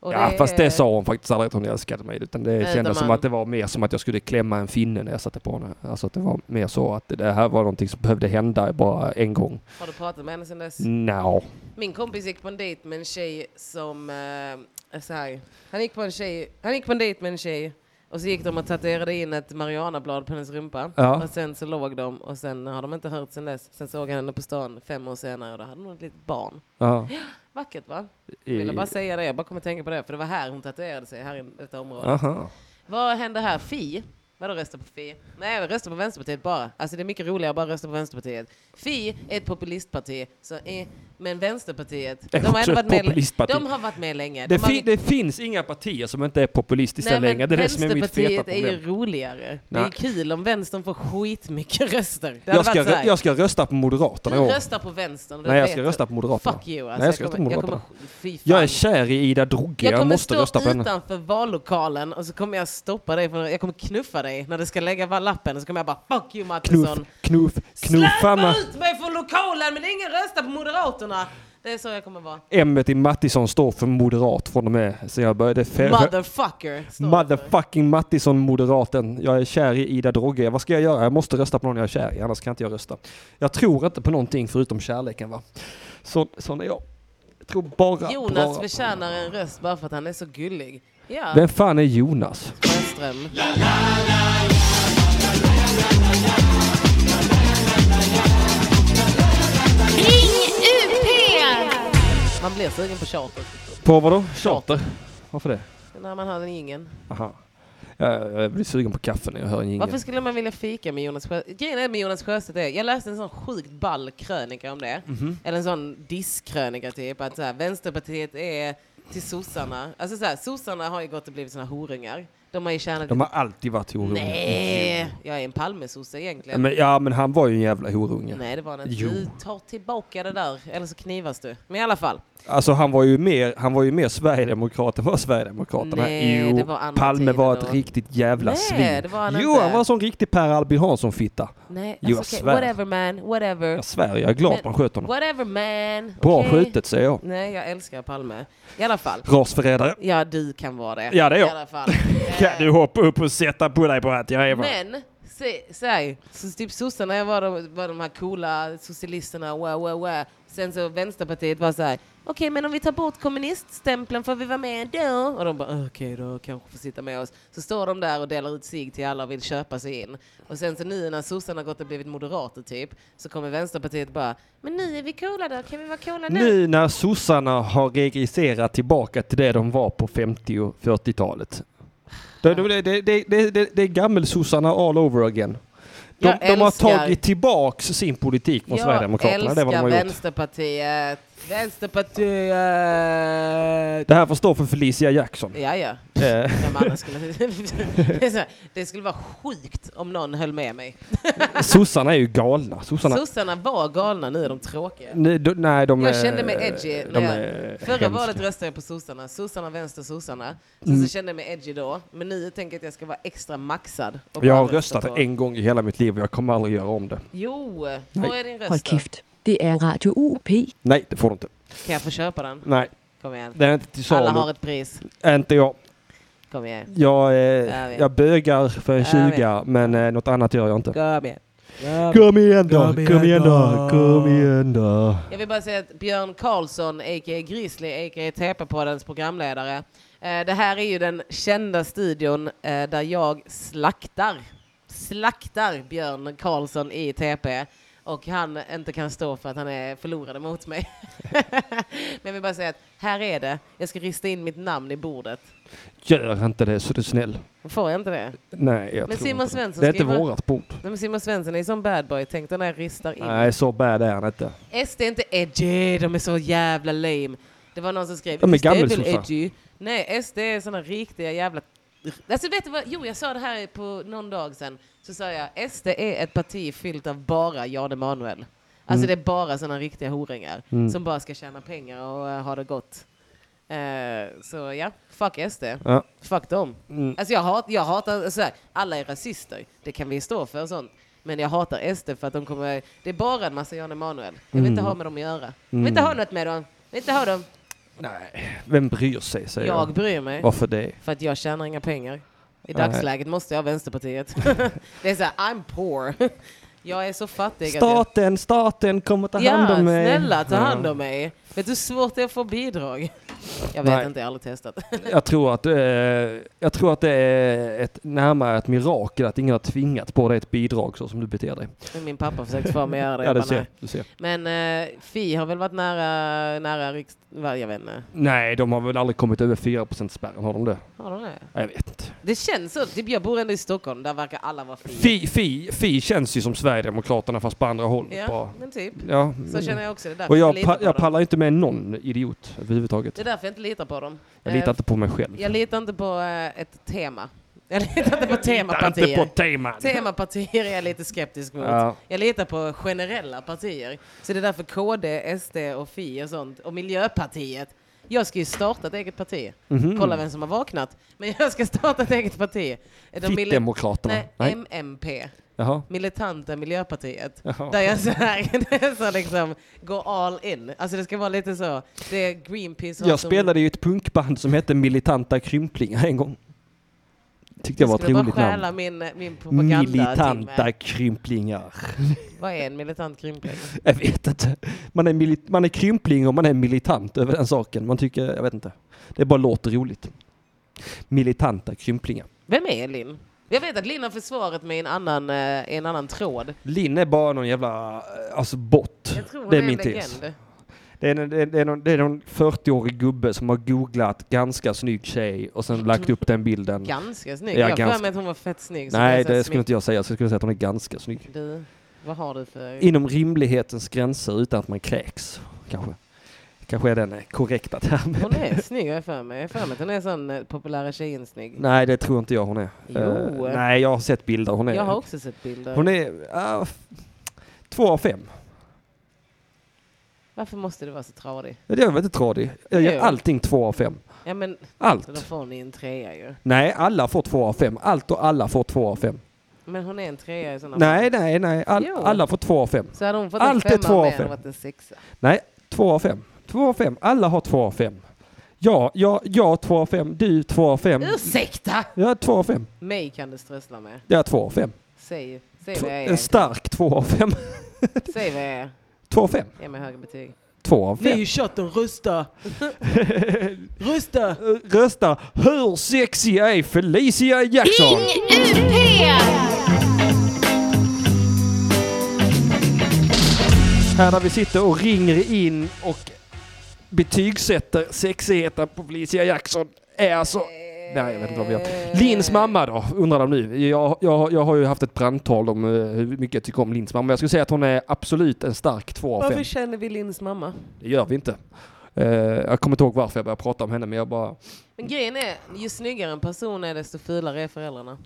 Speaker 2: Och
Speaker 1: ja, fast
Speaker 2: är-
Speaker 1: det sa hon faktiskt aldrig att hon älskade mig. Utan det
Speaker 2: Utan
Speaker 1: kändes som
Speaker 2: man-
Speaker 1: att det var mer som att jag skulle klämma en finne när jag satte på henne. Alltså att det var mer så att det här var någonting som behövde hända bara en gång.
Speaker 2: Har du pratat med henne sedan dess?
Speaker 1: Nja.
Speaker 2: Min kompis gick på en dejt med en tjej som... Eh, så här. Han, gick på en tjej, han gick på en dejt med en tjej och så gick de och tatuerade in ett marijuanablad på hennes rumpa.
Speaker 1: Ja.
Speaker 2: Och sen så låg de och sen har de inte hört sen dess. Sen såg han henne på stan fem år senare och då hade hon ett litet barn.
Speaker 1: Ja.
Speaker 2: Vackert va?
Speaker 1: I-
Speaker 2: Jag ville bara säga det, jag bara kom att tänka på det. För det var här hon tatuerade sig, här i detta område.
Speaker 1: Aha.
Speaker 2: Vad händer här? Fi? Vadå rösta på Fi? Nej, jag röstar på Vänsterpartiet bara. Alltså det är mycket roligare att bara rösta på Vänsterpartiet. Fi är ett populistparti, så, eh, men Vänsterpartiet,
Speaker 1: Är
Speaker 2: de har,
Speaker 1: också
Speaker 2: ändå
Speaker 1: ett
Speaker 2: varit med,
Speaker 1: populistparti.
Speaker 2: de har varit med länge.
Speaker 1: Det,
Speaker 2: de har,
Speaker 1: fi- det finns inga partier som inte är populistiska
Speaker 2: Nej, men
Speaker 1: längre. Det är det som är mitt feta
Speaker 2: Vänsterpartiet är
Speaker 1: problem.
Speaker 2: ju roligare. Det är
Speaker 1: Nej.
Speaker 2: kul om vänstern får skitmycket röster. Det hade
Speaker 1: Jag
Speaker 2: varit
Speaker 1: ska,
Speaker 2: så här.
Speaker 1: rö- jag ska rösta på Moderaterna i
Speaker 2: Du
Speaker 1: år.
Speaker 2: röstar på vänstern. och du
Speaker 1: Nej, jag
Speaker 2: vet
Speaker 1: ska
Speaker 2: det.
Speaker 1: rösta på Moderaterna.
Speaker 2: Fuck you.
Speaker 1: Nej, jag ska rösta på
Speaker 2: kommer-
Speaker 1: Moderaterna.
Speaker 2: Jag, kommer, fy fan.
Speaker 1: Jag är kär i Ida Drougge.
Speaker 2: Jag
Speaker 1: Jag,
Speaker 2: kommer
Speaker 1: måste rösta
Speaker 2: stå
Speaker 1: på henne.
Speaker 2: utanför vallokalen och så kommer jag stoppa dig, från, jag kommer knuffa dig när du ska lägga va- lappen och så kommer jag bara fuck you
Speaker 1: Knuff,
Speaker 2: Mattisson.
Speaker 1: knuff, knuffa
Speaker 2: Släpp
Speaker 1: mig.
Speaker 2: ut mig från lokalen men ingen röstar på Moderaterna. Det är så jag kommer vara.
Speaker 1: M i Mattisson står för moderat från och med sen jag började. Fe-
Speaker 2: Motherfucker. står det.
Speaker 1: Motherfucking Mattisson, moderaten. Jag är kär i Ida Drougge. Vad ska jag göra? Jag måste rösta på någon jag är kär i, annars kan inte jag rösta. Jag tror inte på någonting förutom kärleken va. Så, sån är jag. Jag tror bara...
Speaker 2: Jonas
Speaker 1: bara.
Speaker 2: förtjänar en röst bara för att han är så gullig. Ja,
Speaker 1: Vem fan är Jonas?
Speaker 2: Sjöström.
Speaker 3: Ring UP!
Speaker 2: Man blir sugen på charter
Speaker 1: På vadå? Charter? Varför det?
Speaker 2: när man har den ingen.
Speaker 1: Aha. Jag, jag blir sugen på kaffe när jag hör en
Speaker 2: Varför
Speaker 1: jingel.
Speaker 2: skulle man vilja fika med Jonas Sjöstedt? Grejen är med Jonas Sjöstedt är, jag läste en sån sjukt ball krönika om det.
Speaker 1: Mhm.
Speaker 2: Eller en sån diskkrönika typ, att så här, Vänsterpartiet är till sossarna. Alltså så här, sossarna har ju gått och blivit såna horungar. De har ju tjänat...
Speaker 1: De har alltid varit horungar.
Speaker 2: Nej, jag är en Palmesosse
Speaker 1: Ja,
Speaker 2: egentligen.
Speaker 1: Men, ja, men han var ju en jävla horunge.
Speaker 2: Nej, det var det inte.
Speaker 1: Jo.
Speaker 2: Du tar tillbaka det där, eller så knivas du. Men i alla fall.
Speaker 1: Alltså han var ju mer, han var ju mer sverigedemokrat än vad Sverigedemokraterna
Speaker 2: Nej,
Speaker 1: Jo,
Speaker 2: det var andra
Speaker 1: Palme
Speaker 2: tider
Speaker 1: var ett
Speaker 2: då.
Speaker 1: riktigt jävla
Speaker 2: Nej,
Speaker 1: svin.
Speaker 2: det var han
Speaker 1: jo,
Speaker 2: inte.
Speaker 1: han var en sån riktig Per Albin Hansson-fitta.
Speaker 2: Nej,
Speaker 1: Jo,
Speaker 2: alltså,
Speaker 1: jag
Speaker 2: okej,
Speaker 1: svär.
Speaker 2: whatever man, whatever.
Speaker 1: Jag svär, jag är glad att man sköt honom.
Speaker 2: Whatever man.
Speaker 1: Bra
Speaker 2: okej.
Speaker 1: skjutet, säger jag.
Speaker 2: Nej, jag älskar Palme. I alla fall.
Speaker 1: Rasförrädare.
Speaker 2: Ja, du kan vara det.
Speaker 1: Ja, det är jag.
Speaker 2: I alla fall. Eh,
Speaker 1: Kan du hoppa upp och sätta på dig på att jag är bara...
Speaker 2: Men, se- säg, så typ sossarna jag var de, var de här coola socialisterna, wow, wow, wow. Sen så Vänsterpartiet var så här, okej men om vi tar bort kommuniststämpeln får vi vara med då? Och de bara, "Åh, okej då kanske får sitta med oss. Så står de där och delar ut sig till alla och vill köpa sig in. Och sen så nu när sossarna har gått och blivit moderater typ, så kommer Vänsterpartiet bara, men nu är vi coola då, kan vi vara coola nu?
Speaker 1: Nu när sossarna har regresserat tillbaka till det de var på 50 och 40-talet. Det, det, det, det, det, det, det är gammelsossarna all over again. De,
Speaker 2: Jag
Speaker 1: de har
Speaker 2: älskar-
Speaker 1: tagit tillbaks sin politik mot Sverigedemokraterna. Det är vad de har
Speaker 2: älskar
Speaker 1: gjort.
Speaker 2: Vänsterpartiet. Vänsterpartiet.
Speaker 1: Det här får stå för Felicia Jackson.
Speaker 2: Ja, ja.
Speaker 1: Eh.
Speaker 2: Vem annars skulle... Det är så här, det skulle vara sjukt om någon höll med mig.
Speaker 1: Sossarna är ju galna. Sossarna...
Speaker 2: Sossarna var galna, nu är de tråkiga.
Speaker 1: Nej, de, nej, de
Speaker 2: Jag
Speaker 1: är-
Speaker 2: kände mig edgy.
Speaker 1: De
Speaker 2: när
Speaker 1: är
Speaker 2: jag, förra
Speaker 1: hemska.
Speaker 2: valet röstade jag på sossarna. Sossarna, vänster, sossarna. Så,
Speaker 1: Mm.
Speaker 2: så kände jag mig edgy då. Men nu tänker jag att jag ska vara extra maxad. och bara
Speaker 1: Jag har
Speaker 2: rösta
Speaker 1: röstat
Speaker 2: på-
Speaker 1: en gång i hela mitt liv och jag kommer aldrig göra om det.
Speaker 2: Jo, vad är din
Speaker 6: Nej, håll
Speaker 2: röst då?
Speaker 6: kæft. Det er Radio UP.
Speaker 1: Nej, det får du inte.
Speaker 2: Kan jag få köpa den?
Speaker 1: Nej.
Speaker 2: Kom igen.
Speaker 1: Det är inte till salu.
Speaker 2: Alla har ett pris.
Speaker 1: Inte jag.
Speaker 2: Kom igen.
Speaker 1: Jag, eh,
Speaker 2: Jag vet.
Speaker 1: jag bögar för en
Speaker 2: Jag vet.
Speaker 1: 20 men eh, något annat gör jag inte.
Speaker 2: Kom igen.
Speaker 1: Kom igen då, kom igen då, kom igen då.
Speaker 2: Jag vill bara säga att Björn Karlsson, a.k.a. Grizzly, a.k.a. TP-poddens programledare. Eh, det här är ju den kända studion eh, där jag slaktar, slaktar Björn Karlsson i TP och han inte kan stå för att han är förlorade mot mig. Men jag vill bara säga att här är det. Jag ska rista in mitt namn i bordet.
Speaker 1: Gör inte det så du är snäll.
Speaker 2: Får jag inte det?
Speaker 1: Nej, jag
Speaker 2: Men
Speaker 1: tror
Speaker 2: Simon
Speaker 1: inte det.
Speaker 2: Svensson
Speaker 1: Det är inte
Speaker 2: skriver-
Speaker 1: vårat bord.
Speaker 2: Nej, men Simon Svensson är som bad boy. Tänk dig när jag ristar in.
Speaker 1: Nej, så bad är han inte.
Speaker 2: SD är inte edgy, de är så jävla lame. Det var någon som skrev
Speaker 1: De är
Speaker 2: "SD väl
Speaker 1: gammelsossar."
Speaker 2: edgy. Nej, SD är såna riktiga jävla... Alltså vet du vad, jo jag sa det här på någon dag sedan. Så sa jag, SD är ett parti fyllt av bara Jan Emanuel.
Speaker 1: Mm.
Speaker 2: Alltså det är bara såna riktiga horungar
Speaker 1: Mm.
Speaker 2: som bara ska tjäna pengar och eh, ha det gott. Eh, Eh, så ja, fuck SD.
Speaker 1: Ja.
Speaker 2: Fuck dem.
Speaker 1: Mm.
Speaker 2: Alltså jag, hat, jag hatar, så här, alla är rasister, det kan vi stå för och sånt. Men jag hatar SD för att de kommer, det är bara en massa Jan Emanuel. Jag vill inte
Speaker 1: Mm.
Speaker 2: ha med dem att göra. Jag vill inte
Speaker 1: Mm.
Speaker 2: ha något med dem. Jag vill inte ha dem.
Speaker 1: Nej, vem bryr sig säger jag.
Speaker 2: Jag bryr mig.
Speaker 1: Varför det?
Speaker 2: För att jag tjänar inga pengar. I
Speaker 1: Nej.
Speaker 2: dagsläget måste jag ha Vänsterpartiet. det är så här, I'm poor. jag är så fattig att
Speaker 1: Staten, staten kommer ta
Speaker 2: jag... Ja,
Speaker 1: hand om mig.
Speaker 2: snälla ta
Speaker 1: Ja.
Speaker 2: hand om mig. Vet du hur svårt det är att få bidrag? Jag vet
Speaker 1: Nej.
Speaker 2: inte, jag har aldrig testat.
Speaker 1: Jag tror, att, eh, jag tror att det är ett, närmare ett mirakel att ingen har tvingat på dig ett bidrag så som du beter dig.
Speaker 2: Min pappa försökte få mig att göra det.
Speaker 1: Ja,
Speaker 2: Jag
Speaker 1: det
Speaker 2: bara,
Speaker 1: ser,
Speaker 2: nej.
Speaker 1: du ser.
Speaker 2: Men eh, Fi har väl varit nära, nära riks... va, Jag vet inte.
Speaker 1: Nej, de har väl aldrig kommit över 4% spärren, har de det?
Speaker 2: Har de det?
Speaker 1: Jag vet inte.
Speaker 2: Det känns så. Typ jag bor ändå i Stockholm, där verkar alla vara Fi.
Speaker 1: Fi, fi, fi känns ju som Sverigedemokraterna fast på andra håll.
Speaker 2: Ja,
Speaker 1: bara.
Speaker 2: men typ.
Speaker 1: Ja,
Speaker 2: Så
Speaker 1: men-
Speaker 2: känner jag också. Det är
Speaker 1: Mm.
Speaker 2: därför
Speaker 1: Och
Speaker 2: jag
Speaker 1: jag,
Speaker 2: litar
Speaker 1: pa-
Speaker 2: på
Speaker 1: jag
Speaker 2: dem.
Speaker 1: pallar inte med någon idiot överhuvudtaget.
Speaker 2: Det är därför jag inte litar på dem.
Speaker 1: Jag litar
Speaker 2: Eh,
Speaker 1: inte på mig själv.
Speaker 2: Jag litar inte på eh, ett tema. Jag litar inte på temapartier.
Speaker 1: inte på teman.
Speaker 2: Temapartier är jag lite skeptisk mot.
Speaker 1: Ja.
Speaker 2: Jag litar på generella partier. Så det är därför KD, SD och Fi och sånt, och Miljöpartiet. Jag ska ju starta ett eget parti.
Speaker 1: Mhm.
Speaker 2: Kolla vem som har vaknat. Men jag ska starta ett eget parti. Är de mili-
Speaker 1: Fittdemokraterna. Nej.
Speaker 2: Nej, MMP.
Speaker 1: Jaha.
Speaker 2: Militanta Miljöpartiet.
Speaker 1: Jaha.
Speaker 2: Där jag så här, det är så liksom, går all in. Alltså det ska vara lite så. Det är Greenpeace har
Speaker 1: Jag
Speaker 2: som-
Speaker 1: spelade i ett punkband som hette Militanta Krymplingar en gång. Tyckte jag var ett
Speaker 2: skulle
Speaker 1: roligt
Speaker 2: bara stjäla
Speaker 1: namn.
Speaker 2: min, min propagandatimme.
Speaker 1: Militanta Krymplingar.
Speaker 2: Vad är en militant krympling?
Speaker 1: Jag vet inte. Man är, mili- man är krympling och man är militant över den saken. Man tycker, jag vet inte. Det bara låter roligt. Militanta krymplingar.
Speaker 2: Vem är Linn? Jag vet att Linn har försvarat mig i en annan, eh, i en annan tråd.
Speaker 1: Linn är bara någon jävla, eh, alltså bot.
Speaker 2: Jag tror hon
Speaker 1: Det är
Speaker 2: är
Speaker 1: min
Speaker 2: en
Speaker 1: tes.
Speaker 2: legend.
Speaker 1: Det är, en- det, är, det, är någon, det är någon 40-årig gubbe som har googlat ganska snygg tjej och sen lagt upp den bilden.
Speaker 2: Ganska snygg.
Speaker 1: Ja,
Speaker 2: jag har
Speaker 1: ganska-
Speaker 2: för mig att hon var fett snygg. så
Speaker 1: Nej,
Speaker 2: jag säger
Speaker 1: det skulle
Speaker 2: snygg.
Speaker 1: inte jag säga. Jag skulle säga att hon är ganska snygg.
Speaker 2: Du, vad har du för...
Speaker 1: Inom rimlighetens gränser utan att man kräks, kanske. Kanske är den eh, korrekta termen.
Speaker 2: Hon är snygg har jag för mig. Jag har för mig att hon är sån eh, populära tjejen snygg.
Speaker 1: Nej, det tror inte jag hon är.
Speaker 2: Jo.
Speaker 1: Eh, nej, jag har sett bilder. Hon är...
Speaker 2: Jag har också sett bilder.
Speaker 1: Hon är... ah, f- två av fem.
Speaker 2: Varför måste du vara så tradig?
Speaker 1: Det är väl inte tradig. Jag ger
Speaker 2: Jo.
Speaker 1: allting två av fem.
Speaker 2: Ja, men,
Speaker 1: Allt.
Speaker 2: Då får ni en trea ju.
Speaker 1: Nej, alla får två av fem. Allt och alla får två av fem.
Speaker 2: Men hon är en trea i sådana
Speaker 1: Nej, nej, nej. All,
Speaker 2: Jo.
Speaker 1: alla får två av fem.
Speaker 2: Så hade hon fått
Speaker 1: Allt är
Speaker 2: en femma
Speaker 1: två av
Speaker 2: med hade
Speaker 1: fem.
Speaker 2: hon varit en sexa.
Speaker 1: Nej, två av fem. Två av fem. Alla har två av fem. Ja, ja, ja, två av fem. Du, två av fem.
Speaker 2: Ursäkta!
Speaker 1: Ja, två av fem.
Speaker 2: Mig kan du strössla med.
Speaker 1: Det är två av fem.
Speaker 2: Säg, säg
Speaker 1: Två,
Speaker 2: vad jag
Speaker 1: en
Speaker 2: är.
Speaker 1: stark två av fem.
Speaker 2: Säg vad jag är.
Speaker 1: Två av fem.
Speaker 2: Ge mig höga betyg.
Speaker 1: Två av fem.
Speaker 2: chatten, rösta! rösta!
Speaker 1: Eh, Rösta. Hur sexig är Felicia Jackson? Här där vi sitter och ringer in och betygsätter sexigheten på Felicia Jackson är alltså... Nej, jag vet inte vad vi gör. Lins mamma då, undrar de nu. Jag, jag, jag har ju haft ett brandtal om eh, hur mycket jag tycker om Lins mamma. Jag skulle säga att hon är absolut en stark två av fem.
Speaker 2: Varför känner vi Linns mamma?
Speaker 1: Det gör vi inte. Eh, jag kommer inte ihåg varför jag började prata om henne, men jag bara...
Speaker 2: Men grejen är, ju snyggare en person är desto fulare är föräldrarna.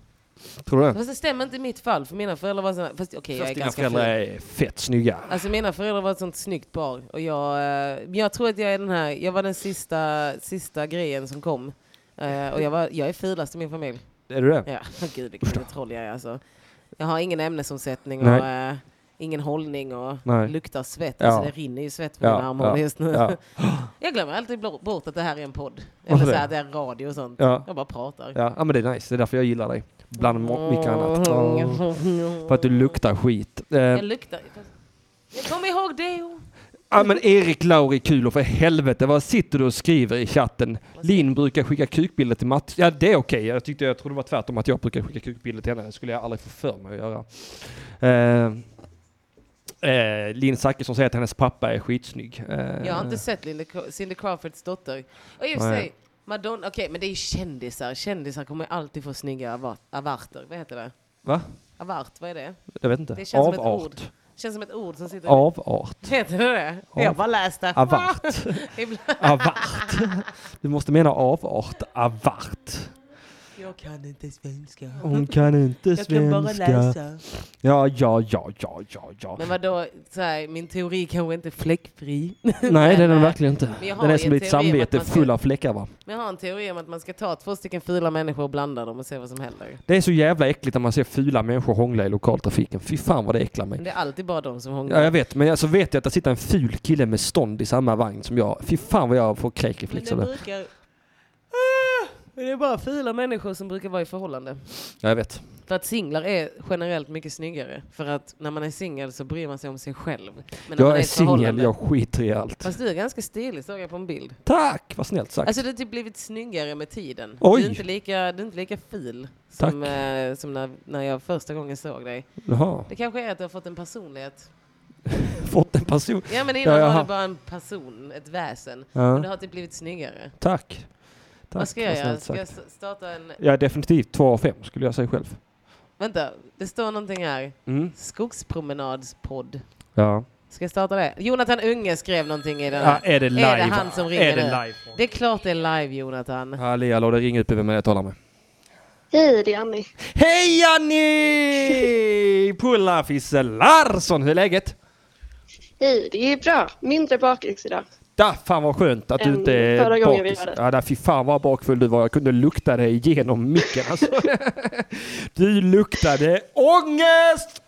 Speaker 1: Tror du det?
Speaker 2: Fast det stämmer inte i mitt fall, för mina föräldrar var såna... Fast okej, jag är
Speaker 1: Fast dina
Speaker 2: ganska
Speaker 1: föräldrar
Speaker 2: ful.
Speaker 1: är fett snygga.
Speaker 2: Alltså mina föräldrar var ett sånt snyggt par. Och jag, eh, men jag tror att jag är den här, jag var den sista, sista grejen som kom. Eh, och jag, var, jag är fulast i min familj.
Speaker 1: Är du det?
Speaker 2: Ja, gud vilken troll jag är alltså. Jag har ingen ämnesomsättning och
Speaker 1: Nej.
Speaker 2: eh, ingen hållning och
Speaker 1: Nej.
Speaker 2: luktar svett.
Speaker 1: Ja.
Speaker 2: Alltså det rinner ju svett från
Speaker 1: Ja,
Speaker 2: mina armar
Speaker 1: ja,
Speaker 2: just nu.
Speaker 1: ja.
Speaker 2: Jag glömmer alltid blo- bort att det här är en podd. Eller
Speaker 1: Varför
Speaker 2: så
Speaker 1: det?
Speaker 2: här, att det är radio och sånt.
Speaker 1: Ja.
Speaker 2: Jag bara pratar. Mm.
Speaker 1: Ja, ja, men det är nice. Det är därför jag gillar dig. Bland må- mycket annat. Åh. För att du luktar skit. Eh,
Speaker 2: Jag luktar. Kom ihåg det.
Speaker 1: Ja men Erik Lauri Kulo för helvete, vad sitter du och skriver i chatten? Linn brukar skicka kukbilder till Mats. Ja det är okej, jag tyckte jag trodde det var tvärtom att jag brukar skicka kukbilder till henne. Det skulle jag aldrig få för mig att göra. Eh, eh, Linn Zachrisson säger att hennes pappa är skitsnygg. Eh,
Speaker 2: Jag har inte sett Linda, Co- Cindy Crawfords dotter. Och i och för
Speaker 1: Nej.
Speaker 2: sig, Madonna, okej men det är ju kändisar. Kändisar kommer ju alltid få snygga avar- avarter. Vad heter det?
Speaker 1: Va?
Speaker 2: Avart, vad är det?
Speaker 1: Jag vet inte.
Speaker 2: Det känns
Speaker 1: Avart.
Speaker 2: som ett ord. Det känns som ett ord som sitter...
Speaker 1: Avart.
Speaker 2: Heter det det?
Speaker 1: Av-
Speaker 2: Jag bara läste.
Speaker 1: Avart.
Speaker 2: Ibland-
Speaker 1: Avart. Du måste mena avart. Avart.
Speaker 2: Jag kan inte svenska.
Speaker 1: Hon kan inte
Speaker 2: Jag kan bara
Speaker 1: svenska.
Speaker 2: läsa.
Speaker 1: Ja, ja, ja, ja, ja, ja.
Speaker 2: Men vadå, så här, min teori kanske inte är fläckfri.
Speaker 1: Nej, det är den verkligen inte.
Speaker 2: Men jag har
Speaker 1: Den är
Speaker 2: ju
Speaker 1: som
Speaker 2: en
Speaker 1: ditt
Speaker 2: teori om att
Speaker 1: samvete
Speaker 2: man ska-
Speaker 1: full av fläckar va.
Speaker 2: Men jag har en teori om att man ska ta två stycken fula människor och blanda dem och se vad som händer.
Speaker 1: Det är så jävla äckligt när man ser fula människor hångla i lokaltrafiken. Fy fan vad det äcklar mig.
Speaker 2: Men det är alltid bara de som hånglar.
Speaker 1: Ja, jag vet. Men alltså vet jag att det sitter en ful kille med stånd i samma vagn som jag. Fy fan vad jag får
Speaker 2: Men
Speaker 1: kräkreflex
Speaker 2: det
Speaker 1: av det.
Speaker 2: brukar... Ah, men det är bara fula människor som brukar vara i förhållande.
Speaker 1: Ja, jag vet.
Speaker 2: För att singlar är generellt mycket snyggare. För att när man är singel så bryr man sig om sig själv. Men när man
Speaker 1: Jag
Speaker 2: i
Speaker 1: är
Speaker 2: ett förhållande-
Speaker 1: singel, jag skiter i allt.
Speaker 2: Fast du är ganska stilig såg jag på en bild.
Speaker 1: Tack, vad snällt sagt.
Speaker 2: Alltså det har typ blivit snyggare med tiden.
Speaker 1: Oj.
Speaker 2: Du är inte lika, du är inte lika fil som, eh, som när, när jag första gången såg dig.
Speaker 1: Jaha.
Speaker 2: Det kanske är att du har fått en personlighet.
Speaker 1: Fått en person.
Speaker 2: Ja men innan
Speaker 1: jag
Speaker 2: var
Speaker 1: har-
Speaker 2: du bara en person, ett väsen.
Speaker 1: Ja.
Speaker 2: Men du har typ blivit snyggare.
Speaker 1: Tack. Tack.
Speaker 2: Vad ska jag
Speaker 1: vad
Speaker 2: göra?
Speaker 1: snällt
Speaker 2: Ska jag
Speaker 1: sagt.
Speaker 2: s- starta en...
Speaker 1: Jag är definitivt två av fem skulle jag säga själv.
Speaker 2: Vänta, det står någonting här.
Speaker 1: Mm.
Speaker 2: Skogspromenadspodd.
Speaker 1: Ja.
Speaker 2: Ska jag starta det? Jonathan Unge skrev någonting i den
Speaker 1: Ja, är det
Speaker 2: Är det
Speaker 1: live?
Speaker 2: han som
Speaker 1: Är
Speaker 2: ringer
Speaker 1: det
Speaker 2: nu?
Speaker 1: live?
Speaker 2: Det är klart det är live Jonathan.
Speaker 1: Halli hallå, det ringer upp vem jag talar med.
Speaker 12: Hej, det är Annie.
Speaker 1: Hej Annie! Pulla Fisse Larsson, hur är läget?
Speaker 12: Hej, det är bra. Mindre bakis idag.
Speaker 1: Da, fan vad skönt att du
Speaker 12: Än
Speaker 1: inte är
Speaker 12: förra gången vi var där.
Speaker 1: Ja, da, fy fan vad bakfull du var. Jag kunde lukta dig genom micken alltså. du luktade ångest!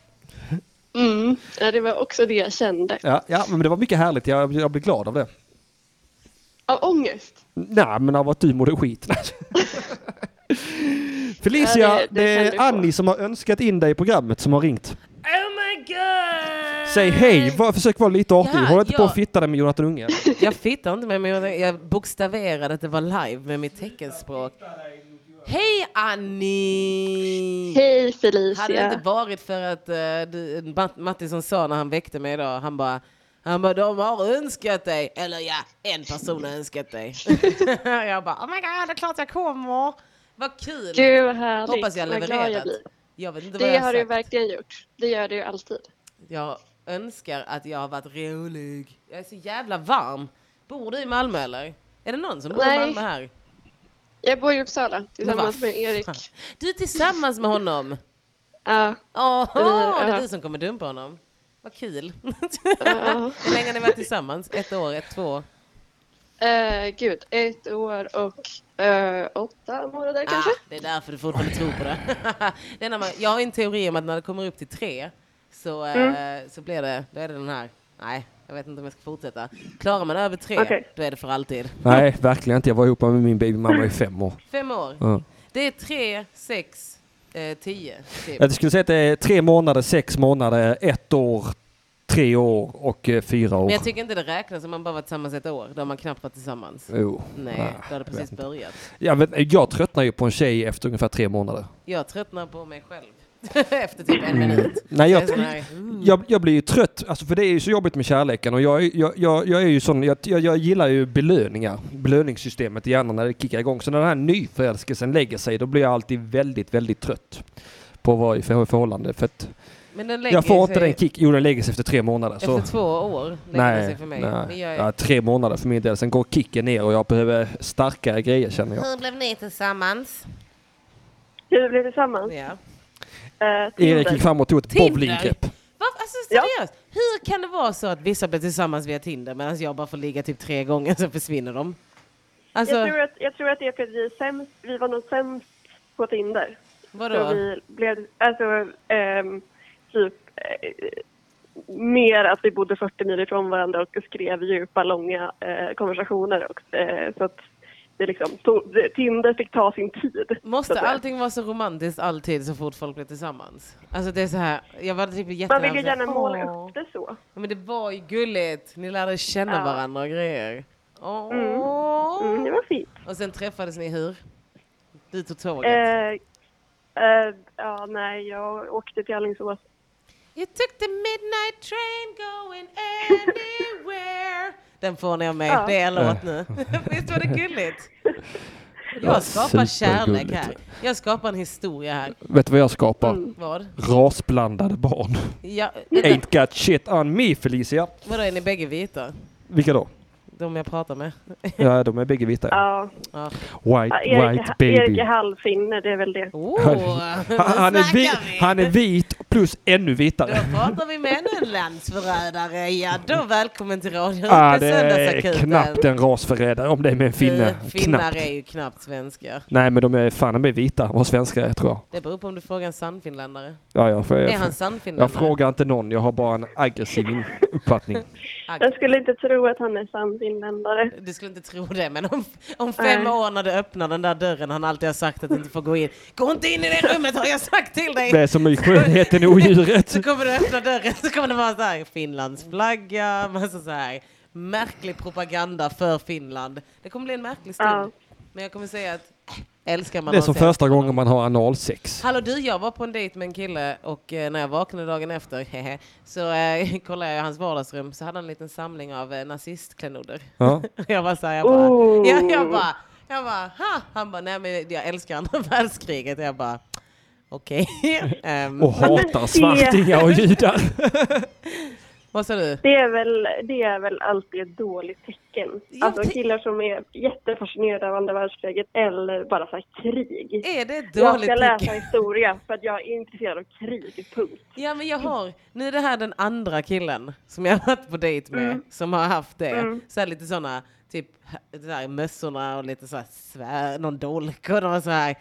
Speaker 12: Mm. Ja, det var också det jag kände.
Speaker 1: Ja, ja, men det var mycket härligt. Jag, jag blev glad av det.
Speaker 12: Av ångest.
Speaker 1: Nej, men av att du mådde skit. Felicia,
Speaker 12: Ja,
Speaker 1: det,
Speaker 12: det- det kände
Speaker 1: är
Speaker 12: jag
Speaker 1: Annie som har önskat in dig i programmet som har ringt.
Speaker 2: Oh my god!
Speaker 1: Säg hej, var, försök vara lite artig.
Speaker 2: Ja,
Speaker 1: Håll inte på
Speaker 2: ja.
Speaker 1: och fitta dig med Jonathan Unge.
Speaker 2: Jag fittar inte med mig, men jag bokstaverade att det var live med mitt teckenspråk. Hej Annie!
Speaker 12: Hej Felicia.
Speaker 2: Hade det inte varit för att eh, du, Matt, Mattisson sa när han väckte mig idag, han bara han bara, de har önskat dig. Eller ja, en person har önskat dig. jag bara, oh my god, det är klart jag kommer. Vad kul.
Speaker 12: Gud vad härligt.
Speaker 2: Hoppas jag
Speaker 12: Vad glad jag
Speaker 2: levererat.
Speaker 12: blir.
Speaker 2: Jag vet inte vad
Speaker 12: Det
Speaker 2: jag
Speaker 12: har
Speaker 2: har
Speaker 12: du
Speaker 2: sagt.
Speaker 12: verkligen gjort. Det gör du ju alltid.
Speaker 2: Jag önskar att jag har varit rolig. Jag är så jävla varm. Bor du i Malmö eller? Är det någon som bor
Speaker 12: Nej.
Speaker 2: i Malmö här?
Speaker 12: Jag bor i Uppsala tillsammans
Speaker 2: vad
Speaker 12: med Erik.
Speaker 2: Du är tillsammans med honom?
Speaker 12: Ja.
Speaker 2: Åh,
Speaker 12: Vi-
Speaker 2: det
Speaker 12: ja.
Speaker 2: är du som kommer dumpa honom. Vad kul. Hur länge har ni varit tillsammans? Ett år, ett, två år?
Speaker 12: Eh, gud, ett år och eh, åtta
Speaker 2: Ah.
Speaker 12: månader kanske.
Speaker 2: Det är därför du fortfarande tror på det. det är när man, jag har en teori om att när det kommer upp till tre så, eh,
Speaker 12: Mm.
Speaker 2: så blir det, då är det den här. Nej, jag vet inte om jag ska fortsätta. Klarar man över tre,
Speaker 12: Okej.
Speaker 2: då är det för alltid.
Speaker 1: Nej, verkligen inte. Jag var ihop med min babymamma i fem år.
Speaker 2: Fem år.
Speaker 1: Ja.
Speaker 2: Det är tre, sex, eh, tio. Typ.
Speaker 1: Jag skulle säga att det är tre månader, sex månader, ett år, tre år och eh, fyra år.
Speaker 2: Men jag tycker inte det räknas om man bara varit tillsammans ett år. Då har man knappt varit tillsammans.
Speaker 1: Jo.
Speaker 2: Nej,
Speaker 1: Ah,
Speaker 2: då har det
Speaker 1: jag vet
Speaker 2: precis
Speaker 1: inte.
Speaker 2: börjat.
Speaker 1: Jag, vet, jag tröttnar ju på en tjej efter ungefär tre månader.
Speaker 2: Jag tröttnar på mig själv. Efter typ en minut.
Speaker 1: Nej, Mm.
Speaker 2: Det
Speaker 1: jag,
Speaker 2: är sån här, mm.
Speaker 1: jag, jag blir ju trött, alltså, för det är ju så jobbigt med kärleken och jag, är- jag, jag, jag är ju sån, jag, jag, jag gillar ju belöningar, belöningssystemet i hjärnan när det kickar igång. Så när den här nyförälskelsen lägger sig, då blir jag alltid väldigt, väldigt trött på att vara i för- förhållande. För att
Speaker 2: Men den lägger
Speaker 1: jag får inte
Speaker 2: sig
Speaker 1: den kick, jo den lägger sig efter tre månader. så.
Speaker 2: Efter två år lägger den sig för mig. Men
Speaker 1: nej.
Speaker 2: jag är-
Speaker 1: Ja, tre månader för min del, sen går kicken ner och jag behöver starkare grejer känner jag.
Speaker 2: Hur blev ni tillsammans?
Speaker 12: Hur blev vi tillsammans?
Speaker 2: Ja.
Speaker 12: Eh,
Speaker 1: Erik gick fram och tog ett
Speaker 2: Tinder.
Speaker 1: bowlinggrepp.
Speaker 2: Va? Alltså seriöst, hur kan det vara så att vissa blir tillsammans via Tinder medan jag bara får ligga typ tre gånger så försvinner de? Alltså,
Speaker 12: jag, tror att, jag tror att det är för att vi, är sämst, vi var nog sämst på Tinder.
Speaker 2: Vadå?
Speaker 12: Så vi blev, alltså, ehm, typ, eh, mer att vi bodde 40 mil ifrån varandra och skrev djupa, långa eh, konversationer. Och, eh, så att det liksom tog, det, Tinder fick ta sin tid. så
Speaker 2: måste
Speaker 12: att säga.
Speaker 2: allting vara så romantiskt alltid så fort folk blir tillsammans? Alltså det är så här, jag var typ
Speaker 12: Man
Speaker 2: jättenära.
Speaker 12: vill ju gärna måla
Speaker 2: Åh.
Speaker 12: upp det så.
Speaker 2: Ja, Men det var ju gulligt, ni lärde känna
Speaker 12: Ja.
Speaker 2: varandra och grejer. Åh.
Speaker 12: Mm, det var fint.
Speaker 2: Och sen träffades ni hur? Du tog tåget.
Speaker 12: Eh, eh, ja, nej, jag åkte till Alingsås.
Speaker 2: You took the midnight train going anywhere Den får ni av mig,
Speaker 12: Ja.
Speaker 2: det är en
Speaker 1: Ja.
Speaker 2: låt nu. Visst var det gulligt? Jag skapar
Speaker 1: supergulligt.
Speaker 2: kärlek här. Jag skapar en historia här.
Speaker 1: Vet du vad jag skapar?
Speaker 2: Vad?
Speaker 1: Rasblandade barn.
Speaker 2: Ja,
Speaker 1: Ain't got shit on me Felicia.
Speaker 2: vadå, är ni bägge vita?
Speaker 1: Vilka då?
Speaker 2: de jag pratar med.
Speaker 1: Ja, de är bägge vita.
Speaker 9: Ja.
Speaker 2: Ja.
Speaker 1: White,
Speaker 9: Erik,
Speaker 1: white baby.
Speaker 9: Erik är halvfinne, det är väl det.
Speaker 2: Oh,
Speaker 1: han, han, är vit, han är vit plus ännu vitare.
Speaker 2: Pratar vi med en landsförrädare, ja då välkommen till Radio
Speaker 1: Ah,
Speaker 2: Röda
Speaker 1: det är
Speaker 2: Söndagsakuten.
Speaker 1: knappt en rasförrädare om det är med en finne.
Speaker 2: Eh, Finnar
Speaker 1: Knappt.
Speaker 2: är ju knappt svenskar.
Speaker 1: Nej, men de är fan de är vita. Vad svenskar är, tror jag.
Speaker 2: Det beror på om du frågar en sannfinländare.
Speaker 1: Ja, jag, jag,
Speaker 2: Är
Speaker 1: jag,
Speaker 2: han sannfinländare?
Speaker 1: jag frågar inte någon. Jag har bara en aggressiv in- uppfattning.
Speaker 9: Jag skulle inte tro att han är sann finländare.
Speaker 2: Du skulle inte tro det, men om, om fem
Speaker 9: Nej.
Speaker 2: år när du öppnar den där dörren han alltid har sagt att du inte får gå in. Gå inte in i det rummet har jag sagt till dig!
Speaker 1: Det är som i skönheten i odjuret.
Speaker 2: Så kommer du öppna dörren så kommer det vara så här Finlands flagga, massa så här märklig propaganda för Finland. Det kommer bli en märklig stund. Men jag kommer säga att äh, älskar man
Speaker 1: Det är som
Speaker 2: någon sen.
Speaker 1: första gången man har analsex.
Speaker 2: Hallå du, jag var på en dejt med en kille och eh, när jag vaknade dagen efter hehe, så eh, kollade jag i hans vardagsrum så hade han en liten samling av eh, nazistklenoder.
Speaker 1: Ja.
Speaker 2: jag bara såhär, jag bara,
Speaker 13: Oh.
Speaker 2: ja, jag bara, jag bara, ha! Han bara, nej men jag älskar andra världskriget. Jag bara, okej. Ehm,
Speaker 1: Och hatar svartingar och judar.
Speaker 2: Vad sa du?
Speaker 9: Det är väl, det är väl alltid ett dåligt tecken. Alltså killar som är jättefascinerade av andra världskriget eller bara så här krig.
Speaker 2: Är det ett
Speaker 9: Jag ska
Speaker 2: dåligt
Speaker 9: läsa
Speaker 2: tecken?
Speaker 9: historia för att jag är intresserad av krig, punkt.
Speaker 2: Ja men jag har, nu är det här den andra killen som jag har varit på dejt med
Speaker 9: Mm.
Speaker 2: som har haft det.
Speaker 9: Mm.
Speaker 2: Så här lite sådana, typ så här, mössorna och lite så här svär, någon dolk och någon så här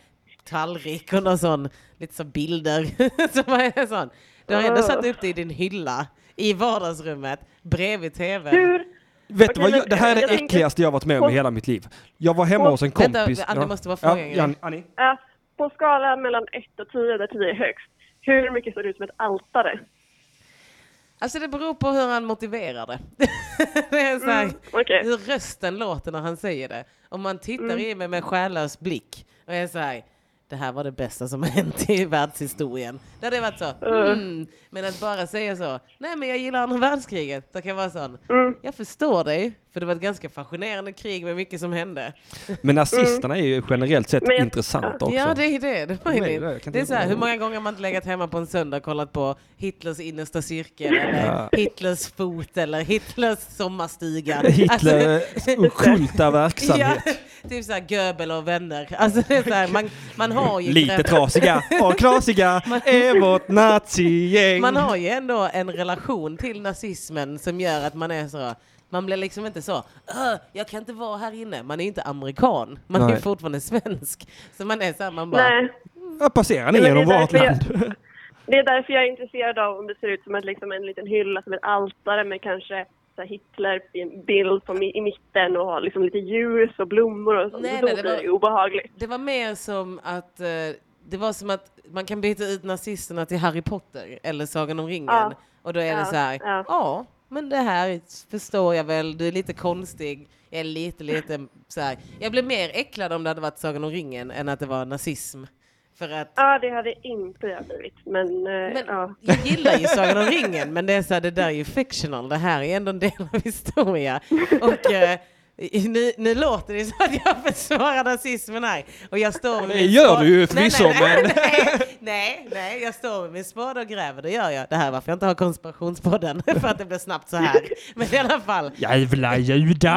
Speaker 2: tallrik och någon sån, lite så bilder. som är sån. Du har ändå satt upp det i din hylla i vardagsrummet bredvid tvn.
Speaker 1: Vet du
Speaker 2: Okej,
Speaker 1: vad,
Speaker 2: men
Speaker 1: jag, det här är det
Speaker 2: jag tänker-
Speaker 1: äckligaste jag varit med om i hela mitt liv. Jag var hemma hos en
Speaker 2: Vänta,
Speaker 1: kompis.
Speaker 2: Ann, du måste bara fråga en grej.
Speaker 1: Jan- Annie.
Speaker 9: Ja, Äh, på skalan mellan 1 och 10 där 10 är högst, hur mycket ser det ut som ett altare?
Speaker 2: Alltså det beror på hur han motiverar det. det är så här, Hur rösten låter när han säger det. Om man tittar i mig med själlös blick och är så här, det här var det bästa som har hänt i världshistorien. Då hade det varit så, mm. Men att bara säga så, nej men jag gillar andra världskriget. Då kan jag vara sån, jag förstår dig. För det var ett ganska fascinerande krig med mycket som hände.
Speaker 1: Men nazisterna är ju generellt sett
Speaker 2: Men jag-
Speaker 1: intressanta också.
Speaker 2: Ja, det är ju det. Det, var ju
Speaker 1: Nej,
Speaker 2: det.
Speaker 1: det är- jag kan
Speaker 2: det är
Speaker 1: inte-
Speaker 2: så här, hur många gånger har man inte legat hemma på en söndag och kollat på Hitlers innersta cirkel, eller Hitlers fot, eller Hitlers sommarstuga. Alltså,
Speaker 1: Hitlers ockulta eh, verksamhet.
Speaker 2: Ja, typ så här Göbel och vänner. Alltså, det är så här, man, man har ju
Speaker 1: Lite trasiga och knasiga är vårt nazigäng.
Speaker 2: Man har ju ändå en relation till nazismen som gör att man är så... Man blir liksom inte så, "Åh, jag kan inte vara här inne. Man är ju inte amerikan. Man är ju
Speaker 1: Nej.
Speaker 2: fortfarande svensk. Så man är så här, man bara...
Speaker 9: Nej.
Speaker 1: Ja, passerar ni
Speaker 9: Men det är
Speaker 1: genom vårt
Speaker 9: därför jag-
Speaker 1: land?
Speaker 9: Det är därför jag är intresserad av om det ser ut som ett, liksom, en liten hylla, som ett altare med kanske så här, Hitler i en bild på, mi- i mitten och har liksom, lite ljus och blommor och sånt.
Speaker 2: Nej,
Speaker 9: Då
Speaker 2: nej, det
Speaker 9: blir
Speaker 2: var-
Speaker 9: det obehagligt.
Speaker 2: Det var mer som att eh, det var som att man kan byta ut nazisterna till Harry Potter eller Sagan om ringen.
Speaker 9: Ja.
Speaker 2: Och då är det
Speaker 9: Ja,
Speaker 2: så här, ja.
Speaker 9: ja.
Speaker 2: men det här förstår jag väl, du är lite konstig, jag är lite, lite så här. Jag blev mer äcklad om det hade varit Sagan om ringen än att det var nazism. För att
Speaker 9: Ja, det hade inte jag blivit, men, eh, ja.
Speaker 2: jag gillar ju Sagan om ringen, men det är så här, det där är ju fictional. Det här är ändå en del av historia. Och eh, i- nu, nu låter det som att jag försvarar nazismen här. Och jag står med
Speaker 1: Det
Speaker 2: min
Speaker 1: gör
Speaker 2: spade-
Speaker 1: du ju
Speaker 2: Nej,
Speaker 1: förvisso,
Speaker 2: nej, nej,
Speaker 1: men-
Speaker 2: nej, nej, nej, jag står med min spade och gräver, det gör jag. Det här är varför jag inte har konspirationspodden, för att det blir snabbt så här. Men i alla fall.
Speaker 1: Jävla judar!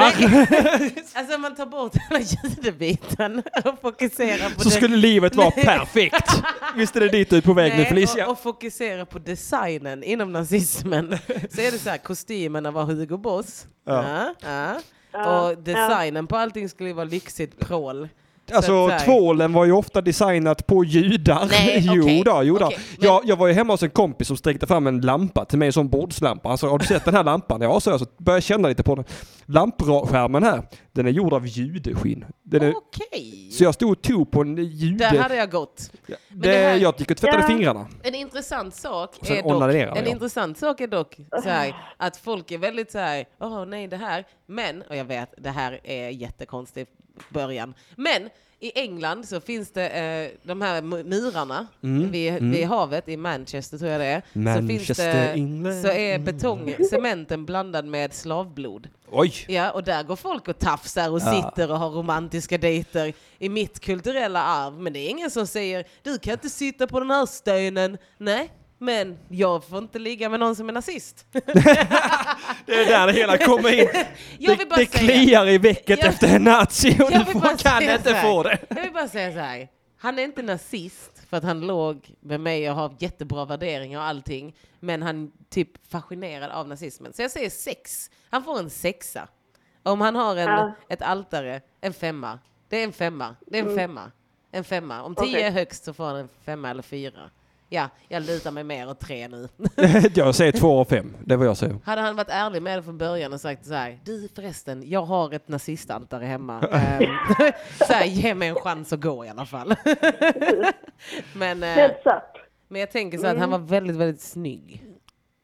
Speaker 2: Alltså om man tar bort hela ljudbiten och fokuserar på
Speaker 1: Så
Speaker 2: det-
Speaker 1: skulle livet vara
Speaker 2: Nej.
Speaker 1: perfekt. Visst är det dit du är på väg nu
Speaker 2: Nej,
Speaker 1: Felicia?
Speaker 2: Och, och fokusera på designen inom nazismen. Så är det så här, kostymerna var Hugo Boss.
Speaker 1: Ja.
Speaker 2: Ja, ja.
Speaker 1: Ja,
Speaker 2: Och designen på allting skulle ju vara lyxigt prål. Så att
Speaker 1: Alltså
Speaker 2: så här-
Speaker 1: tvålen var ju ofta designat på judar.
Speaker 2: Nej,
Speaker 1: jo
Speaker 2: okej,
Speaker 1: då, jo då.
Speaker 2: okej,
Speaker 1: jag, jag var ju hemma hos en kompis som sträckte fram en lampa till mig som bordslampa. Han sa, har du sett den här lampan? Ja, så jag. Så började jag känna lite på den. Lampskärmen här, den är gjord av judeskinn. Den är,
Speaker 2: Okej.
Speaker 1: Så jag stod och tog på en jude...
Speaker 2: Där hade jag gått. Men
Speaker 1: det,
Speaker 2: här-
Speaker 1: Jag gick och tvättade fingrarna.
Speaker 2: En intressant sak
Speaker 1: Och sen
Speaker 2: är dock,
Speaker 1: onanerade
Speaker 2: en
Speaker 1: jag.
Speaker 2: intressant sak är dock så här, att folk är väldigt så här, åh nej det här, men, och jag vet det här är jättekonstigt början, men i England så finns det eh, de här mu- murarna
Speaker 1: Mm,
Speaker 2: vid,
Speaker 1: mm.
Speaker 2: vid havet, i Manchester tror jag det är, så, finns
Speaker 1: Manchester, England.
Speaker 2: det, så är betong, cementen blandad med slavblod.
Speaker 1: Oj!
Speaker 2: Ja, och där går folk och tafsar och
Speaker 1: Ja.
Speaker 2: sitter och har romantiska dejter i mitt kulturella arv. Men det är ingen som säger du kan inte sitta på den här stenen. Nej, Men jag får inte ligga med någon som är nazist.
Speaker 1: Det är där det hela kommer in.
Speaker 2: Jag
Speaker 1: Det,
Speaker 2: vill bara
Speaker 1: det
Speaker 2: säga-
Speaker 1: kliar i vecket
Speaker 2: Jag-
Speaker 1: efter en nazi och
Speaker 2: Jag vill
Speaker 1: du
Speaker 2: bara
Speaker 1: får- kan
Speaker 2: säga så
Speaker 1: inte
Speaker 2: här.
Speaker 1: få det.
Speaker 2: Jag vill bara säga så här. Han är inte nazist för att han låg med mig och har jättebra värderingar och allting. Men han typ fascinerad av nazismen. Så jag säger sex. Han får en sexa. Om han har en,
Speaker 9: Ja.
Speaker 2: ett altare, en femma. Det är en femma. Det är en
Speaker 9: Mm.
Speaker 2: femma. En femma. Om tio
Speaker 9: Okej.
Speaker 2: är högst så får han en femma eller fyra. Ja, jag lutar mig mer åt tre nu.
Speaker 1: jag säger två av fem. Det är vad jag säger.
Speaker 2: Hade han varit ärlig med det från början och sagt så här, du förresten, jag har ett nazistantare hemma. Ehm, så här, ge mig en chans att gå i alla fall. men, eh,
Speaker 9: Heads up.
Speaker 2: men jag tänker så här att han
Speaker 9: Mm.
Speaker 2: var väldigt, väldigt snygg.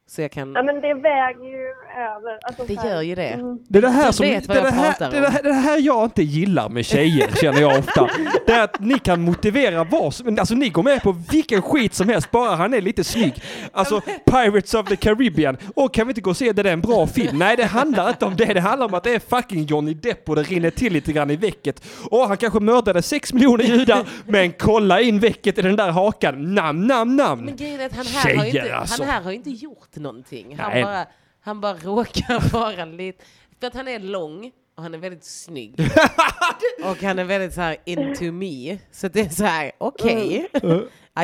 Speaker 2: Så jag kan...
Speaker 9: Ja, men det väger ju över. Alltså,
Speaker 2: Det
Speaker 9: så här-
Speaker 2: gör ju det.
Speaker 9: Mm.
Speaker 1: Det är det här
Speaker 2: Alltså, Du
Speaker 1: som, det,
Speaker 2: vet vad
Speaker 1: är det,
Speaker 2: jag
Speaker 1: här,
Speaker 2: pratar
Speaker 1: det, är det,
Speaker 2: om.
Speaker 1: här, det är det här jag inte gillar med tjejer känner jag ofta. Det är att ni kan motivera vad som, alltså ni går med på vilken skit som helst bara han är lite snygg. Alltså Pirates of the Caribbean, och kan vi inte gå och se det, det är en bra film? Nej det handlar inte om det, det handlar om att det är fucking Johnny Depp och det rinner till lite grann i väcket. Och han kanske mördade sex miljoner judar, men kolla in väcket i den där hakan, namn, namn, namn.
Speaker 2: Men grejen är att han här, har ju
Speaker 1: Tjejer,
Speaker 2: inte,
Speaker 1: alltså.
Speaker 2: han här har ju inte gjort någonting. Han
Speaker 1: Nej.
Speaker 2: bara, han bara råkar vara lite... För att han är lång och han är väldigt snygg. och han är väldigt så här into me. Så det är så här, okej.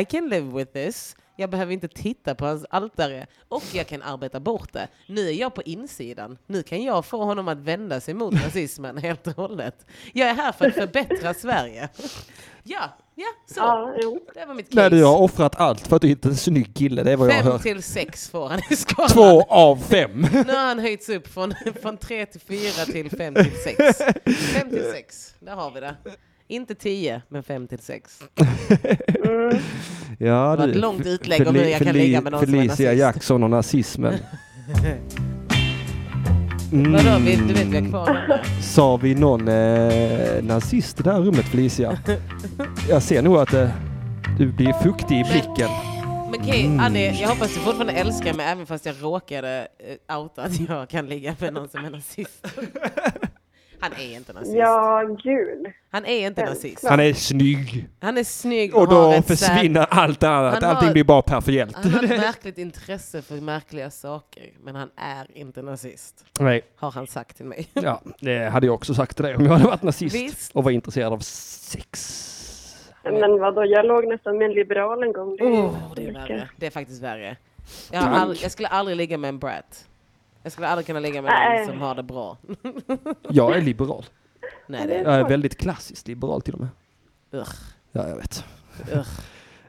Speaker 2: I can live with this. Jag behöver inte titta på hans altare. Och jag kan arbeta bort det. Nu är jag på insidan. Nu kan jag få honom att vända sig mot nazismen helt och hållet. Jag är här för att förbättra Sverige. ja, ja, så.
Speaker 9: Ja, jo.
Speaker 2: det var mitt case.
Speaker 1: Nej du har offrat allt för att du hittade en snygg kille, det är vad jag har
Speaker 2: Fem
Speaker 1: hört.
Speaker 2: till sex får han i skalan.
Speaker 1: Två av fem.
Speaker 2: Nu har han höjts upp från, från tre till fyra till fem till sex. Fem till sex, där har vi det. Inte tio, men fem till sex.
Speaker 1: Ja,
Speaker 2: Det var ett långt utlägg om hur jag kan ligga med någon som är
Speaker 1: Felicia
Speaker 2: nazist.
Speaker 1: Jackson och nazismen. Mm,
Speaker 2: Vadå, vi, du vet vi har kvar den där.
Speaker 1: Sa vi någon eh, nazist i det här rummet Felicia? Jag ser nog att eh, du blir fuktig i blicken.
Speaker 2: Men okej, Annie, jag hoppas du fortfarande älskar mig även fast jag råkade eh, outa att jag kan ligga med någon som är nazist. Han är inte nazist.
Speaker 9: Ja, gud.
Speaker 2: Han är inte nazist.
Speaker 1: Han är snygg.
Speaker 2: Han är snygg och,
Speaker 1: Och då
Speaker 2: har ett så här-
Speaker 1: försvinner allt annat.
Speaker 2: Han har-
Speaker 1: Allting blir bara perfekt.
Speaker 2: Han har ett märkligt intresse för märkliga saker, men han är inte nazist.
Speaker 1: Nej.
Speaker 2: Har han sagt till mig.
Speaker 1: Ja, det hade jag också sagt till dig om jag hade varit nazist
Speaker 2: Visst.
Speaker 1: och var intresserad av sex.
Speaker 9: Men vadå, jag låg nästan med en liberal en gång. Det är ju
Speaker 2: Åh, Oh, det är värre. Det är faktiskt värre. Jag, har
Speaker 1: Tack.
Speaker 2: aldrig- jag skulle aldrig ligga med en brat. Jag skulle aldrig kunna ligga med
Speaker 9: Nej.
Speaker 2: någon som har det bra.
Speaker 1: Jag är liberal.
Speaker 2: Nej, det
Speaker 1: Jag är väldigt klassiskt liberal till och med.
Speaker 2: Ugh.
Speaker 1: Ja, jag vet.
Speaker 2: Ugh.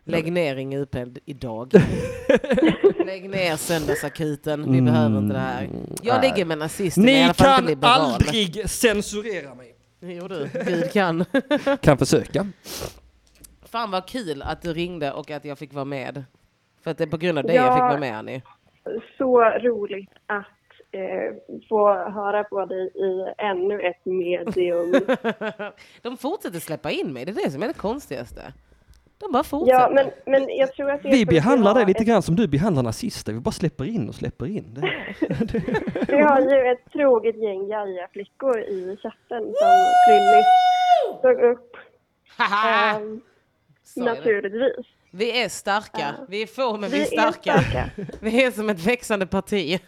Speaker 2: Lägg ner Ring UP idag. Lägg ner söndagsakuten. Vi behöver inte det här. Jag
Speaker 1: Mm. nej.
Speaker 2: ligger med nazister, men jag är i
Speaker 1: Ni
Speaker 2: alla fall inte
Speaker 1: kan
Speaker 2: liberal.
Speaker 1: aldrig censurera mig.
Speaker 2: Jo du, Gud kan.
Speaker 1: Kan försöka.
Speaker 2: Fan vad kul att du ringde och att jag fick vara med. För att det är på grund av dig
Speaker 9: Ja.
Speaker 2: jag fick vara med Annie.
Speaker 9: så roligt att eh, få höra på dig i ännu ett medium.
Speaker 2: De fortsätter släppa in mig, det är det som är det konstigaste. De bara fortsätter.
Speaker 9: ja, men, men jag tror att det är
Speaker 1: Vi
Speaker 9: för att
Speaker 1: behandlar
Speaker 9: vi
Speaker 1: det
Speaker 9: har
Speaker 1: lite
Speaker 9: ett-
Speaker 1: grann som du behandlar nazister. Vi bara släpper in och släpper in. Det.
Speaker 9: Vi har ju ett troget gäng jaja-flickor i chatten som Plynnis tog upp.
Speaker 2: Haha!
Speaker 9: ehm,
Speaker 2: Så är det.
Speaker 9: naturligtvis.
Speaker 2: Vi är starka. Vi är få men vi är
Speaker 9: Vi är
Speaker 2: starka.
Speaker 9: starka.
Speaker 2: Vi är som ett växande parti.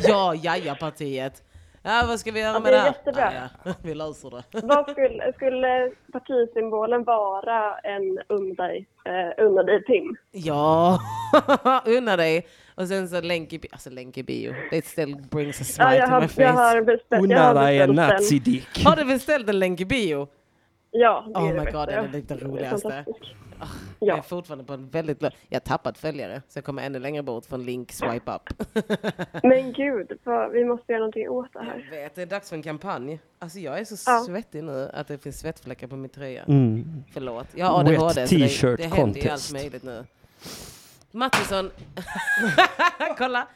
Speaker 2: ja, jaja-partiet. Ja, vad ska vi göra
Speaker 9: Ja,
Speaker 2: med det
Speaker 9: det är
Speaker 2: här?
Speaker 9: jättebra.
Speaker 2: ja. Vi löser det.
Speaker 9: Vad skulle, skulle partisymbolen vara en unna dig, eh, unna dig Tim?
Speaker 2: Ja, unna dig. Och sen så länk i bio. Alltså länk i bio. Det still brings a
Speaker 9: Ja,
Speaker 2: smile
Speaker 9: jag,
Speaker 2: to my
Speaker 9: har,
Speaker 2: face.
Speaker 9: jag har beställt, jag har
Speaker 1: Unna dig en
Speaker 9: beställt den.
Speaker 1: nazidick.
Speaker 2: Har du beställt en länk i bio?
Speaker 9: Ja, det
Speaker 2: Oh
Speaker 9: är det
Speaker 2: my
Speaker 9: bästa.
Speaker 2: god, det är det roligaste.
Speaker 9: fantastiskt.
Speaker 2: Ah,
Speaker 9: Ja.
Speaker 2: Jag är fortfarande på en väldigt låg... Jag har tappat följare, så jag kommer ännu längre bort från link swipe up.
Speaker 9: Men gud, vad, vi måste göra någonting åt det här.
Speaker 2: jag vet, det är dags för en kampanj. Alltså jag är så
Speaker 9: Ja.
Speaker 2: svettig nu att det finns svettfläckar på min tröja.
Speaker 1: Mm.
Speaker 2: Förlåt, jag har ADHD
Speaker 1: Wet
Speaker 2: så det,
Speaker 1: t-shirt
Speaker 2: det händer ju allt
Speaker 1: contest.
Speaker 2: möjligt nu. Mattisson, kolla!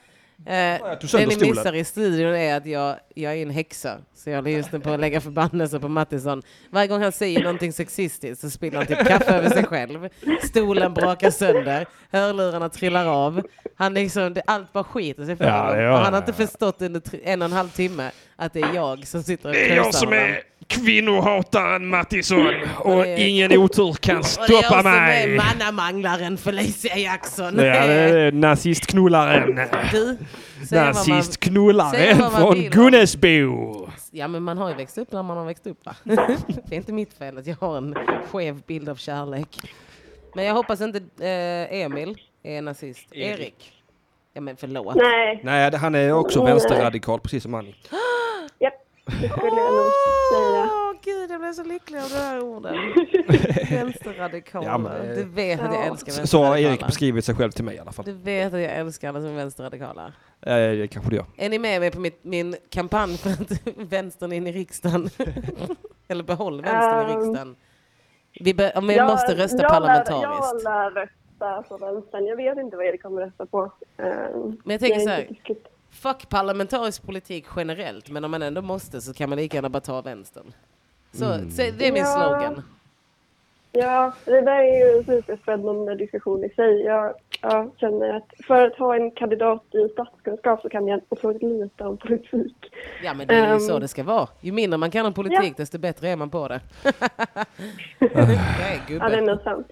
Speaker 2: Eh,
Speaker 1: tog sönder
Speaker 2: det ni
Speaker 1: stolen.
Speaker 2: missar i studion är att jag, jag är en häxa, så jag håller just nu på att lägga förbannelse på Mattisson. Varje gång han säger någonting sexistiskt så spiller han typ kaffe över sig själv. Stolen brakar sönder, hörlurarna trillar av. Han liksom, det, allt bara skiter sig för
Speaker 1: Ja, det
Speaker 2: honom.
Speaker 1: gör
Speaker 2: Och han
Speaker 1: han,
Speaker 2: har inte
Speaker 1: ja.
Speaker 2: förstått under tre- en och en halv timme att det är jag som sitter och Det är
Speaker 1: jag som
Speaker 2: honom.
Speaker 1: är
Speaker 9: kvinnohataren Mattisson och ingen otur kan stoppa
Speaker 2: och det är
Speaker 9: mig.
Speaker 2: också med mannamanglaren Felicia Jackson.
Speaker 9: Ja, det är nazistknullaren.
Speaker 2: Du, säg vad man- säg
Speaker 9: Nazistknullaren
Speaker 2: vad man
Speaker 9: från
Speaker 2: vill.
Speaker 9: Gunnesbo.
Speaker 2: Ja men man har ju växt upp när man har växt upp va? Det är inte mitt fel att jag har en skev bild av kärlek. Men jag hoppas inte eh, Emil är nazist. Erik.
Speaker 9: Erik.
Speaker 2: Ja men förlåt.
Speaker 12: Nej.
Speaker 1: Nej, det- han är också
Speaker 2: Mm.
Speaker 12: Nej.
Speaker 1: vänsterradikal, precis som Annie.
Speaker 12: Japp, det skulle jag nog säga.
Speaker 2: Åh gud jag blev så lycklig av de här orden. Vänsterradikaler.
Speaker 1: Ja, men- eh,
Speaker 2: du vet att jag älskar
Speaker 1: Så- Så har Erik
Speaker 2: vänsterradikaler.
Speaker 1: beskrivit sig själv till mig i alla fall.
Speaker 2: Du vet att jag älskar alla som är vänsterradikaler.
Speaker 1: Eh, det kanske du gör.
Speaker 2: Är ni med mig på mitt, min kampanj för att vänstern in i riksdagen? Eller behåll vänstern i
Speaker 12: Ehm,
Speaker 2: riksdagen. Vi, be- om vi
Speaker 12: Jag-
Speaker 2: måste rösta
Speaker 12: jag lär-
Speaker 2: parlamentariskt.
Speaker 12: Jag lär rösta på vänstern. Jag vet inte vad Erik kommer rösta på. Ehm, Men
Speaker 2: Men jag tänker så här, fuck parlamentarisk politik generellt, men om man ändå måste så kan man lika gärna bara ta vänstern. Så,
Speaker 12: Mm.
Speaker 2: så det är min
Speaker 12: Ja.
Speaker 2: slogan.
Speaker 12: Ja, det där är ju en superspännande diskussion i sig. Jag, jag känner att för att ha en kandidat i statskunskap så kan jag otroligt lite om politik.
Speaker 2: Ja men det är ju
Speaker 12: Ehm.
Speaker 2: så det ska vara. Ju mindre man kan om politik desto bättre är man på det. Nej
Speaker 12: Ja, det är
Speaker 2: gubbe.
Speaker 12: nog sant.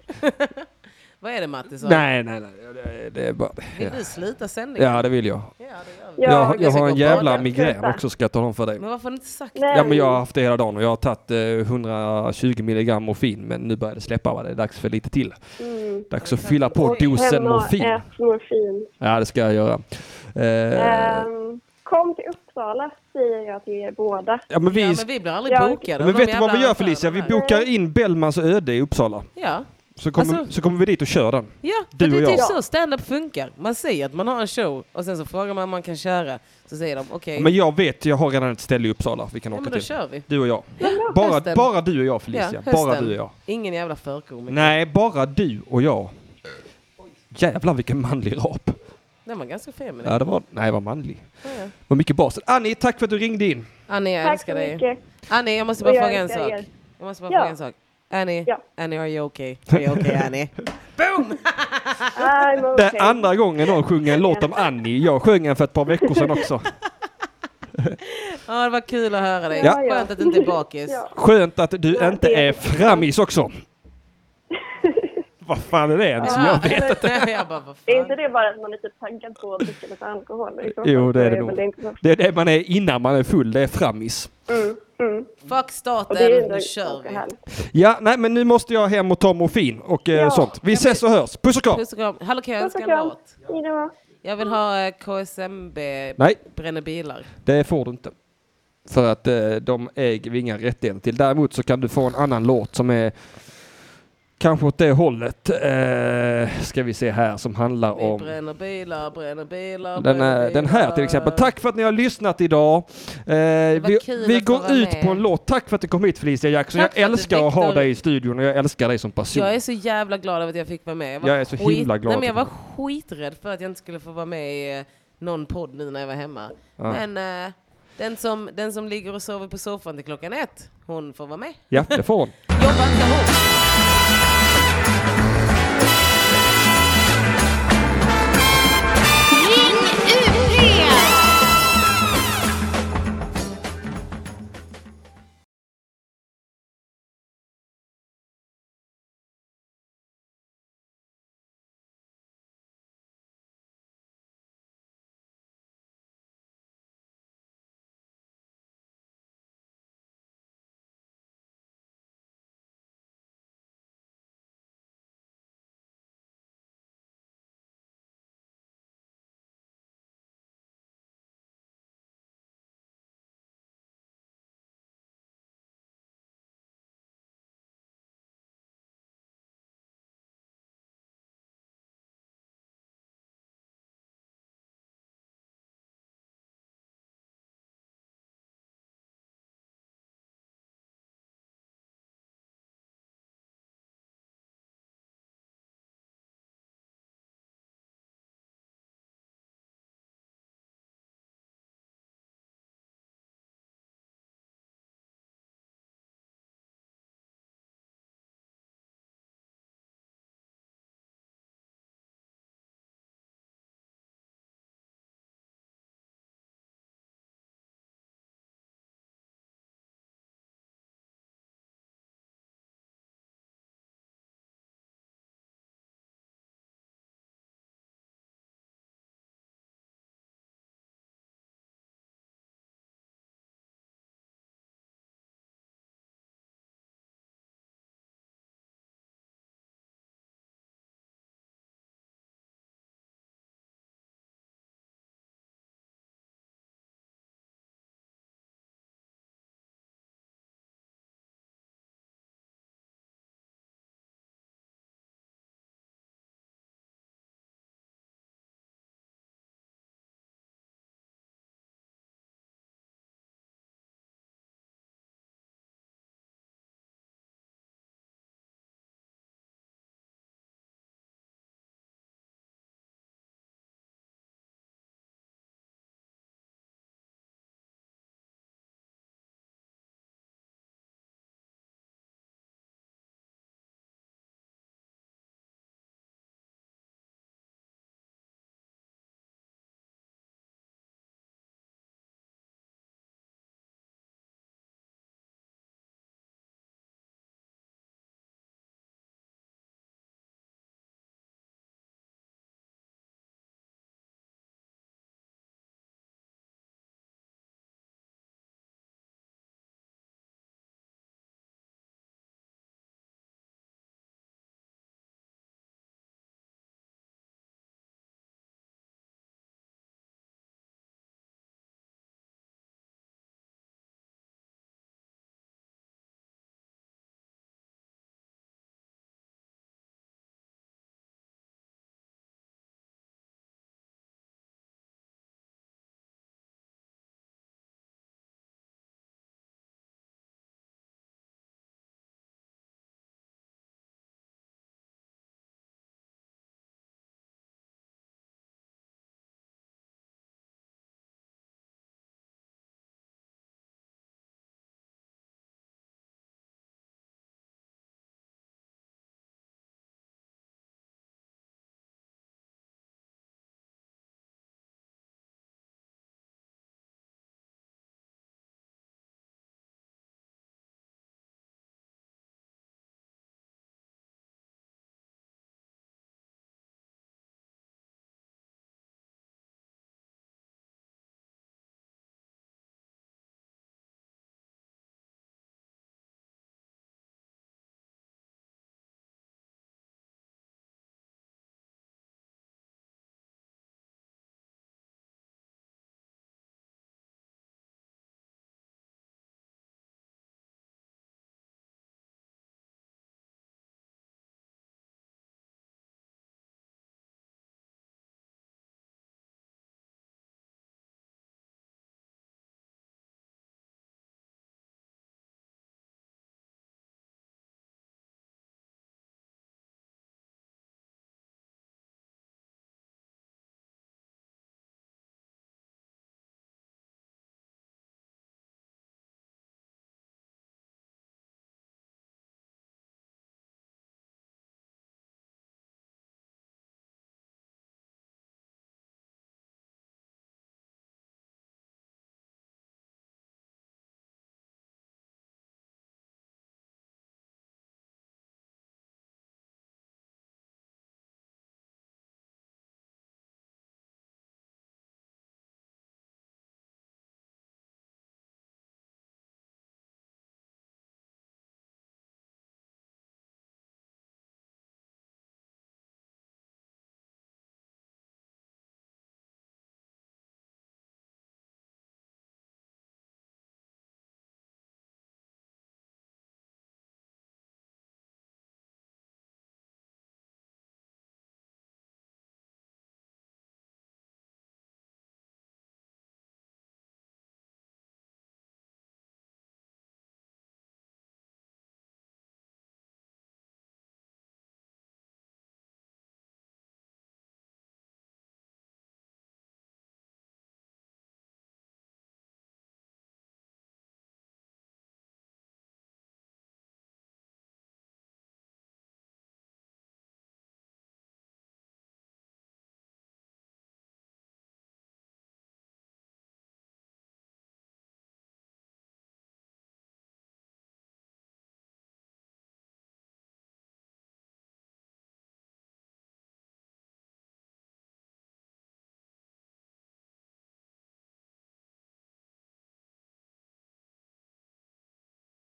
Speaker 2: Vad är det Mattisson?
Speaker 1: Nej, nej, nej. Det, det är bara...
Speaker 2: Vill du sluta sändningen?
Speaker 1: Ja, det vill jag.
Speaker 2: vi.
Speaker 1: jag, har-
Speaker 2: Jag
Speaker 1: jag
Speaker 2: ska
Speaker 1: har
Speaker 2: gå
Speaker 1: en
Speaker 2: och
Speaker 1: jävla
Speaker 2: bada.
Speaker 1: migrän
Speaker 2: Sluta.
Speaker 1: också, ska jag tala om för dig.
Speaker 2: Men varför har du inte sagt
Speaker 1: Ja, men jag har haft det hela dagen och jag har tagit eh, 120 milligram morfin, men nu börjar det släppa. Va? Det är dags för lite till.
Speaker 12: Mm.
Speaker 1: Dags att fylla på dosen
Speaker 12: Hemma
Speaker 1: morfin.
Speaker 12: ät morfin.
Speaker 1: Ja, det ska jag göra. Eh,
Speaker 12: Ehm, kom till Uppsala säger jag till er båda.
Speaker 1: Ja, men vi- Ja, men vi
Speaker 2: blir aldrig bokade
Speaker 1: men vet du vad vi gör Felicia? Vi bokar in Bellmans öde i Uppsala.
Speaker 2: Ja.
Speaker 1: Så kommer,
Speaker 2: Alltså-
Speaker 1: så kommer vi dit och kör den.
Speaker 2: Ja, för
Speaker 1: Du
Speaker 2: det
Speaker 1: och
Speaker 2: är
Speaker 1: jag.
Speaker 2: typ så stand-up funkar. Man säger att man har en show och sen så frågar man om man kan köra. Så säger de okej.
Speaker 1: Men jag vet, jag har redan ett ställe i Uppsala vi kan
Speaker 2: Eh. Ja,
Speaker 1: åka
Speaker 2: men då
Speaker 1: till.
Speaker 2: kör vi.
Speaker 1: Du och jag.
Speaker 2: Ja,
Speaker 1: Bara,
Speaker 2: hösten.
Speaker 1: bara du och jag Felicia.
Speaker 2: Ja,
Speaker 1: bara
Speaker 2: hösten.
Speaker 1: du och jag.
Speaker 2: Ingen jävla förkomiker.
Speaker 1: Nej, bara du och jag. Jävlar vilken manlig rap.
Speaker 2: Den var ganska feminin.
Speaker 1: Ja, det var, nej, det var manlig.
Speaker 2: Ja, ja.
Speaker 1: Det var mycket basen. Annie, tack för att du ringde in.
Speaker 2: Annie, jag
Speaker 12: Tack
Speaker 2: älskar
Speaker 12: så
Speaker 2: dig.
Speaker 12: mycket.
Speaker 2: Annie, jag måste bara
Speaker 12: Och jag
Speaker 2: fråga en
Speaker 12: älskar
Speaker 2: sak.
Speaker 12: er.
Speaker 2: Jag måste bara
Speaker 12: Ja.
Speaker 2: fråga en sak. Annie, Annie, are you okay? Are you okay, Annie?
Speaker 12: I'm
Speaker 1: Det
Speaker 12: okay.
Speaker 1: är andra gången någon sjunger en låt om Annie. Jag sjöng en för ett par veckor sedan också.
Speaker 2: Ja, det var kul att höra dig.
Speaker 1: Ja.
Speaker 2: Skönt att du inte är bakis.
Speaker 1: Skönt att du inte är frammis också. Vad fan är det ens?
Speaker 12: Ja,
Speaker 1: Jag vet
Speaker 12: men-
Speaker 1: inte.
Speaker 12: Är inte det bara att man är lite taggad på att dricka lite alkohol? I så fall
Speaker 1: Jo, det är
Speaker 12: så
Speaker 1: det
Speaker 12: väl
Speaker 1: nog.
Speaker 12: inte så-
Speaker 1: Det är det man är innan man är full, det är frammis.
Speaker 12: Mm, mm.
Speaker 2: Fuck
Speaker 12: Och det är ju
Speaker 2: staten,
Speaker 12: ändå
Speaker 2: nu kör vi.
Speaker 1: Ja, nej men nu måste jag hem och ta morfin och eh, sånt. Vi ses och hörs. Puss och kram!
Speaker 2: Puss och kram. Hallå, kan jag
Speaker 12: Puss och
Speaker 2: önska en
Speaker 12: kram.
Speaker 2: låt?
Speaker 12: Hejdå.
Speaker 2: Jag vill ha eh, KSMB
Speaker 1: Nej.
Speaker 2: bränner bilar.
Speaker 1: Det får du inte. För att eh, de äger vi inga rättigheter till. Däremot så kan du få en annan låt som är kanske åt det hållet. Eh, ska vi se här som handlar
Speaker 2: Vi
Speaker 1: om
Speaker 2: bränner bilar, bränner bilar,
Speaker 1: den,
Speaker 2: bränner
Speaker 1: här- den här till exempel. Tack för att ni har lyssnat idag. Eh, vi
Speaker 2: kul
Speaker 1: vi
Speaker 2: att få
Speaker 1: går
Speaker 2: vara
Speaker 1: ut
Speaker 2: med.
Speaker 1: på en låt. Tack för att du kom hit Felicia Jackson.
Speaker 2: Tack
Speaker 1: Jag
Speaker 2: för att du
Speaker 1: älskar att ha
Speaker 2: väckte-
Speaker 1: dig i studion och jag älskar dig som person.
Speaker 2: Jag är så jävla glad över att jag fick vara med. var
Speaker 1: Jag är så himla glad
Speaker 2: Nej, men jag var
Speaker 1: att
Speaker 2: skiträdd för att jag inte skulle få vara med i eh, någon podd nu när jag var hemma.
Speaker 1: Ja.
Speaker 2: Men eh, den, som, den som ligger och sover på soffan till klockan ett, hon får vara med.
Speaker 1: Ja, det får hon.
Speaker 2: Jobbar inte hon?